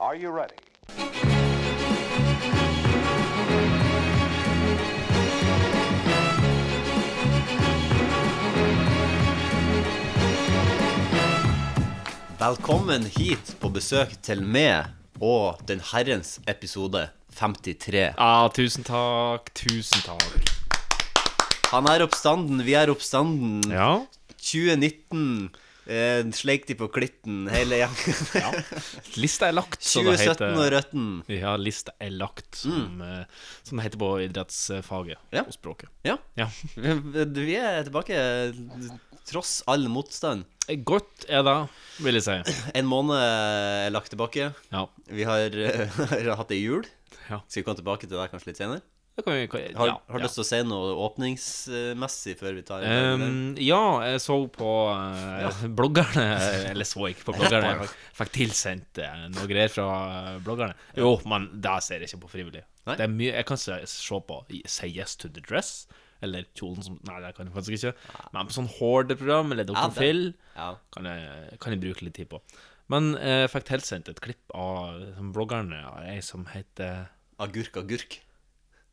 Are you ready? Velkommen hit på besøk til meg og den herrens episode 53. Ja, tusen takk, tusen takk. Han er oppstanden, vi er oppstanden. Ja. 2019 eh, sleik de på klitten hele gjengen. Lista er lagt, som det 2017 og heter. røtten. Ja, lista er lagt, som, eh, som det heter på idrettsfaget Ja. og språket. Ja, Ja. vi er tilbake tross all motstand. Godt er det, vil jeg si. En måned er lagt tilbake. Ja. Vi har, eh, hatt ei jul. Ja. Skal vi komme tilbake til det kanskje litt senere? Det kan vi kan, Har, ja, har du ja. lyst til å si noe åpningsmessig før vi tar Um, ja, jeg så på eh, bloggerne Eller så ikke på bloggerne. Jeg fikk tilsendt eh, noe greier fra eh, bloggerne. Jo, men det ser jeg ikke på frivillig. Nei. Det er mye Jeg kan ikke se på i- Say Yes to the Dress. Eller kjolen som Nei, det kan jeg faktisk ikke. Men på sånn Horde-program eller Dr. Ah. Ja, det- Phil Ja. kan jeg, kan jeg bruke litt tid på. Men eh, jeg fikk tilsendt et klipp av som bloggerne av ei som heter Agurk, agurk.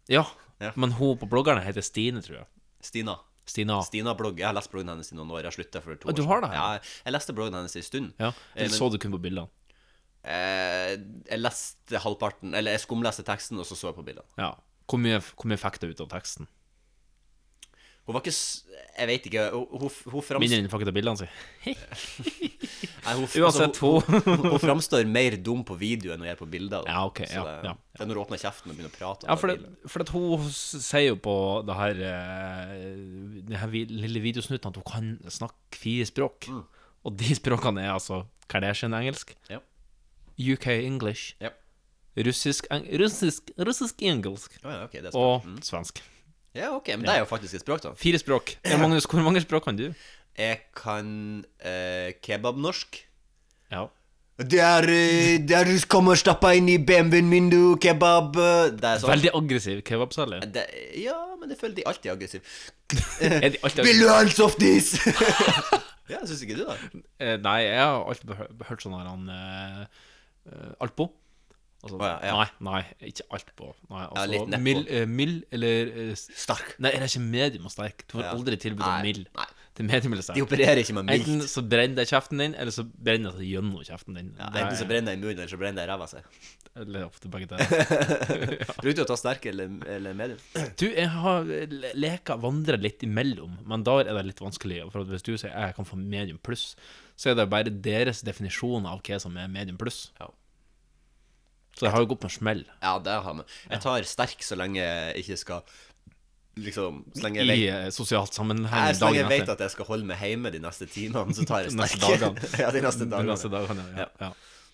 ja, Ja. men hun på bloggerne heter Stine, tror jeg. Stina. Stina. Stina blogg, Jeg har lest bloggen hennes i noen år. Jeg slutta for to Ah, år du har det siden. her? Ja, jeg, jeg leste bloggen hennes en stund. Ja, Eh, det men- så du kun på bildene. Eh, jeg leste halvparten Eller jeg skumleste teksten, og så så jeg på bildene. Ja. Hvor mye, hvor mye fikk du ut av teksten? Hun var ikke s- Jeg vet ikke. Hun, hun, hun, frams, Mindre enn du fikk ut av bildene sine? nei, hun, Uansett, altså, hun, hun framstår mer dum på video enn hun gjør på bilder. da. Ja, ok, Så ja, det, ja. det er når hun åpner kjeften og begynner å prate. da Ja, for, blir det- det, for at hun s- sier jo på det her, eh, det her vi- lille videosnutten at hun kan snakke fire språk. Og de språkene er altså Kardashian-engelsk, Ja. UK-english, Ja. russisk-engelsk russisk, russisk engelsk, Å ja, ok, det er språk. og svensk. Ja, ok, men det er jo faktisk et språk, da. Fire språk. Ja, Magnus, hvor mange språk kan du? Jeg kan eh, kebabnorsk. Ja. Der, eh, der kommer stappa inn i BMW-en min, du, kebab eh. Det er sånn. Veldig aggressiv kebabselger. det, Ja, men jeg føler de alltid er aggressive. Er de alltid Vil du ha en softis? ja, syns ikke du, da? Eh, nei, jeg har alltid behø- hørt sånn her han eh, eh, Alpo. Altså, Å, ja, ja. Nei, nei, ikke Alpo. Nei, altså, litt nedpå. mild, eh, mild eller eh, s- Stark. Nei, det er ikke medium og sterk. Du får Ja. aldri tilbud om Nei, mild. nei. Det er medium eller De sterk. opererer ikke med Enten mildt. så brenner det i kjeften din, eller så brenner det gjennom kjeften din. Ja, Det enten så er- brenner det i munnen, eller så brenner det i ræva si. Eller ofte begge deler. Brukte du å ta sterk eller, eller medium? Du, jeg har le- leka vandra litt imellom, men da er det litt vanskelig. For at hvis du sier jeg kan få medium pluss, så er det bare deres definisjon av hva som er medium pluss. Ja. Så jeg har jo gått på en smell. Ja, det har vi. Jeg tar sterk så lenge jeg ikke skal Liksom Så lenge jeg i vet, eh, sosialt Nei, sammenheng så lenge jeg dagen vet etter. at jeg skal holde meg hjemme de neste timene, så tar jeg De sterk. neste dagene. ja, de neste De dagene. neste dagene, ja. ja.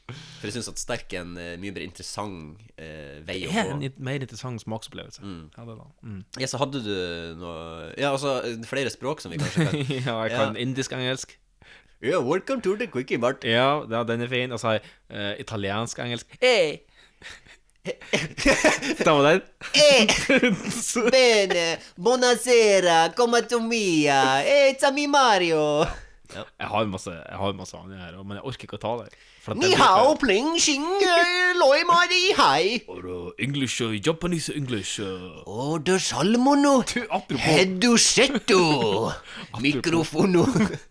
For jeg syns at sterk er en eh, mye mer interessant eh, vei å Det er gå. en litt mer interessant smaksopplevelse. Ja, det da. Mm. Ja, så hadde du noe Ja, altså flere språk som vi kanskje kan ja, jeg kan indisk-engelsk. Ja, welcome to the quickie mart. Ja, ja, den er fin. Og så har jeg eh, italiensk-engelsk. Eh, Hey! da var den. eh, Bene, buonasera, come to mia, eh, it's a mi Mario. Jeg har masse, jeg har masse andre her, men jeg orker ikke å ta det. for at Ni jeg hao, bruker- pling, xing, eh, loi mari, hai. Or, uh, English, uh, Japanese English uh. Og du salmono, Du, apropos, heddu settu, mikrofono.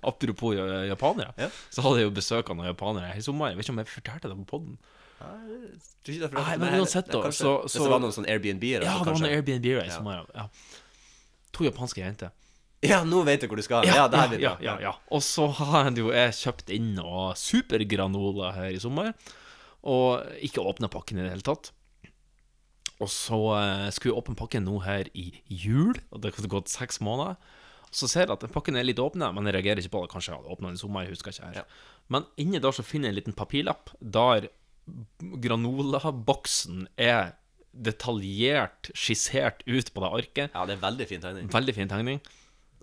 apropos uh, japanere, Ja. så hadde jeg jo besøk av noen japanere i sommer. Jeg vet ikke om jeg fortalte det på podden Nei, men uansett da, så- Hvis så- det var noen sånn Airbnb-er, altså, Ja, det var noen kanskje. Airbnb-er som var ja. To japanske jenter. Ja, nå vet du hvor du skal. Ja, det her blir ja, bra. ja, ja. Og så har jeg jo jeg kjøpt inn noe supergranola her i sommer, og ikke åpna pakken i det hele tatt. Og så eh, skulle jeg åpne pakken nå her i jul, og det har gått seks måneder. Og så ser jeg at den pakken er litt åpna, men jeg reagerer ikke på det. Kanskje jeg hadde åpna den i sommer, jeg husker ikke her. Ja. Men inni der så finner jeg en liten papirlapp der granolaboksen er detaljert skissert ut på det arket. Ja, det er veldig fin tegning. Veldig fin tegning.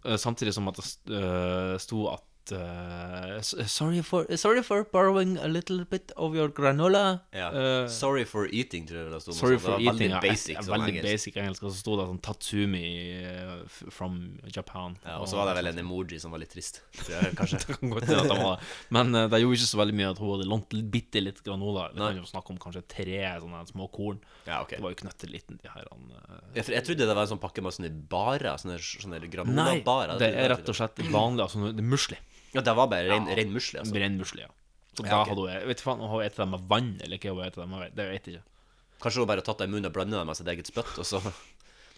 Eh, Samtidig som at det st- eh, sto at eh, s- sorry, for, sorry for borrowing a little bit of your granola. Ja. Eh, sorry for eating, tror jeg det sto. noe Sorry sånt. for det var eating. ja. Veldig basic. Ja, sånn veldig engelsk. basic engelsk. Og så sto det sånn Tatsumi eh, f- from Japan. Ja, og så var det vel en emoji som var litt trist. tror jeg, Kanskje. Det kan godt hende at det var det. Men eh, det gjorde ikke så veldig mye at hun hadde lånt litt- bitte litt granola. Vi kan jo snakke om kanskje tre sånne små korn. Ja, ok. Det var jo knøtteliten, de her. Han, eh. Ja, for jeg trodde det var en sånn pakke med sånne barer. Sånne, sånne Nei, granolabarer. det er rett og slett vanlig. Altså, det er musli. Ja, det var bare ren, ren musli, altså. Brennmusli, ja. Så Ja, da ok. hadde hun jeg Vet du faen, har hun spist dem med vann, eller hva har hun spist dem med? Det vet jeg ikke. Kanskje hun bare har tatt det i munnen og blanda det med sitt eget spytt, og så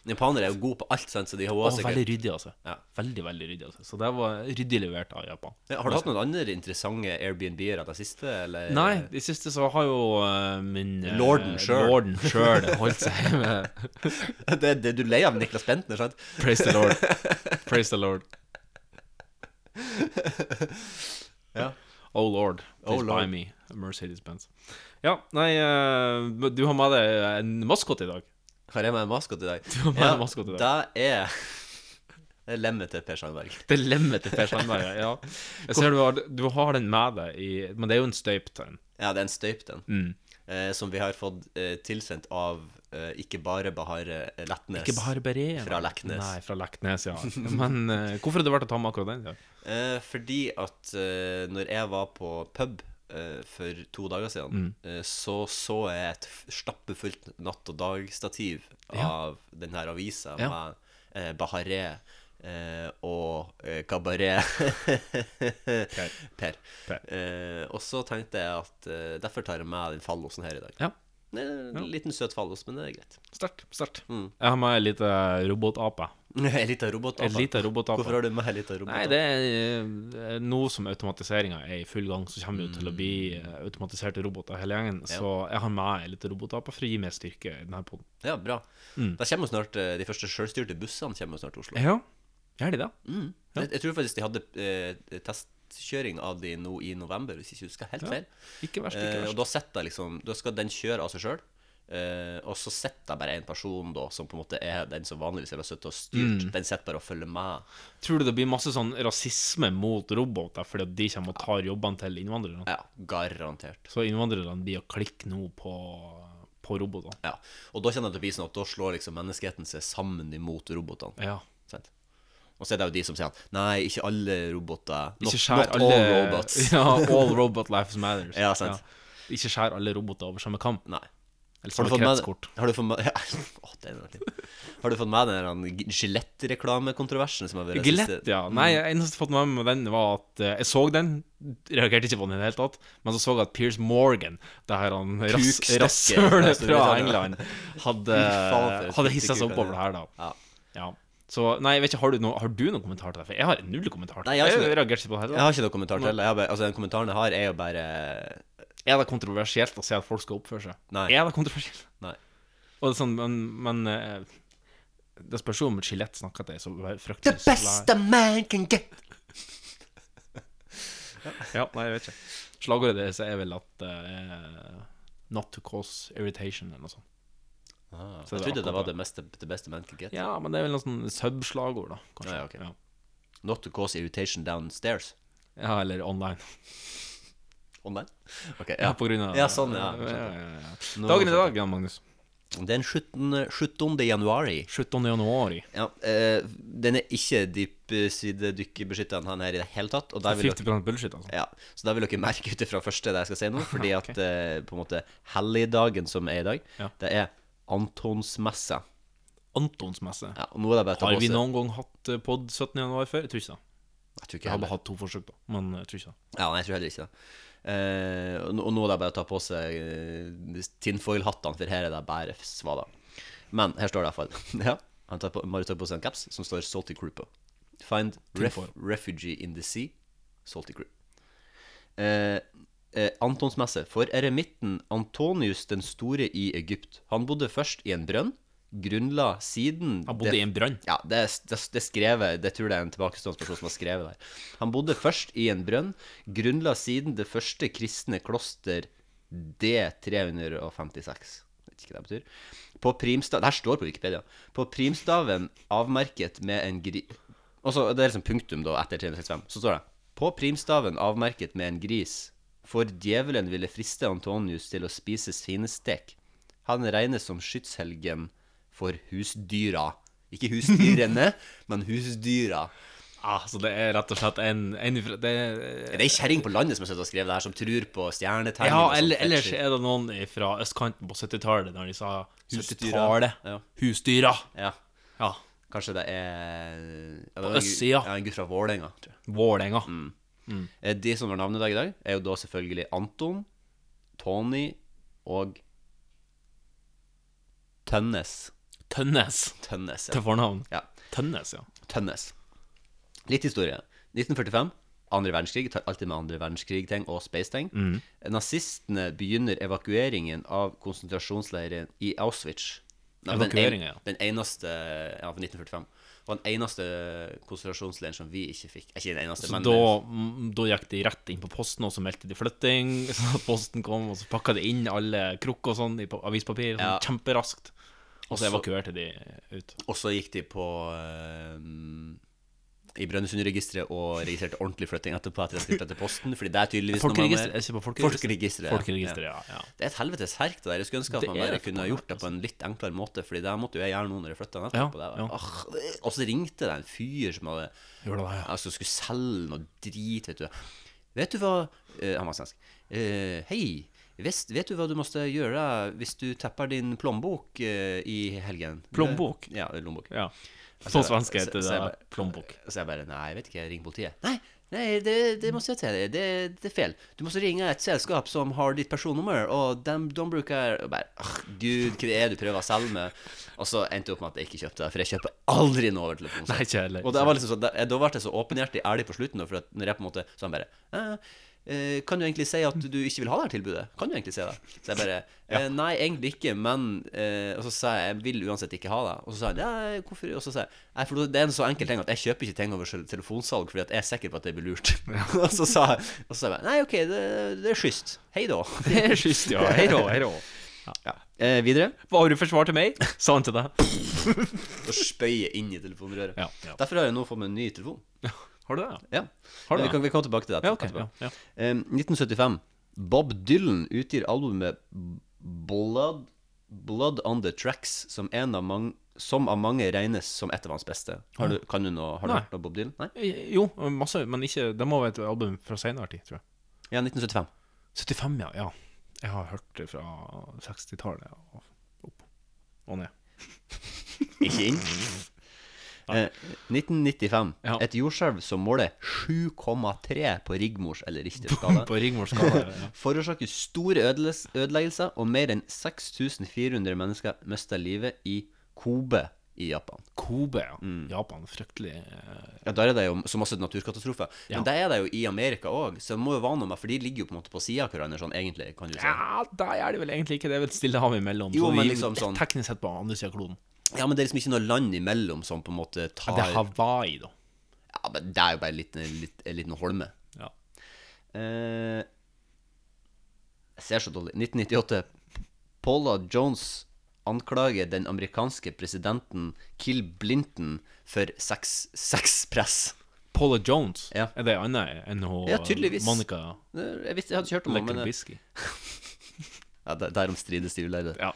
Japanere er jo gode på alt, sant, så de har jo Og også veldig sikkert ryddig, altså. Ja. Veldig, veldig ryddig. altså Så det var ryddig levert av Japan. ja, Har du hatt noen andre interessante Airbnb-er av det siste, eller? Nei, i siste så har jo eh, min eh, Eh, Lorden selv. Lorden sjøl holdt seg med Det, er det du er lei av Niklas Bentner, sant? Praise the Lord. Praise the Lord. Ja. Oh Lord, please Oh Lord. buy me a Mercedes-Benz. Ja, nei, eh, du har med deg en maskot i dag. Har jeg med en maskot i dag? Du har med en maskot i dag. Det er Det er lemmet til Per Sandberg. Det er lemmet til Per Sandberg, ja. Jeg ser du har, du har den med deg i Men det er jo en støypt en. Ja, det er en støyp, den. Mm. Eh, som vi har fått eh, tilsendt av eh, ikke bare Bahare eh, Letnes. Ikke bare Beren. Fra Leknes. Nei, fra Leknes, ja. Men eh, hvorfor har det vært å ta med akkurat den? Ja? Eh, fordi at eh, når jeg var på pub eh, for to dager siden, Mm. eh, så så jeg et f- stappefullt natt og dag-stativ av den her avisa Ja. med eh, Bahareh eh, og eh, Kabaret Per. Per. Eh, og så tenkte jeg at eh, derfor tar jeg med den fallosen her i dag. ja. Det er En liten søt fallos, men det er greit. Mm. Sterkt. sterkt. Jeg har med ei lita robotape. En liten robot. En lita robotape. Hvorfor har du med en liten robot? Nei, det er eh, nå som automatiseringa er i full gang, så kommer det jo til å bli eh, automatiserte roboter hele gjengen. Så jeg har med ei lita robotape for å gi mer styrke i denne poden. Ja, bra. Da kommer jo snart eh, de første sjølstyrte bussene kommer jo snart til Oslo. Mm. Ja, gjør de det? Mm. Jeg, jeg tror faktisk de hadde eh, testkjøring av de nå i november, hvis ikke jeg husker helt feil. Ikke verst, ikke Eh, og verst. da setter jeg liksom Da skal den kjøre av seg sjøl. Eh, og så sitter det bare en person da som på en måte er den som vanligvis ville sittet og Mm. styrt. Den sitter bare og følger med. Tror du det blir masse sånn rasisme mot roboter fordi at de kommer og tar jobbene til innvandrerne? Ja, garantert. Så innvandrerne blir å klikke nå på, på robotene. Ja. Og da kjenner jeg til å bli sånn at da slår liksom menneskeheten seg sammen imot robotene. Ja. Sant? Og så er det jo de som sier at nei, ikke alle roboter. Not, Ikke skjær not alle all robots. Ja, all robot lives matters. Ja, sant. Ikke skjær alle roboter over samme kam. Nei. Eller Har du samme fått med, kretskort. har du fått med, ja, å, det er noe til. Har du fått med den her, han, Gillette-reklamekontroversen som har vært Gillette, siste- Mm. ja. Nei, jeg eneste jeg fått med meg med den, var at eh, jeg så den. Reagerte ikke på den i det hele tatt. Men så så jeg at Piers Morgan, det her han rass- Kukstekke. rasshølet Altså, fra vi tar det. England, hadde, Fy faen, for et hadde hissa seg kuktekke, opp over det her, da. Ja. Ja. Så nei, jeg vet ikke, har du, noe, har du noen kommentar til det? For jeg har null kommentar. Nei, Nei, jeg har jeg ikke noe. reagerte ikke på det Jeg heller. har ikke noen kommentar til det. Jeg har bare- Altså, den kommentaren jeg har, er jo bare Er det kontroversielt å si at folk skal oppføre seg? Nei. Er det kontroversielt? Nei. Og det er sånn, men, men eh, det spørs jo om Gillette snakker til deg så The fryktelig best a man can get. Ja, nei, jeg vet ikke. Slagordet deres er vel at eh, Not to cause irritation, eller noe sånt. Ah, jeg Så det er trodde det akkurat var det. det meste, the best a man can get. Ja, men det er vel noe sånn sub-slagord, da. Kanskje. Ja, ja, ok. Not to cause irritation downstairs. ja, eller online. Online? Ok, Ja, ja. på grunn av Ja, sånn, ja. ja, ja, ja. Nå- Dagen i dag, Jan Magnus. Den 17. 17. januari 17. januar. ja, eh, Den er ikke dypsidedykkerbeskytteren han her i det hele tatt. Og der vil 50 bullshit, altså. Ja, så da vil dere merke ut ifra første det jeg skal si nå, fordi at eh, på en måte helligdagen som er i dag, Ja. det er Antonsmessa. Antons messe. Ja, og nå er det bare å ta Har på vi seg- noen gang hatt eh, pod 17. januar før? Jeg tror ikke det. Jeg tror Jeg ikke har heller. bare hatt to forsøk, da. Men eh, jeg tror ikke det. Ja, nei, jeg tror heller ikke det. Eh, og nå- og nå er det bare å ta på seg eh, tinfoil-hattene, for her er det bare svada. Men her står det iallfall. ja, han tar på, Mari tar på seg en caps som står Salty Crew på. Find ref, Tinfoil. refugee in the sea, Salty Crew. Eh, eh, Antons messe. For eremitten Antonius den store i Egypt. Han bodde først i en brønn, grunnla siden Han bodde det- i en brann. ja, det, er- det, det er skrevet Det tror jeg det er en tilbakestående person som har skrevet det. her. Han bodde først i en brønn, grunnla siden det første kristne kloster D356. Vet ikke hva det betyr. På primsta- Det her står på Wikipedia. På primstaven avmerket med en gri... Og så, det er liksom punktum da, etter 365. Så står det På primstaven avmerket med en gris, for djevelen ville friste Antonius til å spise svinestek. Han regnes som skytshelgen for husdyra. Ikke husdyrene, men husdyra. Ah, så det er rett og slett en, en fra- det er, Er det ei kjerring på landet som har sittet og skrevet det her, som tror på stjernetegn? Ja, og sånt eller, ellers fetch shit? er det noen fra østkanten på 70-tallet, når de sa Husdyra. 70-tallet. Ja. Husdyra. ja. Ja. Kanskje det er ja, det var På en gu- østsida. Ja, en gutt fra Vålerenga, tror jeg. Vålerenga. Eh, De som har navnedag i dag, er jo da selvfølgelig Anton, Tony og Tønnes. Tønnes Tønnes, ja. til fornavn. ja. Tønnes, ja. Tønnes. Litt historie. 1945. Andre verdenskrig. Tar alltid med andre verdenskrig-ting og space-ting. Mm. Nazistene begynner evakueringen av konsentrasjonsleiren i Auschwitz. Nei, men den en- Evakueringen, ja. Den eneste Ja, for 1945. Og den eneste konsentrasjonsleiren som vi ikke fikk. Ikke den eneste, Så men da, mm, da gikk de rett inn på posten, og så meldte de flytting. Så posten kom, og så pakka de inn alle krukker og sånn i pa- avispapir sånn, Ja. kjemperaskt. Og Også- så evakuerte de ut. Og så gikk de på eh, I Brønnøysundregisteret og registrerte ordentlig flytting etterpå. Etter at de flyttet til posten Fordi det er tydeligvis noe man- Folkeregisteret, er ikke på Folkeregisteret, ja. Folkeregisteret, ja. ja. Det er et helvetes herk, det der. Jeg skulle ønske at Det man er bare det, kunne ha faen, altså. gjort det på en litt enklere måte, Fordi det måtte jo jeg gjøre nå når jeg flytta Ja, nettopp. ja. og, det var, ah, og så ringte det en fyr som hadde Gjorde det, ja. altså, skulle selge noe drit, vet du. Vet du hva eh, Han var svensk. Eh, Hei, visst- vet du hva du måtte gjøre hvis du tapper din plånbok eh, i helgen? Plombok? Ja, lommebok. ja. På jeg- Sånn svensk Altså, så- heter så jeg det bare- plombok. Så jeg bare Nei, jeg vet ikke. Ring politiet. Nei, nei det, det måste jeg til deg. Det, det er feil. Du måste ringe et selskap som har ditt personnummer, og de, de bruker Og bare «Åh, Gud, hva er det du prøver å selge med? Og så endte jeg opp med at jeg ikke kjøpte det, for jeg kjøper aldri noe over telefonen. Nei, ikke heller. Og det var liksom sånn, da- da ble jeg så åpenhjertig ærlig på slutten, da, for at når jeg på en måte Så han bare eh, eh, Kan du egentlig si at du ikke vil ha det her tilbudet? Kan du egentlig si det? Så jeg bare eh, Nei, egentlig ikke, men eh, Og så sa jeg jeg vil uansett ikke ha det. Og så sa han ja, hvorfor Og så sa jeg nei, for det er en så enkel ting at jeg kjøper ikke ting over sel- telefonsalg fordi at jeg er sikker på at det blir lurt. og så sa jeg Og så sa jeg bare nei, OK, det, det er skyst. Hei da. Det er Skyst, ja. Hei rå, hei rå. ja. eh, videre. Hva har du for svar til meg? Sa han til deg. Og spøye inn i telefonrøret. Ja, ja. Derfor har jeg nå fått meg en ny telefon. Har du det? ja? Ja. Har du Men vi det? kan vi kommer tilbake til det Ja, ok, etterpå. ja, ja. Eh, 1975. Bob Dylan utgir albumet Blood, Blood on the Tracks, som, en av mang- som av mange regnes som et av hans beste. Har du, kan du noe, har du Nei. hørt noe Bob Dylan? Nei? Eh, Jo, masse, men ikke Det må være et album fra senere tid, tror jeg. Ja, 1975. 75, ja. ja. Jeg har hørt det fra 60-tallet og opp og ned. Ikke inn. Eh, 1995. Ja. Et jordskjelv som måler 7,3 på Rigmors eller Richters skala, På Rigmors skala. ja. forårsaker store ødeles- ødeleggelser, og mer enn 6400 mennesker mister livet i Kobe i Japan. Kobe, ja. Japan. Fryktelig eh, Ja, Der er det jo så masse naturkatastrofer. Ja. Men der er det jo i Amerika òg, så det må jo være noe med For de ligger jo på en måte på sida av hverandre, sånn egentlig, kan du si. Ja. Ja, da er det vel egentlig ikke det. Det er vel Stillehavet imellom. Jo, så men vi- liksom sånn- Teknisk sett på andre sida av kloden. men det er liksom ikke noe land imellom som på en måte Ja, tar det Ja, er Hawaii, da. men det er jo bare en liten, litt- en liten holme. Ja. Eh, jeg ser så dårlig 1998. Paula Jones anklager den amerikanske presidenten Kill Blinton for sex- sexpress. Paula Jones, Ja. er det annet enn hun Ja, tydeligvis. Monica Jeg visste, jeg hadde ikke hørt om det, men eh, Lekkebisky? ja, der- Derom strides de ulærde. Ja.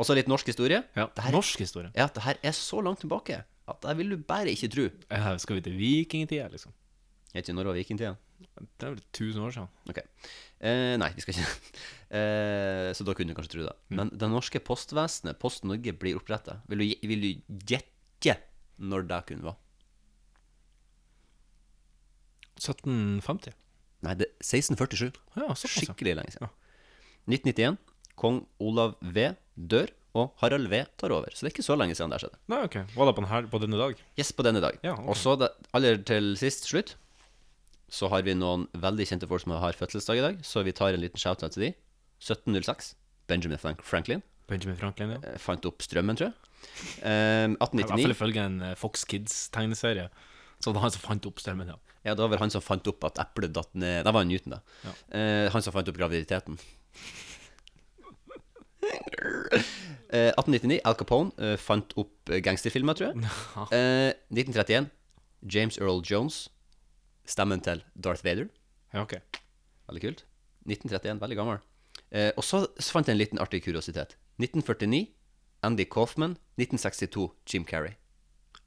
Og så litt norsk historie. ja. Det her- Norsk historie. Ja, det her er så langt tilbake at det vil du bare ikke tro. Eh, Skal vi til vikingtida, liksom? Jeg vet ikke når det var vikingtida. Det er vel 1000 år siden. Ok. Eh, nei, vi skal ikke eh, Så da kunne du kanskje tro det. Men det norske postvesenet, Post Norge, blir oppretta. Vil, du gje- vil du gjette når det kunne være? 1750? Nei, det er 1647. Ja, såpass. ja. Skikkelig lenge siden. 1991. Kong Olav V dør, og Harald V tar over. Så det er ikke så lenge siden det skjedde. Nei, ok. Var det på, den her, på denne dag? Yes, på denne dag. Ja, ok. Og så, det- aller til sist slutt, så har vi noen veldig kjente folk som har fødselsdag i dag, så vi tar en liten shout-out til de. 1706, Benjamin Frank Franklin. Benjamin Franklin, ja. eh, Fant opp strømmen, tror jeg. Eh, I hvert fall 1899. ifølge en eh, Fox Kids-tegneserie. Så det var han som fant opp strømmen, ja. Ja, det var vel han som fant opp at eplet datt ned Det var Newton, da. Eh, han som fant opp graviditeten. Eh, 1899, Al Capone eh, fant opp eh, gangsterfilmer, tror jeg. Eh, 1931, James Earl Jones stemmen til Darth Vader. Ja, ok. Veldig kult. 1931, veldig gammel. Eh, og så, så fant jeg en liten artig kuriositet. 1949, Andy Kaufman. 1962, Jim Carrey.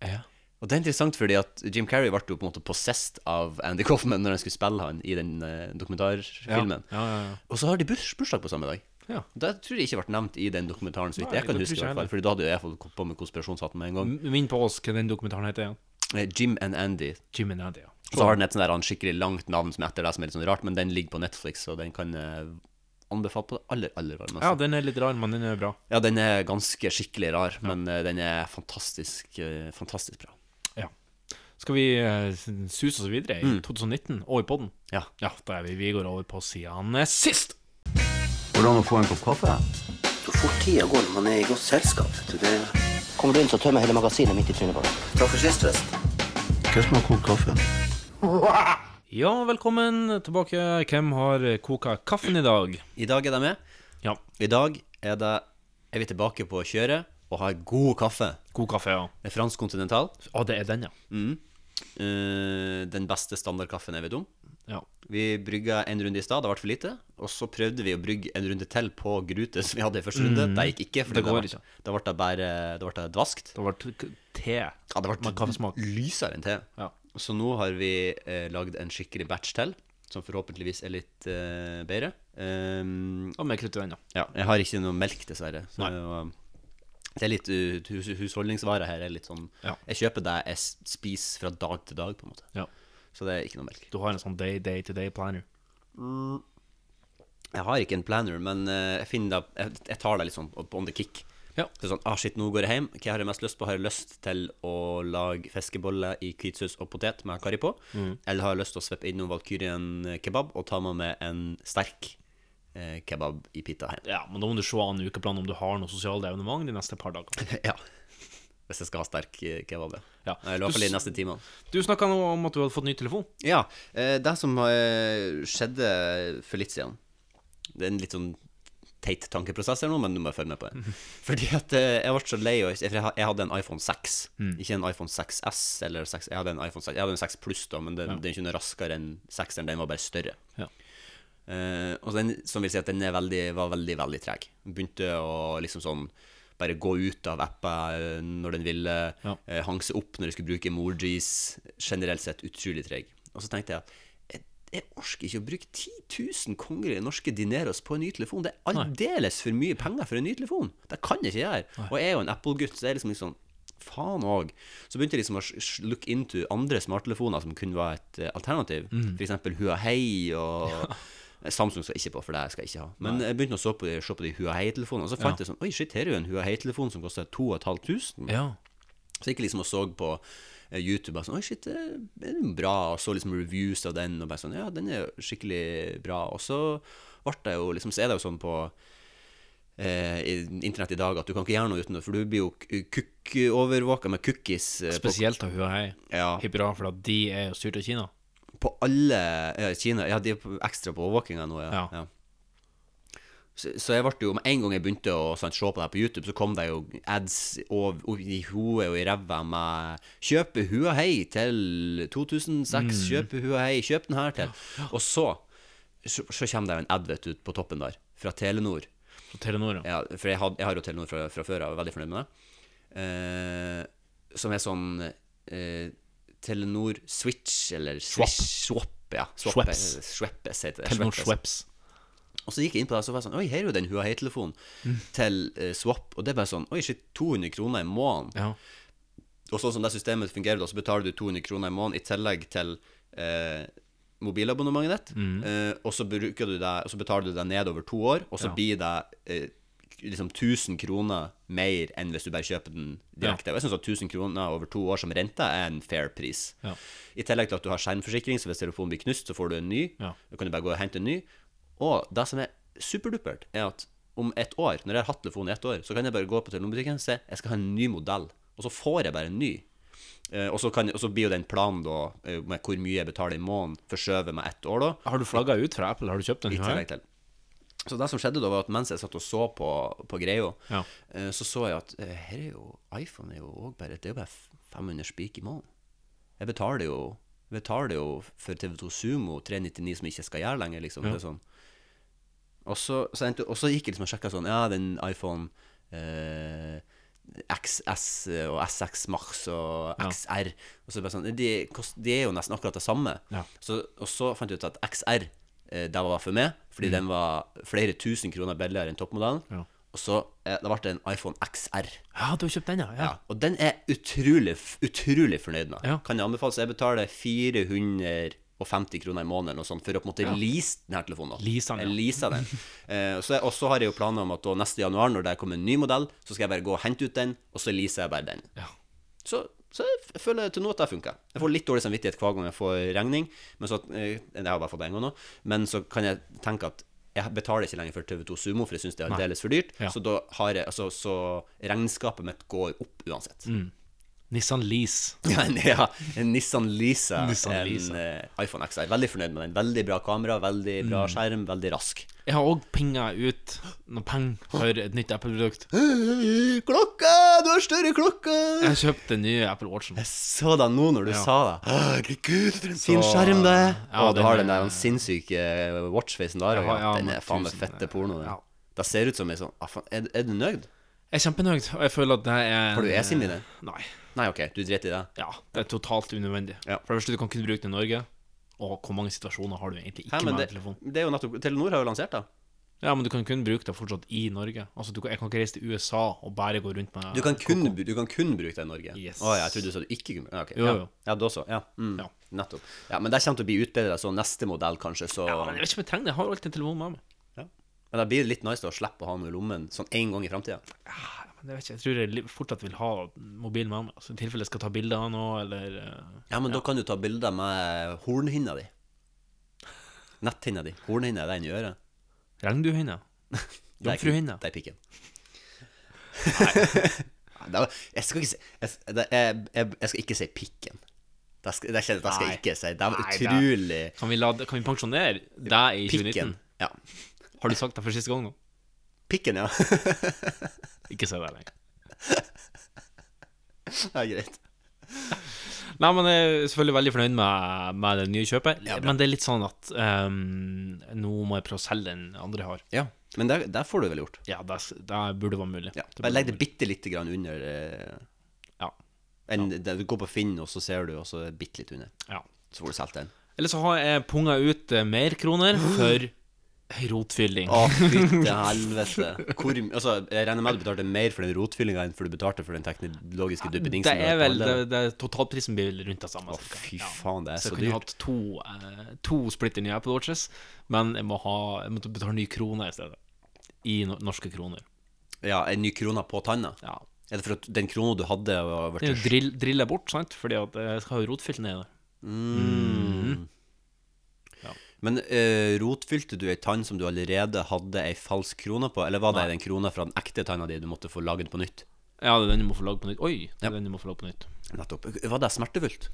Ja. Og det er interessant fordi at Jim Carrey ble jo på en måte possessed av Andy Kaufman når han skulle spille han i den eh, dokumentarfilmen. Ja, ja, ja. Og så har de burs- bursdag på samme dag. ja. Det tror jeg ikke ble nevnt i den dokumentaren, så vidt Nei, jeg kan det huske. tror i ikke hvert fall, Fordi da hadde jo jeg fått på meg konspirasjonshatten med en gang. M- Minn på oss hva den dokumentaren heter igjen. Eh, Jim and Andy. Jim and Andy, Mm. ja. Og så har den et sånn der, han skikkelig langt navn som heter det, som er litt sånn rart, men den ligger på Netflix, og den kan eh, anbefale på det aller, aller varmeste. Ja, den er litt rar, men den er bra. Ja, den er ganske skikkelig rar, men eh, den er fantastisk, eh, fantastisk bra. Ja. Skal vi eh, suse oss videre i 2019 og i podden? Mm. Ja. Ja, da er vi. Vi går over på siden eh, sist. Går det an å få en kopp kaffe? Så fort tida går når man er i godt selskap. vet du, Det... Kommer du inn, så tømmer hele magasinet midt i trynet på deg. Takk for sist, forresten. Hva som har kokt kaffe? Ja, velkommen tilbake. Hvem har koka kaffen i dag? I dag er det med. Ja, I dag er det er vi tilbake på kjøret og har god kaffe. god kaffe, ja. Det er fransk kontinental. Å, det er den, ja. Eh, den beste standardkaffen er ved dum. ja. Vi brygga en runde i stad, det ble for lite. Og så prøvde vi å brygge en runde til på grute som vi hadde i første runde. Det gikk ikke, for Mm. Det da går ble ikke. da ble det bare Da ble det dvaskt. Det var t- k- te. Ja, det ble Med kaffesmak. lysere enn te. Ja. Så nå har vi eh, lagd en skikkelig batch til, som forhåpentligvis er litt eh, bedre. Ehm, Og mer krutt i den, ja. ja, jeg har ikke noe melk, dessverre. Så Nei. det var- det er litt uh, hus husholdningsvare her. er litt sånn Ja. Jeg kjøper det jeg s- spiser fra dag til dag, på en måte. ja. Så det er ikke noe melk. Du har en sånn day, day to day planner. Jeg har ikke en planner, men eh, jeg finner da jeg, jeg tar det litt sånn on the kick. Ja. Så sånn, ah shit, nå går jeg hjem. Hva har jeg mest lyst på? Har jeg lyst til å lage fiskeboller i hvitsaus og potet med curry på? Mm. Eller har jeg lyst til å sveppe innom Valkyrien eh, kebab og ta med meg en sterk eh, kebab i pita hjem? Ja, men da må du se an ukeplanen om du har noe sosiale evenement de neste par dagene. ja. Hvis jeg skal ha sterk eh, kebab, Ja. I Du hvert fall i s- neste timene. Du snakka nå om at du hadde fått ny telefon. Ja. eh, Det som eh, skjedde for litt siden Det er en litt sånn teit tankeprosess her nå, men du må følge med på det. Fordi at eh, jeg ble så lei av for jeg ha- Jeg hadde en iPhone 6. Ikke en iPhone 6S eller 6 Jeg hadde en iPhone 6, jeg hadde en 6 Pluss, da, men den, den er ikke noe raskere enn 6-eren. Den var bare større. Ja. Eh, og den, som vil si at den er veldig, var veldig, veldig treg. Den Begynte å liksom sånn bare gå ut av apper eh, når den ville. Ja. eh, hang seg opp når jeg skulle bruke emojis. Generelt sett utrolig treg. Og så tenkte jeg at jeg, jeg orker ikke å bruke 10 000 kongelige norske dineros på en ny telefon. Det er aldeles for mye penger for en ny telefon. Det kan jeg ikke gjøre. Og jeg er jo en Apple-gutt, så jeg er liksom litt sånn Faen òg. Så begynte jeg liksom å sh- sh- look into andre smarttelefoner som kunne være et eh, alternativ. For eksempel Huahei og Samsung skal jeg ikke på, for det skal jeg ikke ha. Men jeg begynte å se på de, se på de Huahei-telefonene, og så fant jeg sånn Oi, shit, her er jo en Huahei-telefon som koster 2500. Ja. Så jeg gikk liksom og så på eh, YouTube og sånn Oi, shit, det er jo bra. Og så liksom reviews av den, og bare sånn Ja, den er jo skikkelig bra. Og så ble det jo liksom Så er det jo sånn på eh, i- internett i dag at du kan ikke gjøre noe uten det, for du blir jo k- kukk-overvåka med cookies eh, på, Spesielt av Huawei. Ja. Bra, for at de er jo styrt av Kina. på alle ja, Kina. Ja, de er på- ekstra på overvåkinga nå, ja. Ja. ja. Så, så jeg ble jo, med en gang jeg begynte å sant, se på det her på YouTube, så kom det jo ads og, og i hodet og i ræva med 'Kjøpe Huahei til 2006', 'Kjøpe Huahei', 'Kjøp den her til'. Og så, så, så kommer det jo en ad vet du, på toppen der, fra Telenor. Fra Telenor, ja. Ja, for jeg, had, jeg har jo Telenor fra, fra før, jeg er veldig fornøyd med det. Eh, som er sånn eh, Telenor Switch, eller Swish, Swap. Ja, Swaps. Sweppes heter det. Telenor Sweppes. Schweppes. Og så gikk jeg inn på det, og så var jeg sånn Oi, her er jo den Huawei-telefonen Mm. til eh, Swap. Og det er bare sånn Oi, shit, 200 kroner i måneden. Ja. Og sånn som det systemet fungerer, da, så betaler du 200 kroner i måneden i tillegg til eh, mobilabonnementet ditt. Mm. Eh, og, så bruker du det, og så betaler du det ned over to år, og så Ja. blir det eh, liksom 1000 kroner mer enn hvis du bare kjøper den direkte. Og jeg syns at 1000 kroner over to år som rente er en fair pris. Ja. I tillegg til at du har skjermforsikring, så hvis telefonen blir knust, så får du en ny. Ja. Da kan du bare gå og hente en ny. Og det som er superdupert, er at om et år, når jeg har hatt telefonen i ett år, så kan jeg bare gå på telefonbutikken og se jeg skal ha en ny modell. Og så får jeg bare en ny. Eh, og, så kan, og så blir jo den planen da, eh, med hvor mye jeg betaler i måneden, forskjøvet med ett år, da. Har du flagga ut fra Apple? Har du kjøpt en I Huawei? tillegg til. Så det som skjedde da, var at mens jeg satt og så på, på greia, Ja. eh, så så jeg at eh, her er jo iPhone er jo også bare Det er jo bare 500 spik i måneden. Jeg betaler jo betaler jo for TV2 Sumo 399 som ikke skal gjøre lenger, liksom. Det er sånn. Og så, så, endte, og så gikk jeg liksom og sjekka sånn, ja, den iPhone eh, XS og SX Max og Ja. XR Og så bare sånn, de, kost- de er jo nesten akkurat det samme. Ja. Så, og så fant jeg ut at XR, eh, det var for meg, fordi den var flere tusen kroner billigere enn toppmodellen. Mm. Ja. Og så eh, da ble det en iPhone XR. Ja, du har kjøpt den, ja. ja. Ja. Og den er utrolig, f- utrolig fornøyd med. Ja. Kan jeg anbefale, så jeg betaler 450 kroner i måneden eller noe sånt, for å på en måte lease denne telefonen. da. Lease den, ja. Jeg leaser den. Eh, så jeg- Og så har jeg jo planer om at da, neste januar, når det kommer en ny modell, så skal jeg bare gå og hente ut den, og så leaser jeg bare den. Ja. Så, så jeg f- føler til nå at det funker. Jeg får litt dårlig samvittighet hver gang jeg får regning, men så, eh, det har jeg bare fått en gang nå, men så kan jeg tenke at jeg betaler ikke lenger for TV2 Sumo, for jeg syns det er aldeles for dyrt. Ja. Så da har jeg, altså, så regnskapet mitt går opp uansett. Nissan Lease. Ja, en, ja, en Nissan Lisa, Nissan en Lisa. eh, iPhone XR. Veldig fornøyd med den. Veldig bra kamera, veldig bra skjerm, veldig rask. Jeg har òg pinga ut noen penger for et nytt Apple-produkt. Klokka! Du har større klokke! Jeg har kjøpt den nye Apple Watchen. Jeg så deg nå når du Ja. sa det. Herregud, for en fin skjerm det er! Ja, Å, du den har er- den der den sinnssyke eh, watchfacen der. Jeg har- ja, den men er faen meg tusen, fette porno. Den. ja. Det ser ut som en sånn ah, faen, er, er du nøyd? Jeg er kjempenøyd, og jeg føler at det er en- eh, Har du eSIM i det? Nei. Nei, OK, du driter i det. Ja, det er totalt unødvendig. Ja. For det første, du kan kun bruke den i Norge. Og hvor mange situasjoner har du egentlig ikke Hæ, men med det, en telefon? det er jo nettopp Telenor har jo lansert det. Ja, men du kan kun bruke det fortsatt i Norge. Altså, du kan, Jeg kan ikke reise til USA og bare gå rundt med Du kan kun, bru- du kan kun bruke det i Norge? Yes. Å, ja, jeg trodde du sa du ikke kunne ja, ok. Jo, ja. jo. ja, da så. Ja. Mm. Ja. Nettopp. Ja, men det kommer til å bli utbedret, så neste modell kanskje, så Ja, men Jeg vet ikke om jeg trenger det. Jeg har alltid en telefon med meg. Men det blir litt nice da, å slippe å ha noe i lommen sånn én gang i framtida. Ja, men Jeg vet ikke, jeg tror jeg li- fortsatt vil ha mobilen med meg. Altså, I tilfelle jeg skal ta bilder av noe, eller eh, Ja, men da kan du ta bilder med hornhinna di. Netthinna di. Hornhinna er den i øret. regnbuehinne. Det er ikke- Jomfruhinne. Det er pikken. Nei. det var- Jeg skal ikke si jeg, det, jeg, jeg, jeg skal ikke si pikken. Det skal, det skal, det skal jeg Nei. ikke si. Det var Nei, det- utrolig Kan vi, la, det- kan vi pensjonere deg i 2019? Pikken. Ja. Har du sagt det for siste gang nå? Pikken, ja. Ikke si det lenger. Det er greit. Nei, men jeg er selvfølgelig veldig fornøyd med, med det nye kjøpet. Ja, bra. men det er litt sånn at ehm, nå må jeg prøve å selge den andre jeg har. Ja, men der, der får du vel gjort. Ja, det, det burde være mulig. Ja. Det Bare burde legg være det bitte lite grann under. Eh, mulig. Ja, enn det- du går på Finn, og så ser du, og så er det bitte litt under. ja. Så får du solgt den. Eller så har jeg punga ut eh, mer kroner for rotfylling. Å, fytte helvete. Hvor, altså, jeg regner med at du betalte mer for den rotfyllinga enn for du betalte for den teknologiske det duppedingsen. du er har vel, det, planlagt. det, Totalprisen blir vel rundt det samme. Å, cirka. fy Ja. faen, det er så Så jeg kunne dyrt. hatt to, eh, to splitter nye Apple Watches, men jeg, må ha, jeg måtte betale nye kroner i stedet. I no norske kroner. Ja, en ny krone på tanna? Ja. Er det for at den krona du hadde, var Det er vært jo drill, drille bort, sant? Fordi at eh, jeg skal ha rotfylt nedi der. Men eh, rotfylte du ei tann som du allerede hadde ei falsk krone på, eller var det den krona fra den ekte tanna di du måtte få laget på nytt? Ja, det er den du må få lagd på nytt. Oi, det er den du må få lagd på nytt. Nettopp. Var det smertefullt?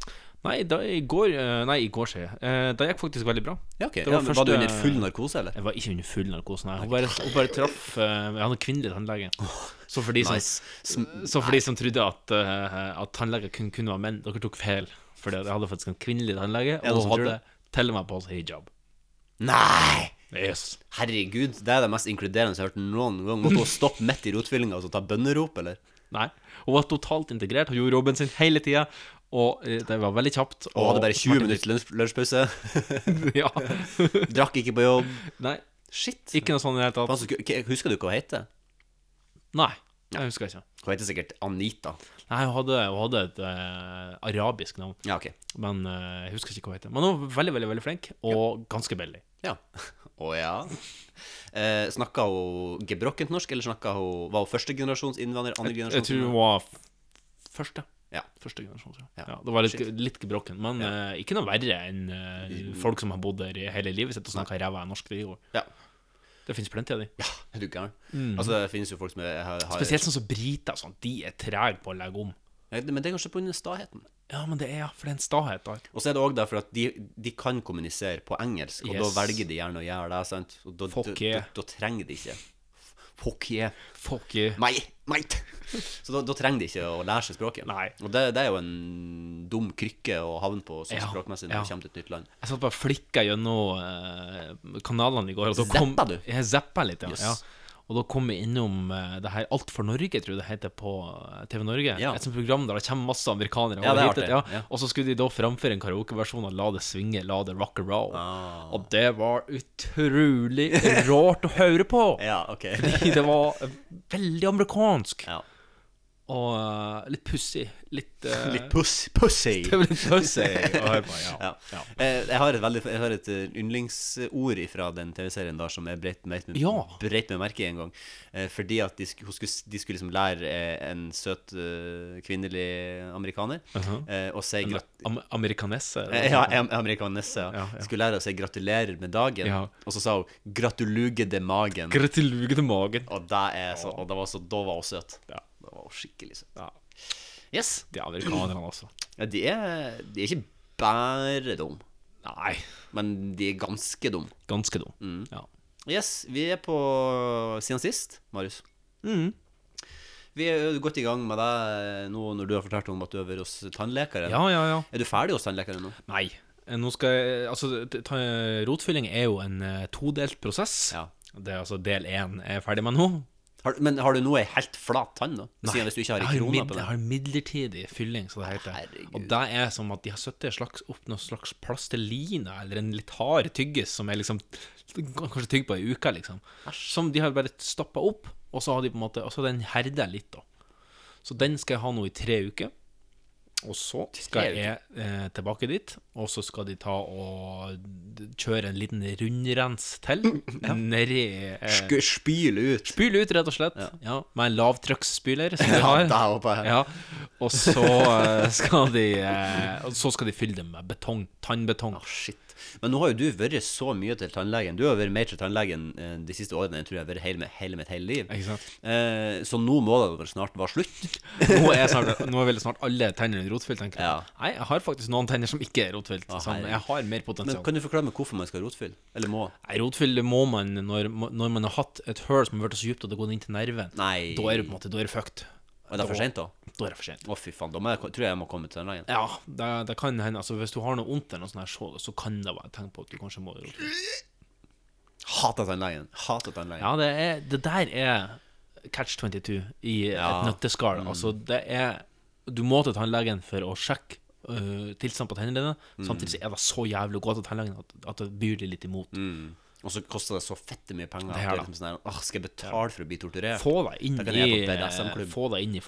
Nei, da, i går eh, Nei, i går, sier jeg. Eh, Det gikk faktisk veldig bra. Ja, ok. Det Var, var ja, men første- var du under full narkose, eller? Jeg var ikke under full narkose, nei. Hun bare, hun bare traff eh, Jeg hadde en kvinnelig tannlege. Så for de som, Nice. Sm- så for de som trodde at, eh, at tannleger kun kunne være menn, dere tok feil. For jeg hadde faktisk en kvinnelig tannlege, det og som hun tror hadde til og med på seg hijab. Nei! Yes. Herregud, det er det mest inkluderende jeg har hørt noen gang. Måtte hun stoppe midt i rotfyllinga og så ta bønnerop, eller? Nei. Hun var totalt integrert, hun gjorde jobben sin hele tida, og eh, det var veldig kjapt. Og hadde bare 20 minutter lunsj- lunsjpause. ja. Drakk ikke på jobb. Nei, Shit. ikke noe sånt i det hele tatt. Faen, så ku- k- Husker du hva hun heter? Nei, jeg husker ikke. Hun heter sikkert Anita. Nei, hun hadde, hun hadde et eh, arabisk navn, Ja, ok. men eh, jeg husker ikke hva hun heter. Men hun var veldig, veldig veldig flink, og ganske billig. Ja. Å ja. Eh, snakka hun gebrokkent norsk, eller snakka hun Var hun førstegenerasjons innvandrer? Andre Jeg, jeg tror hun generasjons? var f- første. Ja. Første generasjon, tror jeg. Ja. Ja, det var litt, litt gebrokken, men eh, ikke noe verre enn eh, folk som har bodd der i hele livet sitt og snakka ræva av norsk. Det, går. Mm. Ja. det finnes plenty av de. ja. Er du gæren? Altså, det finnes jo folk som er, har, har Mm. Spesielt sånn som briter. Sånn, de er trege på å legge om. Ja, Men det er kanskje pga. staheten. Ja, men det er for det er en stahet der. Og så er det òg derfor at de, de kan kommunisere på engelsk, og da Yes. velger de gjerne å gjøre det, sant? Og da, Fuck da, da, yeah. da trenger de ikke Fuck yeah. Fuck you. Mate, mate. Så da, da trenger de ikke å lære seg språket. Nei. Og det, det er jo en dum krykke å havne på sånn Ja, språkmessig når ja. du kommer til et nytt land. Jeg satt bare og flikka gjennom eh, kanalene i går. Og da kom, Zappa du? Jeg zappa litt, ja. Yes. ja. Og da kom vi innom eh, det her Alt for Norge, tror jeg det heter på eh, TV Norge. Ja. Et sånt program der det kommer masse amerikanere. Ja, det er over hit, artig. Ja. Og så skulle de da framføre en karaokeversjon av La det svinge, la det rock and roll. Ah. Og det var utrolig rart å høre på! Ja, ok. Fordi det var eh, veldig amerikansk. Ja. Og eh, litt pussig. Litt eh, Litt puss, pussy. Det var litt pussig å høre på, ja. Ja. Eh, Jeg har et, veldig, jeg har et eh, yndlingsord fra den TV-serien der som jeg breit meg, breit meg, Ja. breit meg merke i en gang. Eh, Fordi at de skulle, hun skulle, s- de skulle liksom lære eh, en søt eh, kvinnelig amerikaner Mhm. eh, å si grat Am amerikanesse. Eh, Ja, am- amerikanesse. Ja. Ja, ja. De Skulle lære å si 'gratulerer med dagen', Ja. og så sa hun 'gratuluge de magen'. Gratulerer til magen. og det er så, og det var så, da var hun søt. Ja. Da var hun skikkelig søt. Ja, Yes. de amerikanerne, altså. Ja, de, er, de er ikke bare dumme, Nei, Mm. men de er ganske dumme. ganske dum. Ja. Yes, vi er på siden sist, Marius. Mm. Vi er jo godt i gang med deg nå når du har fortalt om at du er over hos tannlekeren. ja, ja, ja. Er du ferdig hos tannlekeren nå? Nei. eh, Nå skal jeg Altså, t- ta, rotfylling er jo en eh, todelt prosess. Ja. Det er altså del én er jeg ferdig med nå. Har, men har du nå ei helt flat tann, da? Siden hvis du ikke har ei jeg, har krone mid, på jeg den? har midlertidig fylling, som det heter. Herregud. Og det er som at de har satt et slags, opp noen slags plasteliner, eller en litt hard tyggis, som er liksom Kanskje tygg på ei uke, liksom. Som de har bare stappa opp, og så har de på en måte Og så har den herda litt, da. Så den skal jeg ha nå i tre uker. Og så skal uker? jeg eh, tilbake dit, og så skal de ta og d- kjøre en liten rundrens til nedi eh, Sk- Spyl ut! Spyle ut, rett og slett. Ja. med en lavtrykksspyler som de Ja, har. det håper jeg. Ja. Og så eh, skal de eh, Og så skal de fylle det med betong. Tannbetong. Å, Shit. Men nå har jo du vært så mye til tannlegen. Du har vært mer til tannlegen eh, de siste årene enn jeg tror jeg har vært hele, hele mitt hele liv. Ikke sant? Eh, så nå må det vel snart være slutt? Nå er, snart, nå er vel snart alle tennene rotfylt, tenker jeg. Ja. Nei, jeg har faktisk noen tenner som ikke er rotfylt. Å, Som herregud. jeg har mer Men potensial. kan du forklare meg hvorfor man skal rotfylle? Eller må? Nei, Rotfyll det må man når, når man har hatt et høl som har vært så dypt at det har gått inn til nerven. Nei. Da er det på en måte, da er det fucked. Er det for sent, da? Da er det for sent. Å, fy faen. Da må jeg, tror jeg jeg må komme til tannlegen. Ja, det, det kan hende. Altså, hvis du har noe vondt eller noe sånt, her, så, så kan det være et tegn på at du kanskje må rotfylle. Hater tannlegen. Hater tannlegen. Ja, det, er, det der er catch 22 i Ja. Mm. et nøtteskall. Altså, det er Du må til tannlegen for å sjekke øh, tilstanden på tennene dine. Mm. Samtidig så er det så jævlig å gå til tannlegen at, at det byr deg litt imot. Mm. Og så koster det så fette mye penger. Det At her, det er liksom sånn her, Åh, skal jeg betale for å bli torturert? Få deg inn Da kan i jeg på BDSM-klubb. Få deg inn i ja, Eh,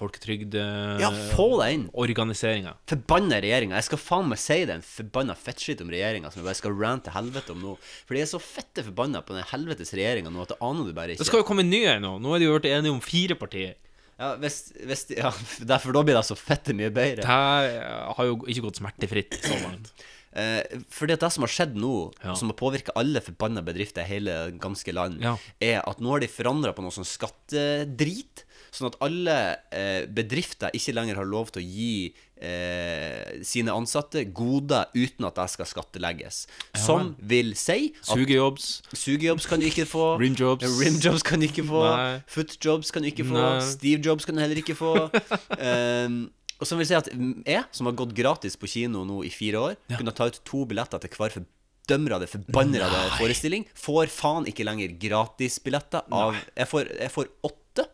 få deg inn! folketrygdorganiseringa. Forbanna regjeringa. Jeg skal faen meg si det, en forbanna fettskitt om regjeringa som jeg bare skal rante til helvete om nå. For de er så fette forbanna på den helvetes regjeringa nå at det aner du bare det ikke. skal jo komme en ny en nå. Nå er de jo blitt enige om fire partier. Ja, hvis, hvis de, ja, derfor da blir det så fette mye bedre. Det her øh, har jo ikke gått smertefritt så langt. Eh, fordi at det som har skjedd nå, Ja. som har påvirka alle forbanna bedrifter i hele ganske land, Ja. er at nå har de forandra på noe sånn skattedrit. Sånn at alle eh, bedrifter ikke lenger har lov til å gi eh, sine ansatte goder uten at det skal skattelegges. Som vil si at Sugejobs. sugejobs kan du ikke få. Rimjobs. Rimjobs kan du ikke få. Nei. Footjobs kan du ikke få. Nei. Stevejobs kan du heller ikke få. Ehm, og som vil si at jeg, som har gått gratis på kino nå i fire år, kunne ta ut to billetter til hver fordømrede, forbannede forestilling, får faen ikke lenger gratisbilletter av jeg får, jeg får åtte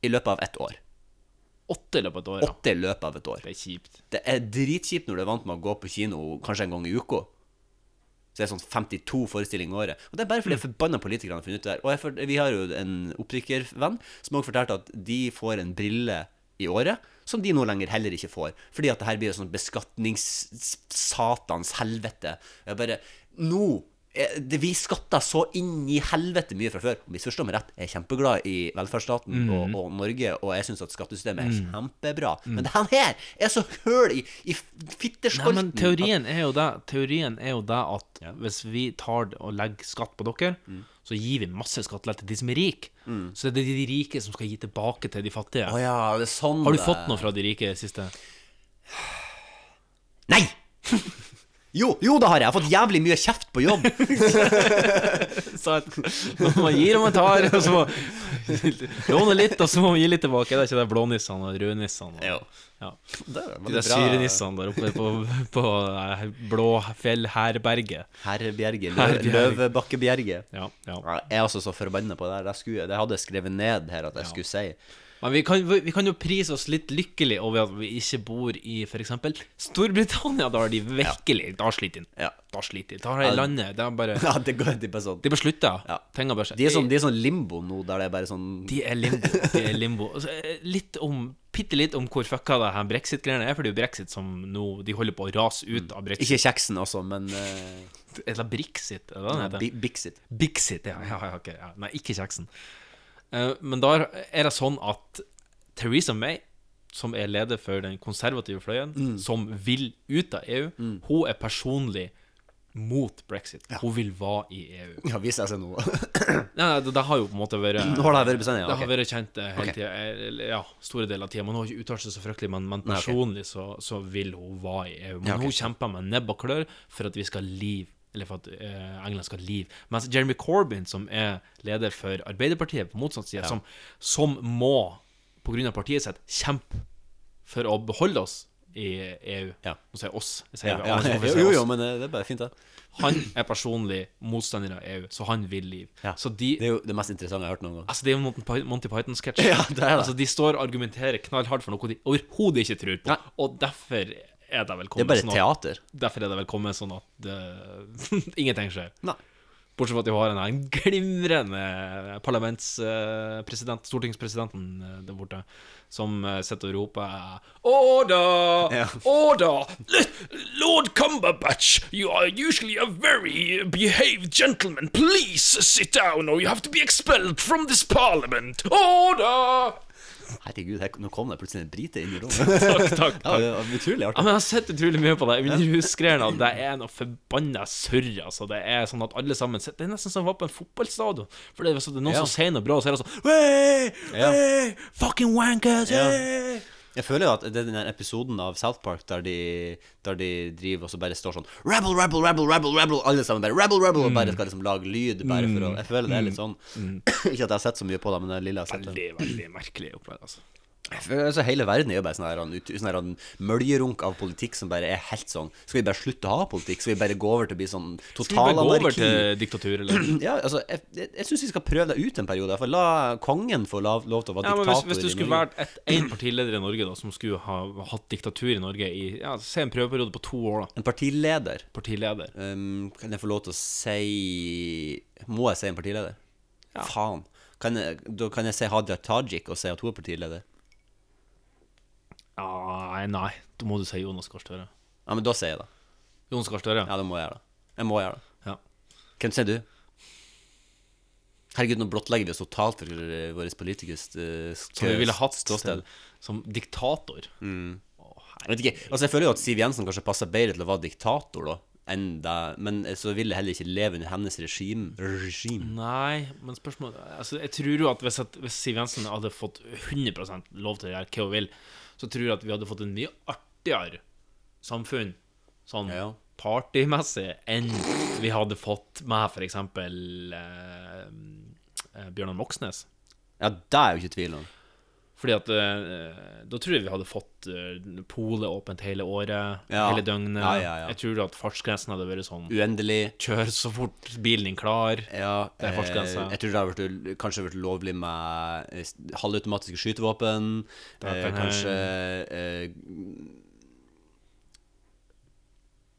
i løpet av ett år. Åtte i løpet av et år, ja. Åtte i løpet av et år. Det er kjipt. Det er dritkjipt når du er vant med å gå på kino kanskje en gang i uka. Så det er sånn 52 forestillinger i året. Og det er bare fordi mm. forbanna politikerne har funnet ut det der. Og jeg, for- vi har jo en opprykkervenn som også fortalte at de får en brille i året som de nå lenger heller ikke får. Fordi at det her blir jo sånn beskatningssatans helvete. Jeg bare Nå! eh, det- Vi skatter så inn i helvete mye fra før. Misforstå meg rett, jeg er kjempeglad i velferdsstaten Mm. og, og Norge, og jeg syns at skattesystemet er kjempebra, men det her er så høl i, i Nei, Mm. men fitteskolten. teorien er jo det, teorien er jo det at hvis vi tar det og legger skatt på dere, så gir vi masse skattelette til de som er rike. Så det er de rike som skal gi tilbake til de fattige. Å ja, det er sånn Har du det- fått noe fra de rike siste? Nei! Jo, jo, det har jeg. Jeg har fått jævlig mye kjeft på jobb. Sant. Når man gir og man tar, og så må låne litt, og så må man gi litt tilbake. Det er ikke de blånissene og rødnissene. Jo. Og, ja. Det er De der syrenissene der oppe på, på eh, Blåfjellherberget. Herre Bjerge. Lø- Herre Bjerge. Løvebakke Bjerge. Ja, ja. Jeg er altså så forbanna på det her. Det, skulle, det hadde jeg skrevet ned her at jeg skulle si. Men vi kan, vi kan jo prise oss litt lykkelig over at vi ikke bor i f.eks. Storbritannia. Da har de virkelig Da sliter de. Ja. Da sliter de. Da har de landet. De har bare Ja, det går de bare sånn. De beslutter. Ja. Tenker bare seg- De er sånn, de er sånn limbo nå, der det er bare sånn De er limbo. De er limbo. Altså, eh, litt om Bitte litt om hvor fucka det her brexit-greiene er, for det er jo brexit som nå De holder på å rase ut av brexit. Ikke kjeksen, altså, men eh, sånn Eller brexit, Sånn er det det heter? Bi- Bixit. Bixit, ja. ja, ja, ok, ja. Nei, ikke kjeksen. Eh, men da er det sånn at Theresa May, som er leder for den konservative fløyen, Mm. som vil ut av EU, hun er personlig mot brexit. Hun vil være i EU. Ja, viser jeg seg nå. Nei, nei, det, det har jo på en måte vært Nå har det vært bestemt, ja. det har ok. vært kjent eh, hele Ok. tida, eh, eller, ja, store deler av tida. Man har ikke uttalt seg så fryktelig, men, men Nei, ok. personlig så, så vil hun være i EU. Men Ja, ok. hun kjemper med nebb og klør for at vi skal liv eller for at eh, England skal liv. Mens Jeremy Corbyn, som er leder for Arbeiderpartiet på motsatt side, som, som må, pga. partiet sitt, kjempe for å beholde oss i EU. Ja. Nå sier jeg oss. Jeg sier Ja, vi ja, alle som får si jo, oss. jo, men eh, det er bare fint, det. Han er personlig motstander av EU, så han vil liv. Ja. Så de, Det er jo det mest interessante jeg har hørt noen gang. Altså, det er jo Monty Python- Monty Python-sketsj. Ja, det er det. Altså, de står og argumenterer knallhardt for noe de overhodet ikke tror på. Og derfor er det vel Det er kommet bare sånn at, teater. derfor er det vel kommet sånn at eh, ingenting skjer. Nei. Bortsett fra at de har en, en glimrende parlamentspresident, stortingspresidenten eh, der borte, som eh, sitter og roper Order! Ja. Order! L- Lord Cumberbatch, you are usually a very behaved gentleman. Please sit down, or you have to be expelled from this parliament. Order! Herregud, her, nå kom det plutselig en brite inn i rommet. Takk, takk. Ja, det var Eh, utrolig Ja, artig. men Jeg har sett utrolig mye på det. Min rusgreier at det er noe forbanna surr. Altså. Det er sånn at alle sammen sitter- Det er nesten som å være på en fotballstadion. For det er, hvis det er noen Ja. som sier noe bra, og så er det sånn «Wey! Ja. Wey! Fucking wankers! Ja. wey!» Jeg føler jo at det er den der episoden av South Park der de, der de driver og så bare står sånn Rebel, rebel, rebel, rebel, rebel Alle sammen bare rebel, rebel Og Mm. bare skal liksom lage lyd bare for å Jeg føler det er litt sånn Ikke at jeg har sett så mye på det, men det lille jeg har sett det. Veldig, veldig merkelig opplevd, altså. Jeg føler- altså, Hele verden er jo bare sånn her, han ut- sånn her han møljerunk av politikk som bare er helt sånn Skal vi bare slutte å ha politikk? Skal vi bare gå over til å bli sånn Skal vi bare gå over totalanarki? til diktatur, eller? Ja, altså, jeg, jeg, jeg syns vi skal prøve det ut en periode. For la kongen få lov, lov til å være Ja, men hvis, diktator. hvis du i skulle Norge. vært et- en partileder i Norge da som skulle ha hatt diktatur i Norge i ja, Se en prøveperiode på to år, da. En partileder Partileder. Ehm, Kan jeg få lov til å si Må jeg si en partileder? Faen. Kan jeg, da kan jeg si Hadia Tajik og si at hun er partileder. Nei, nei. Da må du si Jonas Gahr Støre. Ja, men da sier jeg det. Jonas Gahr Støre? Ja, det må jeg gjøre. det. Jeg må gjøre det. Ja. Hvem sier du? Herregud, nå blottlegger vi oss totalt for eh, våre politikers eh, sk- Som vi ville hatt ståsted. som diktator. Mm. Jeg vet ikke, altså jeg føler jo at Siv Jensen kanskje passer bedre til å være diktator da enn deg, men eh, så vil jeg heller ikke leve under hennes regime. regime. Nei, men spørsmålet altså, Jeg tror jo at hvis, at hvis Siv Jensen hadde fått 100 lov til å gjøre hva hun vil, så tror jeg at vi hadde fått en mye artigere samfunn, sånn Ja. partymessig, enn vi hadde fått med f.eks. Eh, eh, Bjørnar Moxnes. Ja, det er jo ikke tvil om. Fordi at eh, Da tror jeg vi hadde fått eh, polet åpent hele året, Ja. hele døgnet. Ja, ja, ja. Jeg tror at fartsgrensen hadde vært sånn Uendelig. Kjør så fort bilen din klar. Ja, Det er fartsgrensa. Eh, jeg tror det har vært, kanskje vært lovlig med eh, halvautomatiske skytevåpen. Eh, kan jeg- kanskje eh,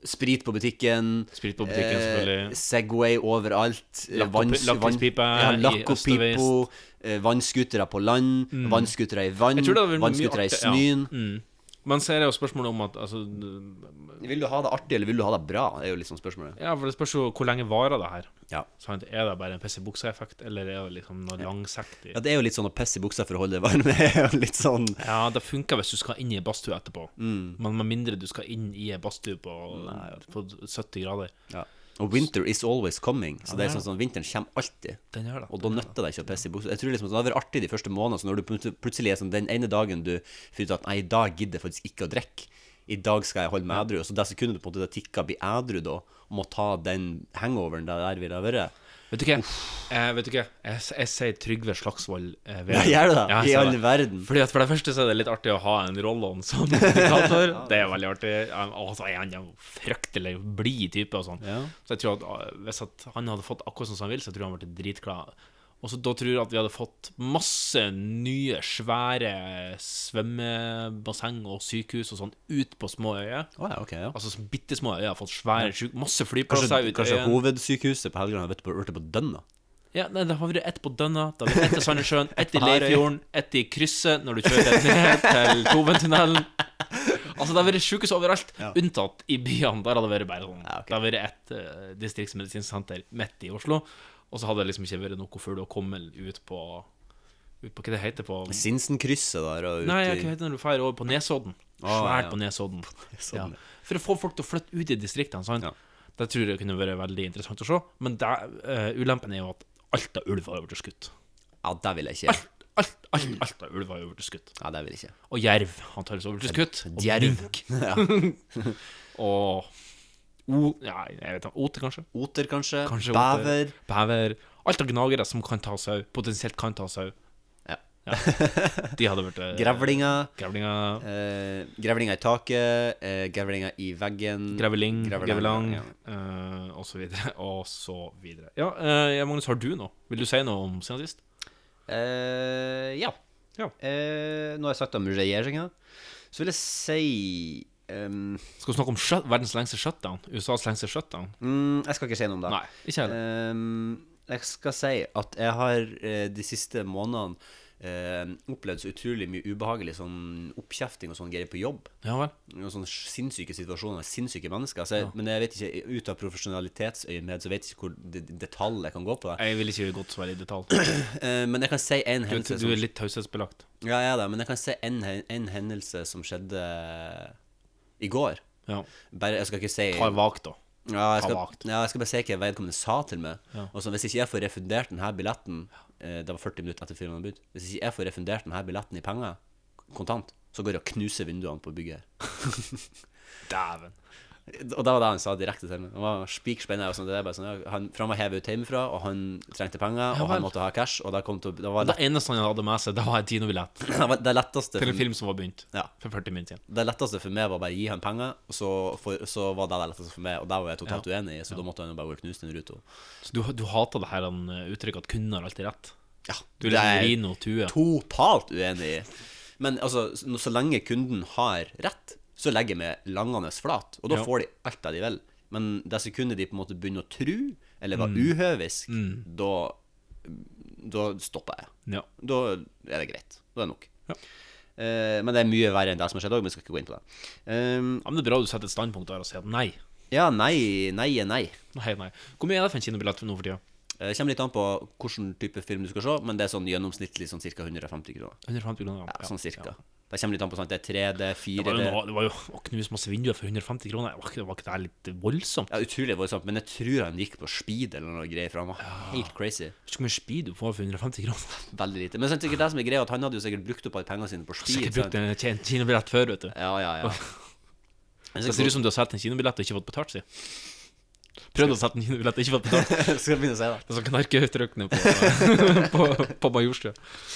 Sprit på butikken. eh, Sprit på butikken, selvfølgelig. Segway overalt. eh, Lakkopi- vanns- vann- lakrispipe Ja, i Lakkopipo. eh, Vannskutere på land. Vannskutere i vann. Mm. Jeg tror det hadde vært mye Vannskutere i artig- ja. Mm. snøen. Men så er det jo spørsmålet om at altså, Vil du ha det artig, eller vil du ha det bra? Det er jo liksom spørsmålet. Ja, for det spørs jo hvor lenge varer det her. Ja. Sant? Er det bare en piss i buksa-effekt, eller er det liksom noe langsiktig? ja, det er jo litt sånn å pisse i buksa for å holde det varme. Det er jo litt sånn Ja, det funker hvis du skal inn i ei badstue etterpå, Mm. men med mindre du skal inn i ei badstue på, på 70 grader. Ja. Og winter is always coming. Så det er sånn sånn, vinteren kommer alltid. Den gjør det. Og da nytter det ikke å pisse i buksa. Jeg tror liksom at Det hadde vært artig de første månedene, så når du plut- plutselig er sånn den ene dagen du finner ut at nei, i dag gidder jeg faktisk ikke å drikke. I I dag skal jeg holde meg edru. Så det sekundet du på en måte tikker, blir edru da, og må ta den hangoveren det der ville ha vært Vet du hva? Eh, vet du hva? Jeg, s- jeg sier Trygve Slagsvold eh, Vedum. Ja, gjør du det? Ja, jeg I sier all det. verden. Fordi at For det første så er det litt artig å ha en roll-on som kommentator. Det er veldig artig. Um, Og så er han en fryktelig blid type. og sånn Ja. Så jeg tror at uh, Hvis at han hadde fått akkurat sånn som han vil, så tror jeg han ble dritglad. Og så Da tror jeg at vi hadde fått masse nye, svære svømmebasseng og sykehus og sånn ut på små øyer. Å ja, ok, ja. Altså bitte små øyer har fått svære syk... Masse flyplasser Kanskje, ut kanskje øyene. hovedsykehuset på Helgeland har vært på- vært på Dønna? Ja, nei, det har vært ett på Dønna, det har vært ett i Sandnessjøen, ett i På Herøy. Leirfjorden, ett i krysset når du kjører ned til Toventunnelen. Altså, det har vært sjukehus overalt, unntatt i byene. Der har det vært bare sånn. Ja, ok. Det har vært ett eh, distriktsmedisinsk senter midt i Oslo, og så hadde det liksom ikke vært noe fugl å komme ut på Ut på hva det heter på Mm. Sinsenkrysset der og Nei, hva uti heter det når du drar over på Nesodden? Ah, Svært ja. på Nesodden. Ja. Nesodden, ja. For å få folk til å flytte ut i distriktene, sånn. sant. Ja. Det tror jeg kunne vært veldig interessant å se. Men det, eh, ulempen er jo at alt av ulv har jo blitt skutt. Ja, det vil jeg ikke. Alt, alt, alt av ulv har jo blitt skutt. Ja, det vil jeg ikke. Og jerv har antakeligvis også blitt skutt. Og Djerv. Ja. Og o, ja, jeg vet ikke, oter, kanskje? Oter, kanskje. Kanskje oter. Bever. Bever. Alt av gnagere som kan ta sau, potensielt kan ta sau. Ja. De hadde vært eh, Grevlinger. Grevlinger. Eh, grevlinger i taket. Eh, grevlinger i veggen. Greveling, Grevelang, Grevelang, ja. eh, og så videre, og så videre. Ja, eh, ja, Magnus, har du noe? Vil du si noe om siden sist? Eh, ja. Ja. Eh, nå har jeg sagt om regjeringa. Så vil jeg si ehm, Skal vi snakke om shut, verdens lengste shutdown? USAs lengste shutdown? mm, Jeg skal ikke si noe om det. Nei, ikke heller. Ehm, jeg skal si at jeg har eh, de siste månedene eh, opplevd så utrolig mye ubehagelig sånn oppkjefting og sånn greier på jobb. Ja vel. noen sånne sinnssyke situasjoner, sinnssyke mennesker. Så jeg, Men jeg vet ikke, ut av profesjonalitetsøyemed, så vet jeg ikke hvor det, det tallet jeg kan gå på. det. Jeg vil ikke godt svare i detalj. Eh, men jeg kan si en Du, hendelse du som, er litt taushetsbelagt. Ja, jeg er det, men jeg kan si en, hen- en hendelse som skjedde eh, i går. Ja. Bare, jeg skal ikke si Ta vagt, da. ja, jeg skal, ta vakt. ja, jeg skal bare si hva vedkommende sa til meg. Og så Hvis ikke jeg får refundert denne billetten eh, Det var 40 minutter etter filmen hadde begynt. Hvis ikke jeg får refundert denne billetten i penger, kontant, så går jeg og knuser vinduene på bygget. her. Dæven. Og da var det han sa direkte til meg. Han var spikspennende. Og sånn, det er bare sånn, ja, han, for han var hevet ut hjemmefra, og han trengte penger, Ja og han vel. måtte ha cash. Og da kom til, det, var Det lett, eneste han hadde med seg, det var en kinobillett det var det letteste til en for, film som var begynt Ja. for 40 minutter siden. det letteste for meg var bare å gi han penger, og så, for, så var det det letteste for meg. Og der var jeg totalt uenig, i, så da måtte han jo bare gå og knuse den ruta. Så du, du hater det her han eh, uttrykket at kunden har alltid rett? Ja, Du det er liksom er jeg Rino Tue. totalt uenig i. Men altså, så, så lenge kunden har rett, så legger jeg meg langende flat, og da Ja. får de alt det de vil. Men det sekundet de på en måte begynner å tru, eller Mm. var uhøvisk, da, mm, da stopper jeg. Ja. Da er det greit. Da er det nok. Ja. Eh, men det er mye verre enn det som har skjedd òg, men vi skal ikke gå inn på det. Ehm, ja, men Det er bra du setter et standpunkt der og sier at nei. ja, nei, nei er nei. Eh, Nei, nei. Hvor mye er det for en kinobillett nå for tida? Det kommer litt an på hvilken type film du skal se, men det er sånn gjennomsnittlig sånn ca. 150 kroner. 150 kroner. Ja, Ja, sånn ja. cirka. Det kommer litt an på sånn, at det er 3D, Det var, jo, 4D noe- det var jo å knuse masse vinduer for 150 kroner. Var ikke, var ikke det her litt voldsomt? Ja, utrolig voldsomt, men jeg tror han gikk på speed eller noe greier, for han var helt crazy. Vet ikke hvor mye speed du får for 150 kroner. Veldig lite. Men så er det sikkert det som er greia, at han hadde jo sikkert brukt opp alle pengene sine på speed. Sikkert brukt sant? en kin- kinobillett før, vet du. Ja, ja, ja. Men Det ser ut som du har solgt en kinobillett og ikke fått betalt, si. Prøvd å selge en kinobillett og ikke fått betalt. Skal jeg begynne å si det? Det er sånn knarkeuttrykkene på, på, på Majorstua.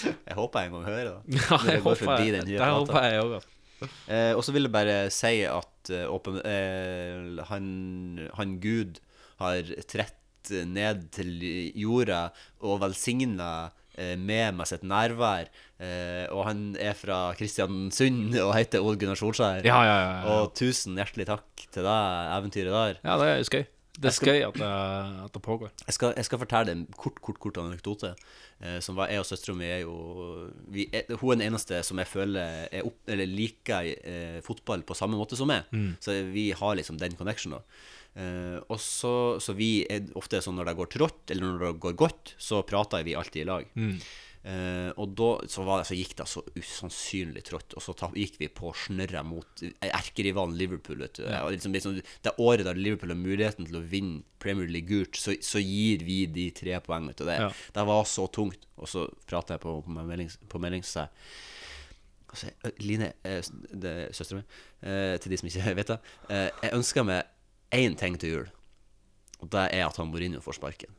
Jeg håper jeg en gang hører det. Ja, Når jeg jeg går håper forbi jeg, den nye det plata. håper jeg altså. òg. Eh, og så vil jeg bare si at eh, åpen, eh, han, han Gud har trett ned til jorda og velsigna eh, med meg sitt nærvær. Eh, og han er fra Kristiansund og heter Ole Gunnar Solskjær. Ja, ja, ja, ja. Og tusen hjertelig takk til deg, eventyret der. Ja, det er skøy. Det er skøy at, det- at det pågår. Jeg skal, jeg skal fortelle en kort, kort, kort anekdote. Eh, som var, jeg og søstera mi er jo vi er, Hun er den eneste som jeg føler er opp, eller liker eh, fotball på samme måte som meg. Så vi har liksom den connectionen. Eh, og så, så vi er ofte sånn når det går trått, eller når det går godt, så prater vi alltid i lag. Eh, og da så, var det, så gikk det så usannsynlig trått, og så ta, gikk vi på snørra mot erkerivalen Liverpool. Vet du. Og liksom, liksom, det året der Liverpool har muligheten til å vinne Premier League Gult, så, så gir vi de tre poeng. Vet du. Det, Ja. det var så tungt. Og så prater jeg på, på meldings, på meldings så jeg, hva sier jeg? Line, eh, s- det er søstera mi, eh, til de som ikke vet det. Eh, jeg ønsker meg én ting til jul, og det er at han Mourinho får sparken.